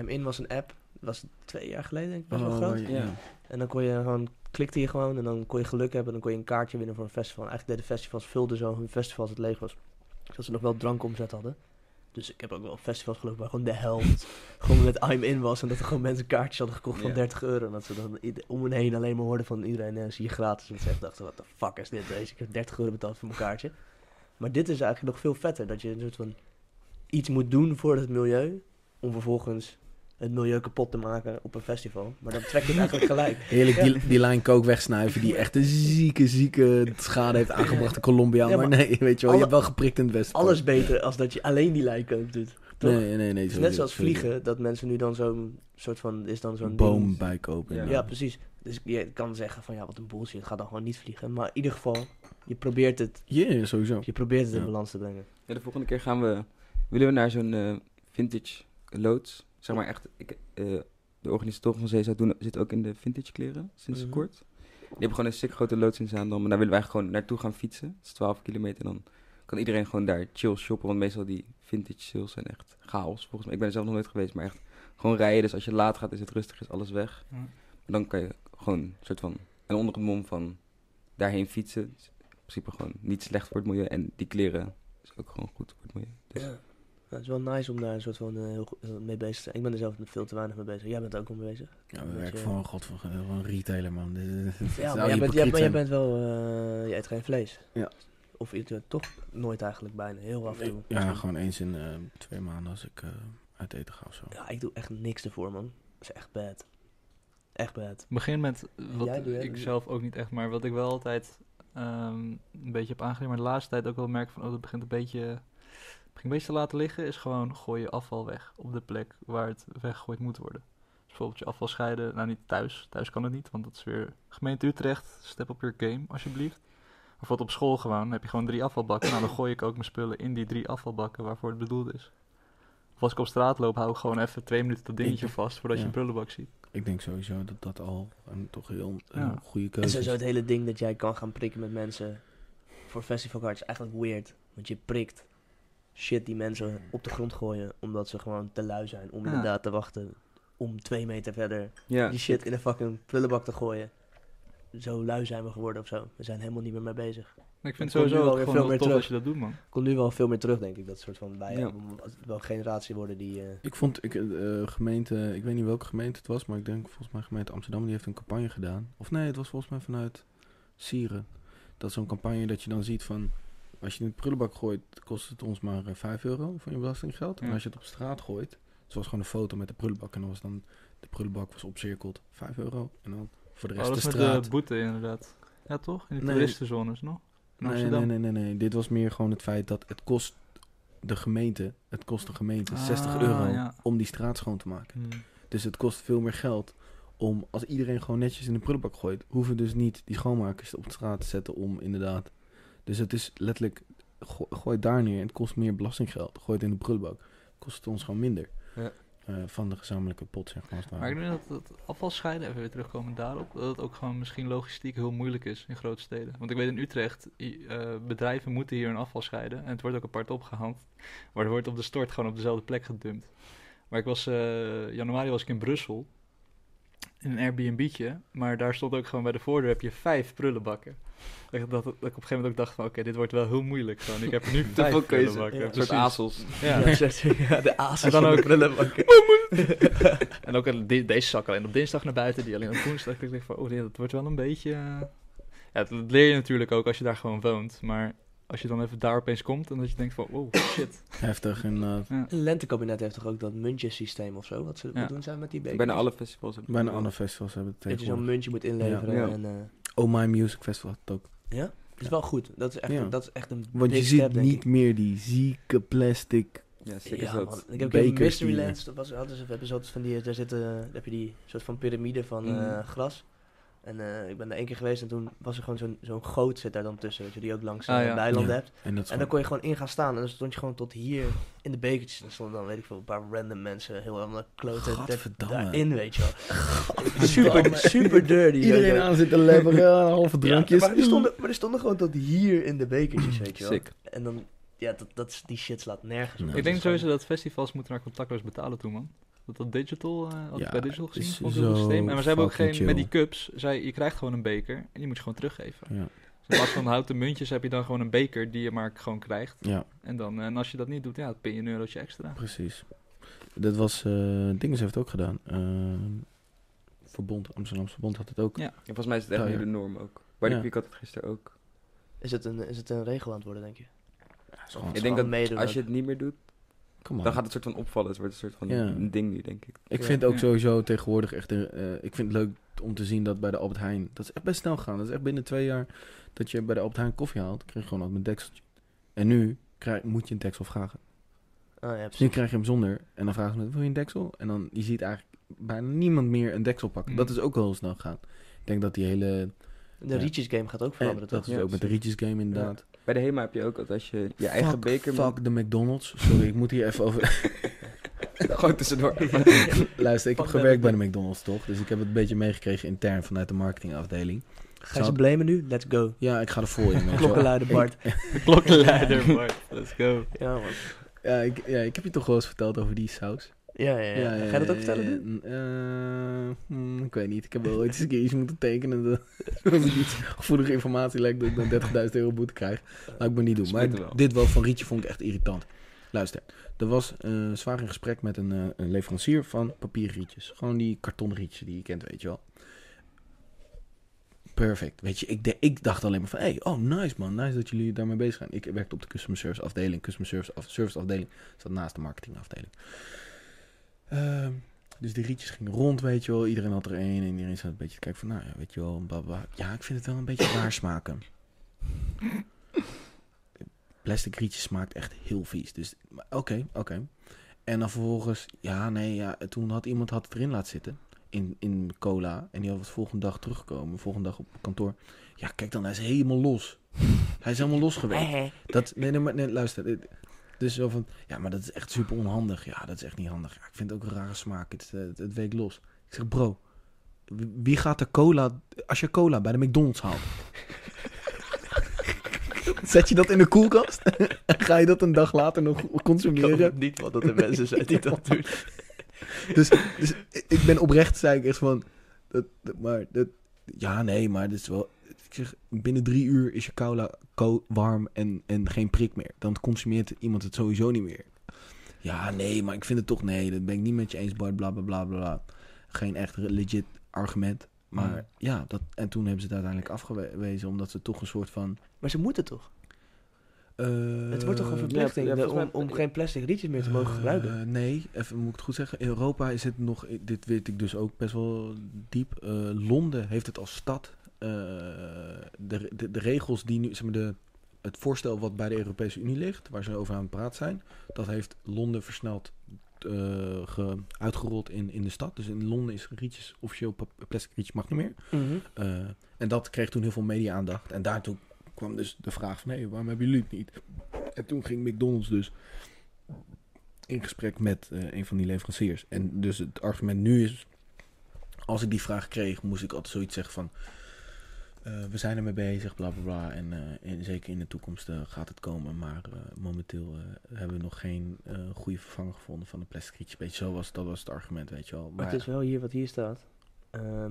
A: I'm in was een app, was twee jaar geleden denk ik, best wel
B: Oh,
A: groot.
B: ja.
D: Ja.
A: En dan kon je gewoon, klikte je gewoon en dan kon je geluk hebben en dan kon je een kaartje winnen voor een festival. En eigenlijk deden festivals, vulden zo hun festival als het leeg was. Zodat ze nog wel drankomzet hadden. Dus ik heb ook wel festivals gelopen waar gewoon de helft gewoon met I'm in was. En dat er gewoon mensen kaartjes hadden gekocht van
D: Ja.
A: 30 euro. En dat ze dan ied- om hen heen alleen maar hoorden van iedereen eh, zie je gratis. En ze dachten, wat de fuck is dit? Deze? Ik heb 30 euro betaald voor mijn kaartje. Maar dit is eigenlijk nog veel vetter. Dat je een soort van iets moet doen voor het milieu. Om vervolgens het milieu kapot te maken op een festival. Maar dan trek je het eigenlijk gelijk.
B: Heerlijk die, die lijn kook wegsnuiven die echt een zieke, zieke schade heeft aangebracht in Colombia.
A: Ja,
B: maar,
A: maar
B: nee, weet je wel,
A: alle-
B: je hebt wel geprikt in het Westen.
A: alles beter als dat je alleen die lijnkoop doet. toch?
B: Nee, nee, nee.
A: Het is
B: sowieso,
A: net zoals
B: sowieso.
A: vliegen, dat mensen nu dan zo'n soort van, is dan zo'n
B: Een boom
A: ding.
B: bijkopen.
D: Ja.
A: Ja, precies. Dus je kan zeggen van ja, wat een bullshit, ga dan gewoon niet vliegen. Maar in ieder geval, je probeert het,
B: Ja, ja, sowieso.
A: je probeert het in
B: Ja.
A: balans te brengen.
D: Ja, de volgende keer gaan we, willen we naar zo'n eh, vintage loods. Zeg maar echt, ik, eh, de organisatoren van Zeezout doen, zit ook in de vintage kleren sinds
A: Mhm.
D: kort. Die hebben gewoon een sick grote loods in Zaandam. En daar willen wij gewoon naartoe gaan fietsen. Dat is 12 kilometer. En dan kan iedereen gewoon daar chill shoppen. Want meestal die vintage sales zijn echt chaos. Volgens mij, ik ben er zelf nog nooit geweest, maar echt gewoon rijden. Dus als je laat gaat, is het rustig, is alles weg.
C: Hm.
D: En dan kan je gewoon een soort van, en onder het mom van daarheen fietsen. is in principe gewoon niet slecht voor het milieu. En die kleren is ook gewoon goed voor het milieu. Dus
A: Ja. Ja, het is wel nice om daar een soort van eh, heel goed- eh, mee bezig te zijn. Ik ben er zelf veel te weinig mee bezig. Jij bent er ook mee bezig.
B: Ja, we
A: Dus,
B: werken
A: eh,
B: voor een god van een retailer, man. Dit- dit- dit
A: Ja,
B: zou
A: maar jij bent, jij,
B: hypocriet
A: bent- jij bent
B: zijn.
A: wel... eh je eet geen vlees.
B: Ja.
A: Of je doet het toch nooit eigenlijk bijna. Heel af en toe.
B: Ja, gewoon eens in eh, twee maanden als ik eh, uit eten ga of zo.
A: Ja, ik doe echt niks ervoor, man. Dat is echt bad. Echt bad.
C: begin met wat
A: Jij doet, hè?
C: ik zelf ook niet echt, maar wat ik wel altijd ehm, een beetje heb aangeleerd, maar de laatste tijd ook wel merk van, oh, dat begint een beetje, begint een beetje te laten liggen, is gewoon gooi je afval weg op de plek waar het weggegooid moet worden. Dus bijvoorbeeld je afval scheiden, nou niet thuis, thuis kan het niet, want dat is weer gemeente Utrecht, step op your game alsjeblieft. Maar bijvoorbeeld op school gewoon, dan heb je gewoon drie afvalbakken, nou dan gooi ik ook mijn spullen in die drie afvalbakken waarvoor het bedoeld is. Of als ik op straat loop, hou ik gewoon even twee minuten dat dingetje vast voordat
B: Ja.
C: je een prullenbak ziet.
B: Ik denk sowieso dat dat al een toch heel een
C: Ja.
B: goede
A: En
B: keuze is.
A: sowieso het hele ding dat jij kan gaan prikken met mensen voor festivalcards is eigenlijk weird. Want je prikt shit die mensen op de grond gooien omdat ze gewoon te lui zijn om
C: Ja.
A: inderdaad te wachten om twee meter verder
D: ja,
A: die shit in een fucking prullenbak te gooien. Zo lui zijn we geworden of zo. We zijn helemaal niet meer mee bezig.
C: Ik vind het
A: komt nu
C: sowieso
A: wel
C: ook
A: weer veel
C: gewoon heel
A: meer
C: tof
A: terug.
C: dat je dat doet, man.
A: Komt nu wel veel meer terug, denk ik. Dat soort van bij
D: Ja.
A: welke generatie worden die. eh,
B: Ik vond, ik, eh, gemeente, ik weet niet welke gemeente het was, maar ik denk volgens mij gemeente Amsterdam, die heeft een campagne gedaan. Of nee, het was volgens mij vanuit Sieren. Dat is zo'n campagne dat je dan ziet van, als je het in de prullenbak gooit, kost het ons maar eh, 5 euro van je belastinggeld. En
C: Ja.
B: als je het op straat gooit, het was gewoon een foto met de prullenbak. En dan was dan, de prullenbak was opcirkeld, 5 euro. En dan voor de
C: Oh,
B: rest
C: dat
B: de
C: is met
B: straat.
C: de boete inderdaad. Ja, toch? In de
B: Nee.
C: toeristenzones, nog? In
B: Nee,
C: Amsterdam.
B: nee, nee, nee, nee. Dit was meer gewoon het feit dat het kost de gemeente, het kost de gemeente
C: Ah,
B: 60 euro
C: ja.
B: om die straat schoon te maken.
C: Hmm.
B: Dus het kost veel meer geld om, als iedereen gewoon netjes in de prullenbak gooit, hoeven dus niet die schoonmakers op de straat te zetten om inderdaad. Dus het is letterlijk, go- gooi het daar neer en het kost meer belastinggeld. Gooi het in de prullenbak, kost het ons gewoon minder.
D: Ja.
B: Eh, van de gezamenlijke pot, zeg maar. als het ware.
C: Maar ik denk dat het afvalscheiden, even weer terugkomen daarop, dat het ook gewoon misschien logistiek heel moeilijk is in grote steden. Want ik weet in Utrecht, i- eh, bedrijven moeten hier hun afval scheiden en het wordt ook apart opgehaald. Maar het wordt op de stort gewoon op dezelfde plek gedumpt. Maar ik was, eh, januari was ik in Brussel, in een Airbnb'tje, maar daar stond ook gewoon bij de voordeur heb je vijf prullenbakken. Dat ik, dat, dat ik op een gegeven moment ook dacht van, oké, dit wordt wel heel moeilijk gewoon. Ik heb er nu
D: Te veel
C: vijf
D: keuze.
C: prullenbakken.
A: Ja,
D: een soort
C: precies.
D: azels.
C: Ja.
A: Ja, zet- ja, de aas
C: En dan ook- Oh,
A: prullenbak.
C: En ook een- di- deze zak alleen op dinsdag naar buiten, die alleen op woensdag. Ik denk van, oh, dit- dat wordt wel een beetje... eh. Ja, dat dat leer je natuurlijk ook als je daar gewoon woont. Maar als je dan even daar opeens komt en dat je denkt van, oh, shit.
B: Heftig en eh,
A: Een lentekabinet heeft toch ook dat muntjesysteem of zo? Wat ze
C: Ja.
A: wat doen zijn met die bekers?
D: Bijna alle festivals hebben
B: bijna alle festivals hebben het
A: Dat je zo'n muntje
B: tegenwoordig.
A: moet inleveren.
D: Ja.
A: En, eh,
B: Oh My Music Festival had het ook.
A: ja? Dat is wel goed. Dat is echt,
B: Ja.
A: dat is echt een
B: Want je
A: big
B: ziet
A: step, denk
B: niet
A: ik.
B: meer die zieke plastic.
D: Ja, sick is
A: Ja, man.
D: dat.
A: Ik heb een
B: bekers die- eh,
A: Mysterylands, dat was hadden ze een episode van die, eh, daar zitten, daar heb je die soort van piramide van eh,
D: Mhm.
A: gras. En eh, ik ben er één keer geweest en toen was er gewoon zo'n zo'n goot zit daar dan tussen, weet je, die ook langs
C: Ah,
A: eh,
C: ja.
A: de eilanden
B: Ja.
A: hebt.
B: En dat is
A: En dan
B: gewoon-
A: kon je gewoon in gaan staan en dan stond je gewoon tot hier in de bekertjes. En dan stonden dan, weet ik veel, een paar random mensen, heel andere kloten daar-
B: Gadverdamme.
A: daarin, weet je wel. Super, super dirty. weet je
B: Iedereen
A: wel.
B: aan zit te leveren, halve drankjes. Mm,
A: Ja, maar, die stonden, maar die stonden gewoon tot hier in de bekertjes, weet je wel.
D: Sick.
A: En dan, ja, dat, dat, is- die shit slaat nergens op.
B: Nee.
C: ik
A: Dat
C: denk
A: is
C: sowieso dat festivals moeten naar contactloos betalen toe, man. Dat dat digital, eh had ik
B: Ja,
C: bij digital gezien,
B: is
C: vond ik heel goed
B: zo
C: systeem. En maar ze hebben ook geen,
B: fucking
C: met
B: chill.
C: die cups, zij, je krijgt gewoon een beker en die moet je gewoon teruggeven.
B: Ja.
C: Dus in plaats van houten muntjes heb je dan gewoon een beker die je maar gewoon krijgt.
B: Ja,
C: En, dan, eh, en als je dat niet doet, ja, dan pin je een eurotje extra.
B: precies. Dat was, eh Dinges heeft het ook gedaan. Ehm, Verbond, Amsterdamse Verbond had het ook.
C: Ja.
D: En volgens mij is het echt
B: Ja,
D: nu
B: ja.
D: de norm ook. Waar ik
B: Ja.
D: week had het gisteren ook.
A: gewoon- Is het, een, is het een regel aan het worden, denk je? Oh,
B: is gewoon-
A: Of
D: Ik denk
A: gewoon
D: dat
A: meedoen
D: als je
A: ook?
D: het niet meer doet,
B: Come on.
D: dan gaat het soort van opvallen. Het wordt een soort van
B: Ja.
D: een ding nu, denk ik.
B: Ik
A: Ja.
B: vind ook
C: Ja.
B: sowieso tegenwoordig echt... een, eh, ik vind het leuk om te zien dat bij de Albert Heijn... Dat is echt best snel gegaan. Dat is echt binnen twee jaar dat je bij de Albert Heijn koffie haalt. krijg je gewoon altijd een dekseltje. En nu krijg, moet je een deksel vragen.
A: Ah, ja,
B: Dus nu
A: precies.
B: krijg je hem zonder. En dan vragen ze me, wil je een deksel? En dan, je ziet eigenlijk bijna niemand meer een deksel pakken.
C: Mm.
B: Dat is ook wel heel snel gegaan. Ik denk dat die hele...
A: De
B: Ja. Eh,
A: Rietjes game gaat ook veranderen,
B: dat
A: toch?
B: is
D: Ja,
B: ook met de Rietjes game inderdaad.
D: Bij de HEMA heb je ook dat als je je eigen
B: fuck,
D: beker...
B: Fuck de McDonald's. Sorry, ik moet hier even over...
D: Gewoon tussendoor.
B: Luister, ik heb
A: Fuck them.
B: gewerkt bij de McDonald's toch, dus ik heb het een beetje meegekregen intern vanuit de marketingafdeling.
A: Ga je ze
B: Zou-
A: blamen nu? Let's go.
B: Ja, ik ga er voor in. weet je wel.
A: Klokkenluider Bart.
C: De klokkenleider, Bart. Let's go.
A: Ja, man.
B: Ja ik, ja, ik heb je toch wel eens verteld over die saus.
A: Ja, ja, ja. Ga je dat ook vertellen?
B: ja,
A: nu?
B: ja. Eh, hmm, ik weet niet. Ik heb wel ooit eens een keer iets moeten tekenen. Dat dat ik iets gevoelige informatie lijkt dat ik dan 30.000 euro boete krijg. Laat ik maar niet doen.
D: Ze
B: Maar
D: moeten wel.
B: dit wel van Rietje vond ik echt irritant. Luister, er was eh, zwaar in gesprek met een, eh, een leverancier van papierrietjes. Gewoon die kartonrietjes die je kent, weet je wel. Perfect. Weet je, ik, de- ik dacht alleen maar van, hey, oh nice man, nice dat jullie daarmee bezig zijn. Ik werkte op de customer service afdeling. Customer service, af, service afdeling zat naast de marketingafdeling. Ehm, dus die rietjes gingen rond, weet je wel. Iedereen had er één en iedereen zat een beetje te kijken van, nou ja, weet je wel, bla, bla. Ja, ik vind het wel een beetje raar smaken. Plastic rietjes smaakt echt heel vies. Dus maar oké, oké. En dan vervolgens, ja, nee, ja, toen had iemand had het erin laten zitten. In, in cola. En die had het volgende dag teruggekomen. Volgende dag op kantoor. Ja, kijk dan, hij is helemaal los. Hij is helemaal los geweest. Dat, nee, nee, maar nee, luister. dit- Dus zo van, ja, maar dat is echt super onhandig. Ja, dat is echt niet handig. Ja, ik vind het ook een rare smaak. Het, eh, het, het week los. Ik zeg, bro, wie- wie gaat er cola, als je cola bij de McDonald's haalt? Zet je dat in de koelkast? Ga je dat een dag later nog
A: Ik
B: consumeren?
A: hoop niet wat dat de mensen zijn die dat doen.
B: Dus, dus ik ben oprecht, zei ik echt van, dat, dat- maar dat, ja, nee, maar dit is wel, ik zeg, binnen drie uur is je cola ko- warm en, en geen prik meer. Dan consumeert iemand het sowieso niet meer. Ja, nee, maar ik vind het toch, nee, dat ben ik niet met je eens, Bart, bla, bla, bla, bla, bla. Geen echt re- legit argument. Maar
C: Mm.
B: ja, dat, en toen hebben ze het uiteindelijk afgewezen, omdat ze toch een soort van...
A: Maar ze moeten toch?
B: eh,
A: Het wordt toch een
D: ja,
A: verplichting
D: ja,
A: de-
D: volgens
A: om,
D: mij-
A: om geen plastic rietjes meer te mogen gebruiken?
B: Eh, nee, even moet ik het goed zeggen. In Europa is het nog, dit weet ik dus ook best wel diep. Eh, Londen heeft het als stad. eh, de, de, de regels die nu, zeg maar, de, het voorstel wat bij de Europese Unie ligt, waar ze over aan het praten zijn, dat heeft Londen versneld eh, ge- uitgerold in, in de stad. Dus in Londen is rietjes officieel pap- plastic rietjes mag niet meer.
A: Mhm.
B: Eh, en dat kreeg toen heel veel media-aandacht. En daartoe kwam dus de vraag van... hé, hey, waarom hebben jullie het niet? En toen ging McDonald's dus in gesprek met eh, een van die leveranciers. En dus het argument nu is... als ik die vraag kreeg, moest ik altijd zoiets zeggen van... eh, we zijn ermee bezig, bla bla bla. En, eh, en zeker in de toekomst eh, gaat het komen. Maar eh, momenteel eh, hebben we nog geen eh, goede vervanger gevonden van de plastic rietjes. Beetje zo was, dat was het argument, weet je wel.
A: Maar
B: Maar,
A: het is wel hier wat hier staat. Ehm,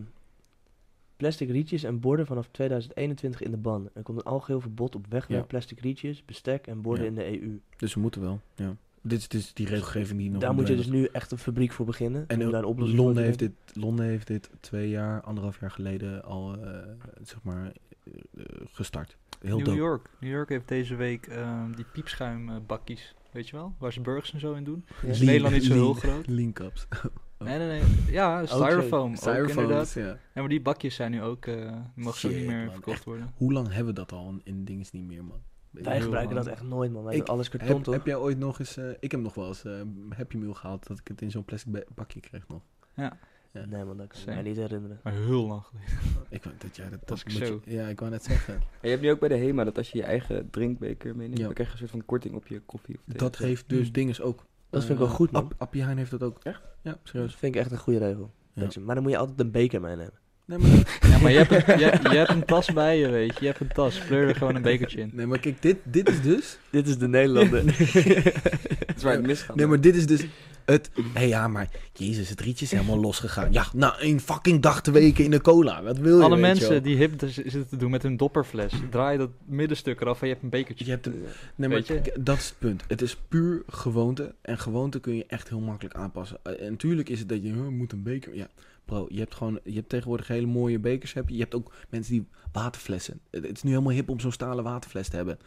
A: plastic rietjes en borden vanaf 2021 in de ban. Er komt een algeheel verbod op weg
B: Ja.
A: naar plastic rietjes, bestek en borden
B: Ja.
A: in de EU.
B: Dus we moeten wel, ja. Dit is dus die regelgeving die nog
A: Daar
B: moet
A: moet je dus
B: worden.
A: nu echt een fabriek voor beginnen.
B: En eh,
A: om daar een oplossing
B: Londen
A: voor
B: heeft,
A: te
B: dit, Londen heeft dit twee jaar, anderhalf jaar geleden al, eh, zeg maar, eh, eh, gestart. Heel
C: New
B: dope.
C: York. New York heeft deze week ehm, die piepschuimbakjes. Weet je wel? Waar ze burgers en zo in doen.
A: doen.
C: Is
A: Ja.
B: Lean-
C: Nederland niet zo heel
B: lean-
C: groot?
B: Lean cups. Oh.
C: Nee, nee, nee. Ja, styrofoam. ook inderdaad.
B: Styrofoams, ja.
C: Ja, maar die bakjes zijn nu ook... eh die mogen zo
B: Shit,
C: niet meer
B: man.
C: verkocht worden.
B: Hoe lang hebben we dat al in- in dingen niet meer, man?
A: Wij
C: Heel,
A: gebruiken
C: man.
A: dat echt nooit, man. Wij
B: Ik
A: doen alles karton,
B: Heb,
A: toch?
B: heb jij ooit nog eens, eh, ik heb nog wel eens eh, Happy Meal gehaald dat ik het in zo'n plastic ba- bakje kreeg nog. ja.
A: Nee, man, dat kan ik
C: Same.
A: mij niet herinneren.
C: Maar heel lang geleden.
B: Ik wou dat jij dat,
C: Was
B: dat
C: ik
B: moet
C: zo.
B: je- ja, ik wou net zeggen.
D: En je hebt nu ook bij de HEMA dat als je je eigen drinkbeker meeneemt,
B: Ja.
D: dan krijg je een soort van korting op je koffie of thee.
B: Dat heeft dus
C: Hmm.
B: dinges ook.
A: Mm. Dat vind ik
B: Eh,
A: wel goed, man.
B: App- Appie Heijn heeft dat ook. Echt? Ja,
A: Dat
B: serieus.
A: vind ik echt een goede regel.
B: Ja.
A: Denk ze, Maar dan moet je altijd een beker meenemen.
B: Nee, maar
C: Ja, maar je hebt, een, je, hebt- je hebt een tas bij je, weet je. Je hebt een tas. Fleur er gewoon een bekertje in.
B: Nee, maar kijk, dit, dit is dus...
A: Dit is de Nederlander.
D: Dat is waar het misgaat.
B: Nee, maar dit is dus het... Hé, ja, maar jezus, het rietje is helemaal losgegaan. Ja, na één fucking dag te weken in de cola. Wat wil je,
C: Alle
B: weet je wel?
C: mensen die hip z- zitten te doen met hun dopperfles, draai dat middenstuk eraf en je hebt een bekertje.
B: Je hebt een... Nee, maar
C: Weet je?
B: kijk, dat is het punt. Het is puur gewoonte. En gewoonte kun je echt heel makkelijk aanpassen. Eh, En natuurlijk is het dat je "Huh, moet een beker... Ja, bro, je hebt gewoon... Je hebt tegenwoordig hele mooie bekers. Heb je. je hebt ook mensen die waterflessen... Het het is nu helemaal hip om zo'n stalen waterfles te hebben.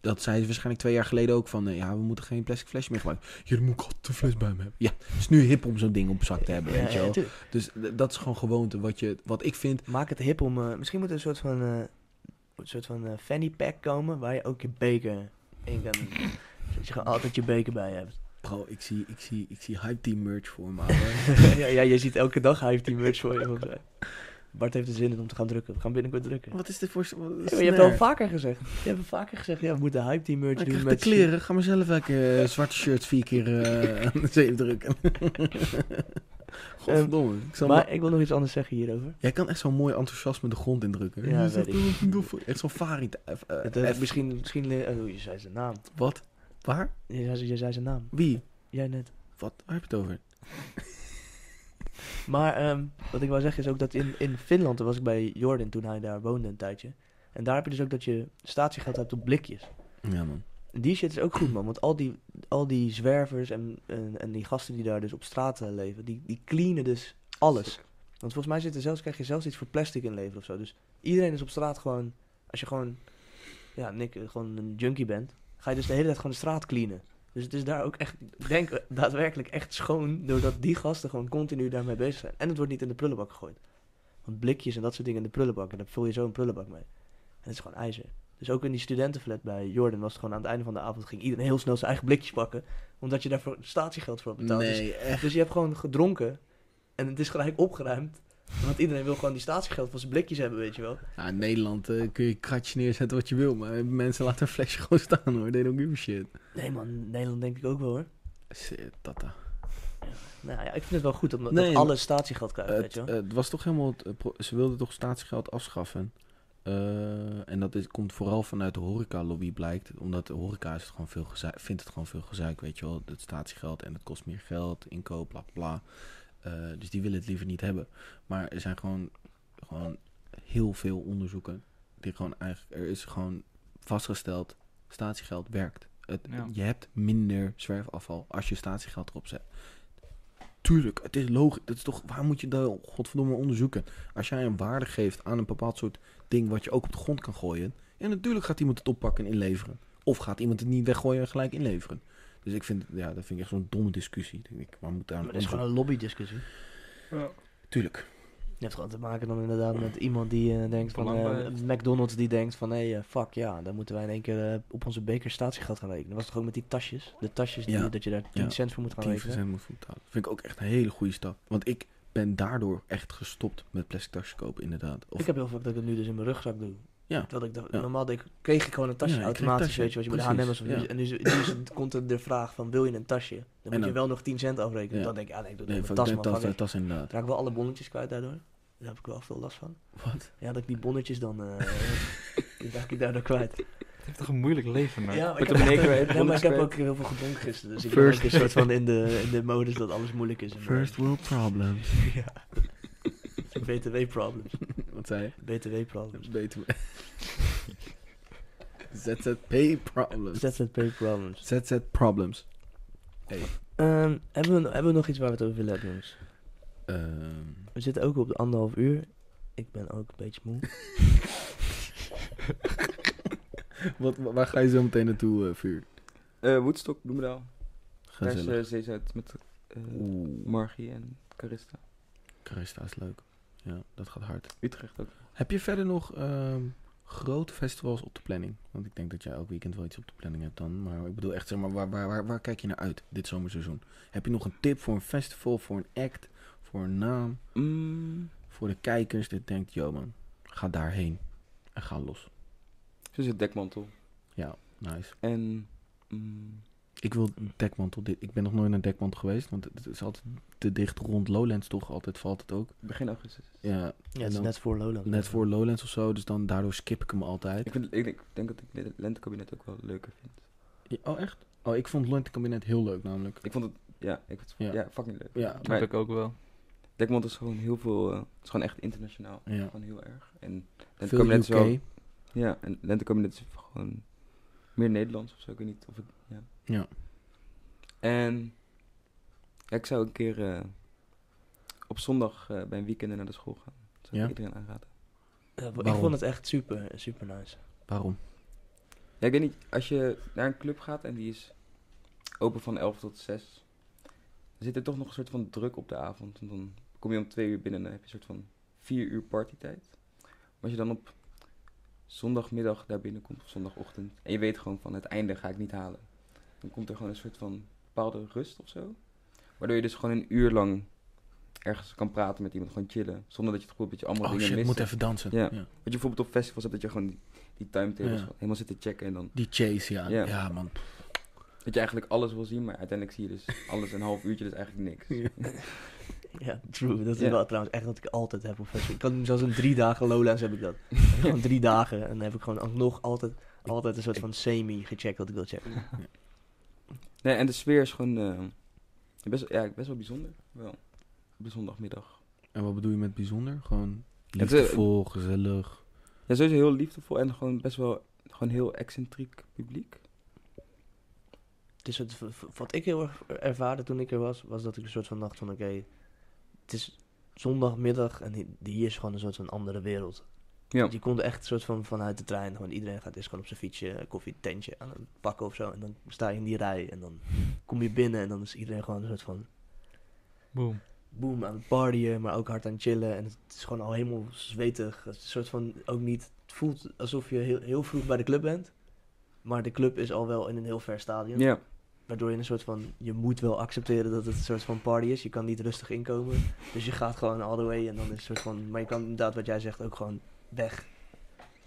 B: Dat zei ze waarschijnlijk twee jaar geleden ook van... eh, Ja, we moeten geen plastic flesje meer gebruiken. Ja, dan moet ik altijd een fles bij me hebben. Ja, het is nu hip om zo'n ding op zak te hebben,
A: Ja,
B: weet je wel.
A: ja, tuurlijk.
B: Dus d- dat is gewoon gewoonte. Wat, je, wat ik vind...
A: Maak het hip om... eh, misschien moet er een soort van, eh, een soort van eh, fanny pack komen... waar je ook je beker in kan doen. Dat je gewoon altijd je beker bij je hebt.
B: Bro, ik zie, ik zie, ik zie hype team merch voor me. ouwe.
A: ja, ja, je ziet elke dag hij heeft die merch voor je. volgens mij. Bart heeft er zin in om te gaan drukken. We gaan binnenkort drukken.
E: Wat is dit voor... s- wat-
A: Ja, maar je hebt
E: snare?
A: al vaker gezegd. Je hebt al vaker gezegd, ja, we moeten een hype team merch
E: Ik
A: doen
E: krijg de
A: met
E: kleren. Ga maar zelf lekker
B: Eh, zwarte shirt vier keer eh, aan de zeep drukken. Godverdomme. ik zal
A: Maar ik wil nog iets anders zeggen hierover.
B: Jij kan echt zo mooi enthousiasme de grond indrukken.
A: Ja,
B: Je zegt,
A: weet ik.
B: "Oh, ik doe voor- Echt zo'n Farid. eh, eh,
A: Het, eh,
B: F-
A: misschien, misschien eh, oh, je zei zijn naam.
B: Wat? Waar?
A: Je zei, je zei zijn naam.
B: Wie?
A: Jij net.
B: Wat? Waar heb je het over?
A: Maar ehm, wat ik wou zeggen is ook dat in, in Finland, toen was ik bij Jordan toen hij daar woonde een tijdje. En daar heb je dus ook dat je statiegeld hebt op blikjes.
B: Ja, man.
A: En die shit is ook goed, man. Want al die, al die zwervers en, en, en die gasten die daar dus op straat eh, leven, die, die cleanen dus alles. Want volgens mij zit er zelfs, krijg je zelfs iets voor plastic inleveren of zo. Dus iedereen is op straat gewoon, als je gewoon, ja, Nick, eh, gewoon een junkie bent, ga je dus de hele tijd gewoon de straat cleanen. Dus het is daar ook echt, ik denk eh, daadwerkelijk echt schoon, doordat die gasten gewoon continu daarmee bezig zijn. En het wordt niet in de prullenbak gegooid. Want blikjes en dat soort dingen in de prullenbak, en daar vul je zo een prullenbak mee. En het is gewoon ijzer. Dus ook in die studentenflat bij Jordan was het gewoon aan het einde van de avond ging iedereen heel snel zijn eigen blikjes pakken. Omdat je daarvoor statiegeld voor betaalt. Dus
B: Nee, echt.
A: dus je hebt gewoon gedronken en het is gelijk opgeruimd. Want iedereen wil gewoon die statiegeld van zijn blikjes hebben, weet je wel.
B: Nou, in Nederland eh, kun je kratje neerzetten wat je wil, maar mensen laten een flesje gewoon staan hoor. They don't give a shit.
A: Nee man, Nederland denk ik ook wel hoor.
B: Shit, tata.
A: Nou ja, ik vind het wel goed omdat
B: Nee,
A: dat alles statiegeld krijgt, weet
B: Het,
A: je wel.
B: het was toch helemaal. het, eh, pro- ze wilden toch staatsgeld afschaffen. Eh, en dat is, komt vooral vanuit de horeca-lobby blijkt. Omdat de horeca is het gewoon veel gezeik- vindt het gewoon veel gezeik, weet je wel. Het statiegeld en het kost meer geld, inkoop, bla bla. Eh, dus die willen het liever niet hebben. Maar er zijn gewoon, gewoon heel veel onderzoeken. Die gewoon eigenlijk, er is gewoon vastgesteld, statiegeld werkt. Het,
C: Ja.
B: Je hebt minder zwerfafval als je statiegeld erop zet. Tuurlijk, het is logisch. Dat is toch, waar moet je dat godverdomme onderzoeken? Als jij een waarde geeft aan een bepaald soort ding wat je ook op de grond kan gooien. Ja, natuurlijk gaat iemand het oppakken en inleveren. Of gaat iemand het niet weggooien en gelijk inleveren. Dus ik vind, ja, dat vind ik echt zo'n domme discussie. Ik Denk ik, waar moet daar
A: Maar
B: een
A: dat is
B: onderzoek-
A: gewoon een lobbydiscussie.
B: Tuurlijk.
A: Je hebt gewoon te maken dan inderdaad met iemand die eh, denkt van...
C: Belang bij
A: eh, McDonald's die denkt van, hé, hey, eh, fuck ja, dan moeten wij in één keer eh, op onze beker statiegeld gaan rekenen. Dat was toch ook met die tasjes? De tasjes, die,
B: Ja.
A: dat je daar 10
B: Ja.
A: cent voor moet gaan
B: 10
A: rekenen.
B: procent moet betalen. Vind ik ook echt een hele goede stap. Want ik ben daardoor echt gestopt met plastic tasjes kopen, inderdaad. Of,
A: Ik heb heel vaak dat ik het nu dus in mijn rugzak doe.
B: Ja.
A: Terwijl ik dacht,
B: Ja.
A: normaal deed ik, kreeg ik gewoon een tasje
B: Ja, je kreeg
A: automatisch,
B: tasje.
A: weet je, wat je bij de
B: Precies,
A: H&M of
B: ja.
A: zo. En nu, is- nu is het- komt er de vraag van, wil je een tasje? Dan moet
B: dan-
A: je wel nog 10 cent afrekenen.
B: Ja.
A: Dan denk ik, ah nee, ik doe het
B: nee,
A: met
B: van
A: mijn
B: tas,
A: tas,
B: tas,
A: man. fuck it.
B: tas, inderdaad.
A: Raak ik wel alle bonnetjes kwijt daardoor. Daar heb ik wel veel last van.
B: Wat?
A: Ja, dat ik die bonnetjes dan, eh die raak ik daardoor kwijt.
C: Het heeft toch een moeilijk leven, man.
A: Ja, maar
C: Met
A: ik
C: de
A: heb, echt-
C: beker en
A: ja, maar ik heb
C: bonnetjes
A: ook heel veel gedronken gisteren. Dus ik ben ook een soort van in de, in de modus dat alles moeilijk is. en, eh,
B: First world problems.
A: ja. BTW-problems.
B: Wat zei je?
A: BTW-problems.
B: Beter. ZZP problems.
A: ZZP-problems.
B: ZZ problems.
A: Ehm, hebben, we, hebben we nog iets waar we het over willen hebben, jongens?
B: Ehm,
A: We zitten ook op de anderhalf uur. Ik ben ook een beetje moe.
B: wat, wa- waar ga je zo meteen naartoe, eh, vuur?
D: Eh, Woodstock, Bloemendaal. Daar is
B: Gezellig.
D: uh, Zeezuid met eh,
B: Oeh,
D: Margie en Carista.
B: Carista is leuk. Ja, dat gaat hard.
D: Utrecht ook.
B: Heb je verder nog ehm, grote festivals op de planning? Want ik denk dat jij elk weekend wel iets op de planning hebt dan. Maar ik bedoel echt, zeg maar, waar, waar, waar, waar kijk je naar uit dit zomerseizoen? Heb je nog een tip voor een festival, voor een act, voor een naam?
D: Mm,
B: Voor de kijkers die denkt, yo man, ga daarheen en ga los.
D: ze is het dekmantel.
B: Nice.
D: En mm,
B: Ik wil Dekmantel. Dit, ik ben nog nooit naar Dekmantel geweest, want het is altijd te dicht rond Lowlands toch. Altijd valt het ook.
D: begin augustus.
B: Ja,
A: Ja, het is
B: dan-
A: net voor Lowland.
B: net voor Lowlands of zo, dus dan daardoor skip ik hem altijd.
D: Ik, vind, ik denk, denk dat ik het lentekabinet ook wel leuker vind.
B: Ja, Oh echt? Oh, ik vond Lowlands Kabinet heel leuk namelijk.
D: Ik vond het, ja, ik vond,
B: Ja.
D: ja. fucking leuk.
B: Ja,
C: Dat
D: maar
C: heb ik ook wel.
D: dekmantel is gewoon heel veel, eh, het is gewoon echt internationaal.
B: Ja.
D: Gewoon heel erg. En
B: Veel
D: lentekabinet
B: UK.
D: is wel, ja, en lentekabinet is gewoon meer Nederlands of zo, ik weet niet of ik, ja.
B: Ja.
D: En ja, ik zou een keer eh, op zondag eh, bij een weekend naar de school gaan. Dat zou ik
B: Ja.
D: iedereen aanraden.
A: Ja, ik
B: Waarom?
A: vond het echt super, super nice.
B: Waarom?
D: Ja, ik weet niet, als je naar een club gaat en die is open van 11 tot 6, dan zit er toch nog een soort van druk op de avond. Want dan kom je om 2 uur binnen en dan heb je een soort van 4 uur partytijd. Maar als je dan op zondagmiddag daar binnenkomt, of zondagochtend, en je weet gewoon van het einde ga ik niet halen, dan komt er gewoon een soort van bepaalde rust of zo. Waardoor je dus gewoon een uur lang ergens kan praten met iemand, gewoon chillen. Zonder dat je het gevoel hebt dat je allemaal
B: Oh
D: dingen
B: shit, ik
D: mist.
B: moet even dansen.
D: Ja.
B: Ja.
D: Wat je bijvoorbeeld op festivals hebt, dat je gewoon die, die timetables
B: Ja.
D: helemaal zit te checken. En dan
B: Die chase, ja.
D: Ja.
B: Ja, man.
D: dat je eigenlijk alles wil zien, maar uiteindelijk zie je dus alles in een half uurtje, dus eigenlijk niks.
B: Ja.
A: Ja, true. Dat is
D: Ja.
A: wel trouwens echt wat ik altijd heb op festival. Ik kan zelfs in drie dagen Lowlands heb ik dat. Gewoon drie dagen. En dan heb ik gewoon ook nog altijd, altijd een soort van semi gecheckt wat ik wil checken.
D: Nee, en de sfeer is gewoon eh, best, ja, best wel bijzonder. Wel, op de zondagmiddag.
B: En wat bedoel je met bijzonder? Gewoon
D: is-
B: liefdevol, gezellig.
D: Ja, sowieso heel liefdevol en gewoon best wel gewoon heel excentriek publiek.
A: Het is het, wat ik heel erg ervaarde toen ik er was, was dat ik een soort van dacht van oké, het is zondagmiddag en hi- hier is gewoon een soort van andere wereld.
D: Ja.
A: Je komt Dus echt een soort van vanuit de trein, gewoon iedereen gaat eerst gewoon op zijn fietsje, koffie, tentje aan het pakken of zo. En dan sta je in die rij en dan kom je binnen en dan is iedereen gewoon een soort van
C: Boom.
A: boom aan het partyen, maar ook hard aan het chillen. En het is gewoon al helemaal zwetig. Het is een soort van ook niet. Het voelt alsof je heel, heel vroeg bij de club bent. Maar de club is al wel in een heel ver stadion.
D: Ja.
A: Waardoor je een soort van. Je moet wel accepteren dat het een soort van party is. Je kan niet rustig inkomen. Dus je gaat gewoon all the way. En dan is het soort van. Maar je kan inderdaad, wat jij zegt, ook gewoon weg.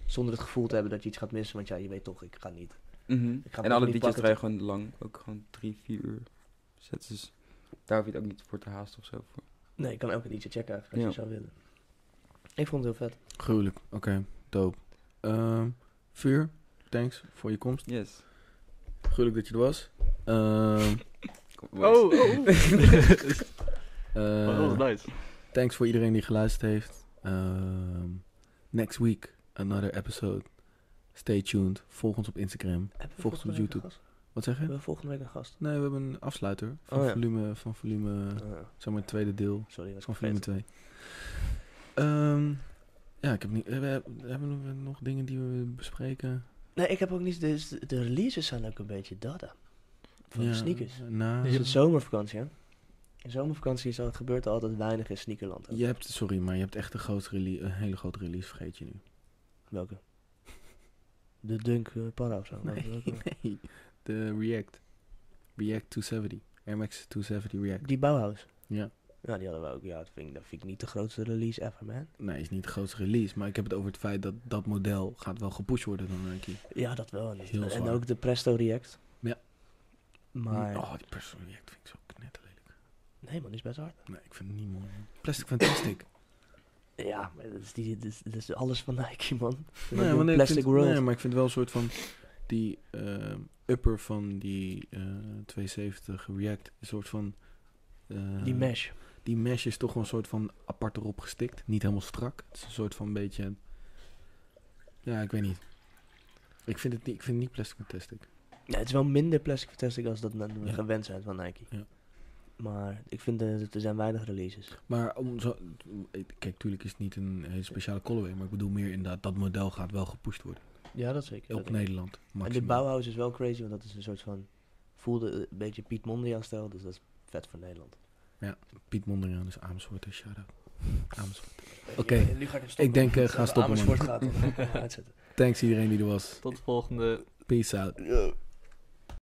A: Zonder het gevoel te hebben dat je iets gaat missen. Want ja, je weet toch, ik ga niet.
D: Mhm.
A: Ik ga
D: En
A: het
D: alle
A: niet
D: DJ's
A: pakken.
D: draaien gewoon lang, ook gewoon drie, vier uur sets. Dus daar hoef je het ook niet voor te haasten of zo. Voor.
A: Nee, ik kan elke DJ checken eigenlijk, als
D: Ja.
A: je zou willen. Ik vond het heel vet.
B: Gruwelijk. Oké, dope. Ehm, vuur, thanks voor je komst.
D: Yes.
B: Gruwelijk dat je er was. Ehm,
D: Kom, boys.
C: Oh, oh.
B: eh,
C: dat was nice.
B: thanks voor iedereen die geluisterd heeft. Ehm, next week, another episode. Stay tuned. Volg ons op Instagram.
A: Hebben we
B: Volgens op
A: week een
B: YouTube.
A: gast?
B: Wat zeg je?
A: Hebben we volgende week een gast?
B: Nee, we hebben een afsluiter van
A: Oh, ja.
B: volume, van volume,
A: Ah,
B: zeg maar het tweede deel.
A: sorry, was ik
B: Van
A: vergeten.
B: volume 2. Ehm, ja, ik heb niet. eh, we- Hebben we nog dingen die we bespreken?
A: Nee, ik heb ook niet. Dus de de releases zijn ook een beetje dada. Van de
B: Ja,
A: sneakers.
B: nou,
A: Het is het zomervakantie, hè? In zomervakantie is al, gebeurt er altijd weinig in sneakerland. hè?
B: je hebt, sorry, maar je hebt echt een, groot release, een hele grote release, vergeet je nu.
A: Welke? De Dunk eh, Para of zo. Welke- welke?
B: Nee, de React. React 270. Air Max 270 React.
A: Die Bauhaus.
B: Ja.
A: Ja, die hadden we ook. Ja, dat vind, ik, dat vind ik niet de grootste release ever, man.
B: Nee, is niet de grootste release, maar ik heb het over het feit dat dat model gaat wel gepusht worden door Nike.
A: Ja, dat wel. En,
B: Heel
A: en
B: zwaar.
A: ook de Presto React.
B: Ja.
A: Maar.
B: Oh, die Person React vind ik zo knetterlelijk.
A: Nee, man, die is best hard.
B: Nee, ik vind het niet mooi. man. Plastic Fantastic.
A: Ja, maar dat is, die, dat is, dat is alles van Nike, man.
B: Nee,
A: Nee,
B: maar nee, ik
A: Plastic
B: vind-
A: World.
B: nee, maar ik vind wel een soort van die ehm, upper van die eh, 270 React, een soort van eh,
A: Die mesh.
B: Die mesh is toch wel een soort van apart erop gestikt, niet helemaal strak. Het is een soort van beetje, ja, ik weet niet. Ik vind het niet, ik vind het niet plastic fantastic.
A: Ja, het is wel minder plastic fantastic als dat we
B: Ja.
A: gewend zijn van Nike.
B: Ja.
A: Maar ik vind eh, dat er zijn weinig releases.
B: Maar om zo, kijk, tuurlijk is het niet een hele speciale colorway, maar ik bedoel meer inderdaad dat model gaat wel gepusht worden
A: Ja, dat zeker.
B: op Nederland.
A: en de
B: maximaal.
A: Bauhaus is wel crazy, want dat is een soort van... Voelde een beetje Piet Mondriaan stijl, dus dat is vet voor Nederland.
B: Piet Mondriaan is Amersfoort en shout-out. Amersfoort. Oké.
A: Nu ga ik hem stoppen.
B: Ik denk, eh,
A: Als
B: ga stoppen,
A: Amersfoort gaat, dan ga ik hem uitzetten.
B: Thanks iedereen die er was.
C: Tot de volgende.
B: Peace out.
A: Ja.